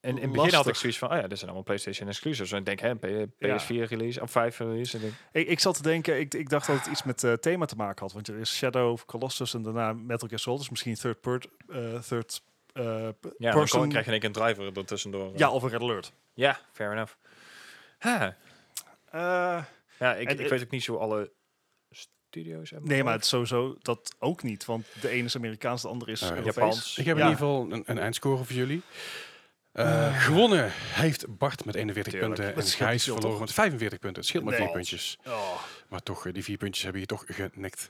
[SPEAKER 3] En in het begin had ik
[SPEAKER 2] Lastig.
[SPEAKER 3] zoiets van, oh ja, dit zijn allemaal PlayStation exclusives. En ik denk, hè, P-
[SPEAKER 2] Ja.
[SPEAKER 3] PS4 release, of 5 release. En ik denk,
[SPEAKER 2] Ik, ik zat te denken, ik, ik dacht dat het iets met eh, thema te maken had. Want er is Shadow of Colossus en daarna Metal Gear Solid. Dus misschien third, per, eh, third eh, p-
[SPEAKER 3] ja, dan
[SPEAKER 2] person.
[SPEAKER 3] kon- krijg je in één keer een driver er tussendoor.
[SPEAKER 2] ja, of een Red Alert.
[SPEAKER 3] Ja, fair enough. Ha.
[SPEAKER 2] Eh,
[SPEAKER 3] Ja, ik,
[SPEAKER 2] En,
[SPEAKER 3] ik
[SPEAKER 2] eh,
[SPEAKER 3] weet ook niet zo alle studio's hebben.
[SPEAKER 2] nee, maar het is sowieso dat ook niet. Want de ene is Amerikaans, de andere is
[SPEAKER 1] Oh, ja.
[SPEAKER 2] Europees.
[SPEAKER 3] Ah, Japans.
[SPEAKER 1] Ik heb
[SPEAKER 2] Ja.
[SPEAKER 1] in ieder geval een, een eindscore voor jullie. Eh, gewonnen heeft Bart met 41
[SPEAKER 3] Tuurlijk.
[SPEAKER 1] punten
[SPEAKER 2] Dat
[SPEAKER 1] en
[SPEAKER 2] scheelt niet
[SPEAKER 1] Gijs
[SPEAKER 2] veel,
[SPEAKER 1] verloren
[SPEAKER 2] toch?
[SPEAKER 1] met 45 punten. Het scheelt maar
[SPEAKER 2] Nee.
[SPEAKER 1] 4 puntjes.
[SPEAKER 2] Oh.
[SPEAKER 1] Maar toch, eh, die 4 puntjes hebben je toch genikt.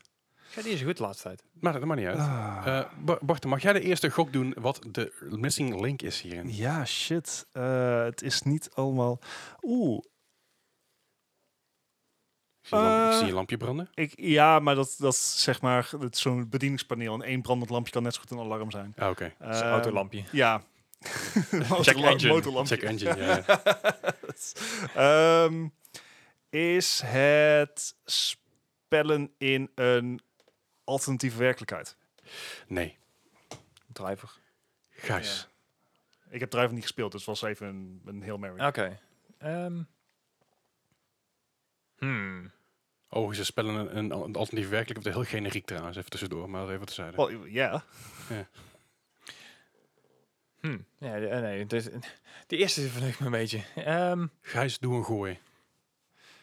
[SPEAKER 3] Ja, die is goed de laatste tijd.
[SPEAKER 1] Maar dat maakt niet
[SPEAKER 2] Ah.
[SPEAKER 1] uit. Eh, Ba- Bart, mag jij de eerste gok doen wat de missing link is hierin?
[SPEAKER 2] Ja, shit. Eh, het is niet allemaal... Oeh,
[SPEAKER 1] Ik zie, een lamp- ik
[SPEAKER 2] Eh.
[SPEAKER 1] zie een lampje branden.
[SPEAKER 2] ik, ja, maar dat, dat is zeg maar dat is zo'n bedieningspaneel. En één brandend lampje kan net zo goed een alarm zijn.
[SPEAKER 1] Ah, Oké,
[SPEAKER 3] Dat is een
[SPEAKER 2] Ehm,
[SPEAKER 3] autolampje.
[SPEAKER 2] Ja.
[SPEAKER 3] Check
[SPEAKER 2] Motorla-
[SPEAKER 3] engine.
[SPEAKER 2] Motorlampje.
[SPEAKER 1] check engine. ja, ja.
[SPEAKER 2] Ehm, is het spellen in een alternatieve werkelijkheid?
[SPEAKER 1] Nee,
[SPEAKER 3] Driver.
[SPEAKER 1] Gijs.
[SPEAKER 2] Ik heb Drive niet gespeeld, dus was even een, een heel merry.
[SPEAKER 1] Ah,
[SPEAKER 3] Oké. Ehm. Hmm.
[SPEAKER 1] Oh, ze spellen een, een, een alternatief werkelijk of het heel generiek trouwens, even tussendoor, maar dat even tezijde.
[SPEAKER 2] Wel, Ja,
[SPEAKER 3] Hmm. Ja, de- eh, nee, het is- die eerste verlucht me een beetje. Ehm,
[SPEAKER 1] Gijs, doe een gooi.
[SPEAKER 3] ik,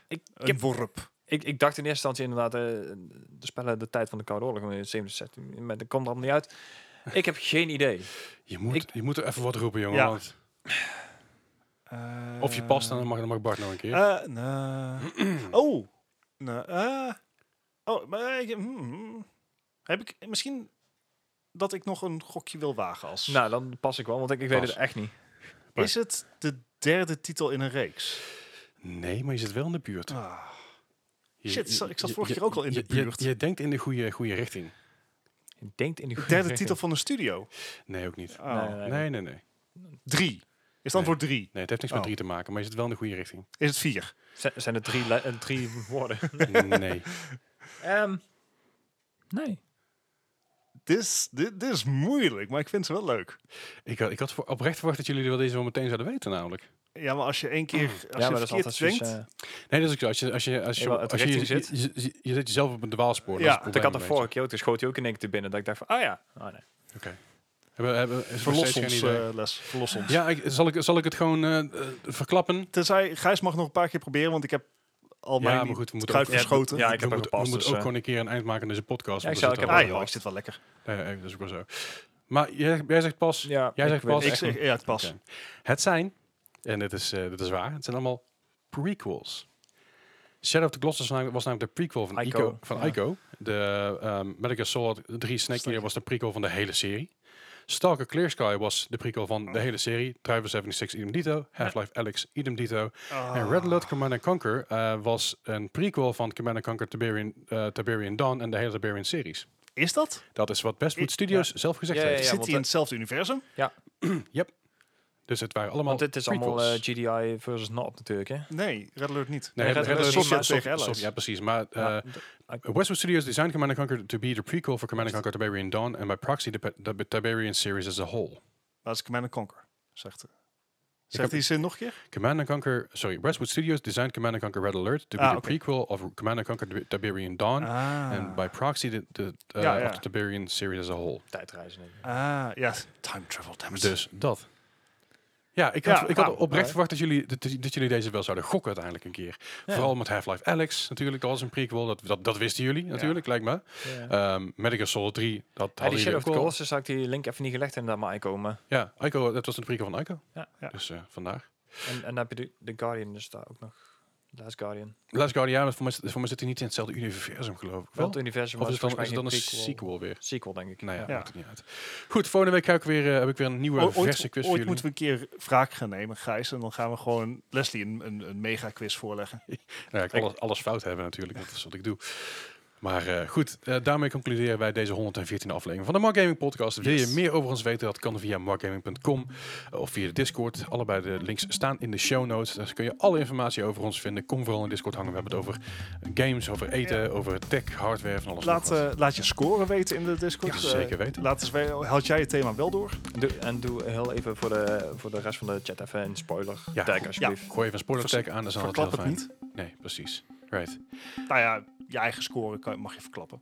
[SPEAKER 3] ik,
[SPEAKER 2] een
[SPEAKER 3] heb-
[SPEAKER 2] worp.
[SPEAKER 3] ik, ik dacht in eerste instantie inderdaad, eh, de spellen de tijd van de Koude Oorlog, eh, maar in het 77, maar dat komt er allemaal niet uit. Ik heb geen idee.
[SPEAKER 1] Je moet,
[SPEAKER 3] Ik-
[SPEAKER 1] je moet er even wat roepen, jongen.
[SPEAKER 2] Ja.
[SPEAKER 1] Want of je past en dan mag, dan mag Bart nog een keer.
[SPEAKER 2] Eh, nou. oh. Nou, eh. oh, maar ik, hmm. heb ik misschien dat ik nog een gokje wil wagen als.
[SPEAKER 3] Nou, dan pas ik wel, want ik, ik weet
[SPEAKER 1] Pas.
[SPEAKER 3] het echt niet.
[SPEAKER 2] is het de derde titel in een reeks?
[SPEAKER 1] Nee, maar je zit wel in de buurt.
[SPEAKER 2] Ah.
[SPEAKER 1] Je-
[SPEAKER 2] shit,
[SPEAKER 1] je-
[SPEAKER 2] zo- ik zat
[SPEAKER 1] je-
[SPEAKER 2] vorige
[SPEAKER 1] je-
[SPEAKER 2] keer ook al in de
[SPEAKER 1] je- je-
[SPEAKER 2] buurt.
[SPEAKER 1] Je, denkt in de goede, goede richting.
[SPEAKER 3] Je denkt in die
[SPEAKER 2] De
[SPEAKER 3] goede
[SPEAKER 2] derde titel
[SPEAKER 3] richting.
[SPEAKER 2] van een studio.
[SPEAKER 1] Nee, ook niet.
[SPEAKER 2] Oh.
[SPEAKER 3] Nee, nee.
[SPEAKER 1] Nee, nee, nee.
[SPEAKER 2] Drie. Is dan
[SPEAKER 1] Nee.
[SPEAKER 2] voor drie.
[SPEAKER 1] Nee, het heeft niks
[SPEAKER 2] Oh.
[SPEAKER 1] met drie te maken, maar je zit wel in de goede richting.
[SPEAKER 2] Is het vier?
[SPEAKER 3] Z- zijn er drie, le- eh, drie woorden?
[SPEAKER 1] nee.
[SPEAKER 3] Ehm, nee.
[SPEAKER 2] Dit is, dit, dit is moeilijk, maar ik vind ze wel leuk.
[SPEAKER 1] Ik had, ik had voor, oprecht verwacht dat jullie wel deze wel meteen zouden weten, namelijk.
[SPEAKER 2] Ja, maar als je één keer als
[SPEAKER 3] ja,
[SPEAKER 2] je
[SPEAKER 3] maar dat is altijd
[SPEAKER 2] verkeerd
[SPEAKER 3] zoiets...
[SPEAKER 2] denkt...
[SPEAKER 3] eh,
[SPEAKER 1] Nee, dat is ook zo. Als je, als je, als je,
[SPEAKER 3] Jawel, het
[SPEAKER 1] als je, je,
[SPEAKER 3] richting
[SPEAKER 1] je, je- je zet jezelf op een dwaalspoor.
[SPEAKER 2] Ja,
[SPEAKER 1] dat is het
[SPEAKER 3] want ik
[SPEAKER 1] probleem een
[SPEAKER 3] had de
[SPEAKER 1] beetje.
[SPEAKER 3] vorige keer ook, toen schoot hij ook in één keer te binnen. Dat ik dacht van, ah ja. Ah, nee.
[SPEAKER 1] Hebben, hebben, is er nog
[SPEAKER 2] verlos
[SPEAKER 1] steeds geen
[SPEAKER 2] ons,
[SPEAKER 1] idee?
[SPEAKER 2] eh, Les. Verlos ons.
[SPEAKER 1] Ja, ik, zal, ik, zal ik het gewoon eh, eh, verklappen?
[SPEAKER 2] Tenzij, Gijs mag nog een paar keer proberen, want ik heb al mijn
[SPEAKER 1] ja, maar goed, we moeten
[SPEAKER 2] kruid
[SPEAKER 1] ook,
[SPEAKER 3] Ja,
[SPEAKER 2] verschoten.
[SPEAKER 3] ja, ik heb
[SPEAKER 1] we
[SPEAKER 3] hem
[SPEAKER 1] moeten,
[SPEAKER 3] gepast,
[SPEAKER 1] we moeten
[SPEAKER 3] dus,
[SPEAKER 1] ook
[SPEAKER 3] eh.
[SPEAKER 1] gewoon een keer een eind maken aan deze podcast.
[SPEAKER 3] Ja, ik
[SPEAKER 1] want we
[SPEAKER 3] zou-
[SPEAKER 1] zitten
[SPEAKER 3] ik
[SPEAKER 2] Ah
[SPEAKER 3] heb
[SPEAKER 1] al-
[SPEAKER 2] joh, ik zit wel lekker.
[SPEAKER 1] Ja, ja, dat is ook wel zo. Maar jij, jij zegt pas,
[SPEAKER 3] Ja,
[SPEAKER 1] jij
[SPEAKER 3] ik
[SPEAKER 1] zegt
[SPEAKER 3] weet
[SPEAKER 1] pas,
[SPEAKER 3] het
[SPEAKER 2] Ik
[SPEAKER 3] echt
[SPEAKER 2] zeg,
[SPEAKER 3] niet.
[SPEAKER 2] ja, het past.
[SPEAKER 1] Oké. het zijn, en dit is, eh, dit is waar, het zijn allemaal prequels. Shadow of the Colossus was namelijk, was namelijk de prequel van
[SPEAKER 3] Ico,
[SPEAKER 1] Ico. van
[SPEAKER 3] ja.
[SPEAKER 1] Ico. De ehm Metal Gear Solid 3 Snake Eater was de prequel van de hele serie. Stalker Clear Sky was de prequel van de
[SPEAKER 3] Oh.
[SPEAKER 1] hele serie. Driver 76 idem dito. Half-Life Alex idem dito.
[SPEAKER 3] Ah.
[SPEAKER 1] En Red Alert Command and Conquer eh, was een prequel van Command and Conquer Tiberian, eh, Tiberian Dawn en de hele Tiberian series.
[SPEAKER 2] Is dat?
[SPEAKER 1] Dat is wat Westwood
[SPEAKER 2] I-
[SPEAKER 1] Studios zelf gezegd
[SPEAKER 3] Ja, ja,
[SPEAKER 1] heeft.
[SPEAKER 2] Zit
[SPEAKER 3] want,
[SPEAKER 2] hij in
[SPEAKER 3] eh,
[SPEAKER 2] hetzelfde universum?
[SPEAKER 1] Dus het waren allemaal
[SPEAKER 3] Want dit is
[SPEAKER 1] prequels.
[SPEAKER 3] allemaal eh, GDI versus NOP natuurlijk, hè?
[SPEAKER 2] Nee, Red Alert niet.
[SPEAKER 1] Nee,
[SPEAKER 3] Nee,
[SPEAKER 1] Red, Red Alert
[SPEAKER 2] Soft
[SPEAKER 1] is maar-
[SPEAKER 2] Soft tegen
[SPEAKER 1] Soft-
[SPEAKER 2] Allies.
[SPEAKER 1] Ja, precies. Maar eh,
[SPEAKER 3] Ja, d-
[SPEAKER 1] Westwood Studios designed Command and Conquer to be the prequel for Command and Conquer Tiberian Dawn and by proxy the, pe- the Tiberian series as a whole.
[SPEAKER 2] Dat is Command and Conquer, zegt Zeg die zin nog een keer?
[SPEAKER 1] Command and Conquer, sorry, Westwood Studios designed Command and Conquer Red Alert to be
[SPEAKER 2] Ah,
[SPEAKER 1] the
[SPEAKER 2] oké.
[SPEAKER 1] prequel of Command and Conquer Tiber- Tiberian Dawn,
[SPEAKER 2] Ah.
[SPEAKER 1] and by proxy the, the, uh,
[SPEAKER 2] Ja, ja.
[SPEAKER 1] of the Tiberian series as a whole.
[SPEAKER 3] Tijdreizen. denk ik.
[SPEAKER 2] Ah, ja. Time travel, damn it.
[SPEAKER 1] Dus dat. Ja, ik
[SPEAKER 2] Ja,
[SPEAKER 1] had, ik had
[SPEAKER 2] nou,
[SPEAKER 1] oprecht
[SPEAKER 3] ja.
[SPEAKER 1] verwacht dat jullie, dat, dat jullie deze wel zouden gokken uiteindelijk een keer.
[SPEAKER 3] Ja.
[SPEAKER 1] Vooral met Half-Life Alex natuurlijk, dat was een prequel, dat, dat, dat wisten jullie natuurlijk, lijkt me.
[SPEAKER 3] Ja.
[SPEAKER 1] Ehm Metal Gear Solid 3, dat
[SPEAKER 3] Ja, die
[SPEAKER 1] hadden
[SPEAKER 3] Shadow
[SPEAKER 1] jullie
[SPEAKER 3] of the
[SPEAKER 1] ook al.
[SPEAKER 3] Colossus had ik die link even niet gelegd in dat maar komen.
[SPEAKER 1] Ja, Ico, dat was een prequel van Ico.
[SPEAKER 3] Ja.
[SPEAKER 2] Ja.
[SPEAKER 1] Dus eh, vandaar.
[SPEAKER 3] En, en dan heb je de, de Guardian dus daar ook nog. Last Guardian.
[SPEAKER 1] Last Guardian, maar voor mij, voor mij zit hij niet in hetzelfde universum geloof ik.
[SPEAKER 3] Wel
[SPEAKER 1] Wel?
[SPEAKER 3] het universum,
[SPEAKER 1] Of
[SPEAKER 3] maar
[SPEAKER 1] is het dan, is
[SPEAKER 3] volgens
[SPEAKER 1] het dan
[SPEAKER 3] mij
[SPEAKER 1] een
[SPEAKER 3] geen
[SPEAKER 1] sequel weer?
[SPEAKER 3] Sequel, denk ik.
[SPEAKER 1] Nou ja,
[SPEAKER 2] Ja.
[SPEAKER 1] maakt het niet uit. Goed, volgende week ga ik weer, eh, heb ik weer een nieuwe
[SPEAKER 2] O-
[SPEAKER 1] verse quiz
[SPEAKER 2] ooit
[SPEAKER 1] voor
[SPEAKER 2] ooit
[SPEAKER 1] jullie.
[SPEAKER 2] moeten we een keer wraak gaan nemen, Gijs. En dan gaan we gewoon Leslie een, een, een mega quiz voorleggen.
[SPEAKER 1] Nou ja, ik kan alles, alles fout hebben natuurlijk, dat is wat ik doe. Maar eh, goed, eh, daarmee concluderen wij deze 114e aflevering van de Mark Gaming Podcast. Wil je
[SPEAKER 2] Yes.
[SPEAKER 1] meer over ons weten? Dat kan via markgaming.com of via de Discord. Allebei de links staan in de show notes. Daar kun je alle informatie over ons vinden. Kom vooral in Discord hangen. We hebben het over games, over eten, over tech, hardware, van alles.
[SPEAKER 2] Laat,
[SPEAKER 1] nog wat.
[SPEAKER 2] eh, laat je scoren weten in de Discord.
[SPEAKER 1] Ja,
[SPEAKER 2] Eh,
[SPEAKER 1] zeker weten. Nou,
[SPEAKER 2] Laat eens weten, had jij het thema wel door?
[SPEAKER 3] Doe, en doe heel even voor de, voor de rest van de chat even een spoiler.
[SPEAKER 1] Ja.
[SPEAKER 3] tag alsjeblieft.
[SPEAKER 1] Gooi even een spoiler tag aan, dat is altijd heel
[SPEAKER 2] Verklap het
[SPEAKER 1] fijn.
[SPEAKER 2] niet.
[SPEAKER 1] Nee, precies. Right.
[SPEAKER 2] Nou ja, je eigen score kan, mag je verklappen.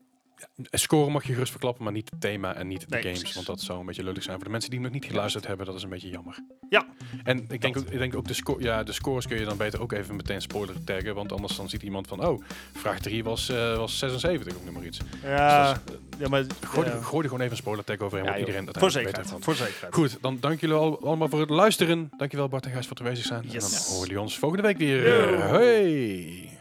[SPEAKER 1] Scoren mag je gerust verklappen, maar niet het thema en niet de
[SPEAKER 2] Nee,
[SPEAKER 1] games.
[SPEAKER 2] precies.
[SPEAKER 1] Want dat zou een beetje lullig zijn voor de mensen die hem nog niet geluisterd hebben. Dat is een beetje jammer.
[SPEAKER 2] Ja.
[SPEAKER 1] En ik denk, ook- ik denk ook de, sco ja, de scores kun je dan beter ook even meteen spoiler taggen. Want anders dan ziet iemand van, oh, vraag 3 was, eh, was 76 of noem maar iets.
[SPEAKER 2] Ja,
[SPEAKER 1] Dus
[SPEAKER 2] ja maar...
[SPEAKER 1] Gooi, er,
[SPEAKER 2] Eh, ja.
[SPEAKER 1] gooi er gewoon even een spoiler tag overheen,
[SPEAKER 3] Ja,
[SPEAKER 1] want
[SPEAKER 3] joh.
[SPEAKER 1] iedereen dat
[SPEAKER 2] Voor zekerheid.
[SPEAKER 1] van.
[SPEAKER 2] Voor zekerheid.
[SPEAKER 1] Goed, dan dank jullie al, allemaal voor het luisteren. Dankjewel Bart en Gijs voor het aanwezig zijn. En
[SPEAKER 2] Yes.
[SPEAKER 1] dan horen jullie ons volgende week weer.
[SPEAKER 2] Yo.
[SPEAKER 1] Hey!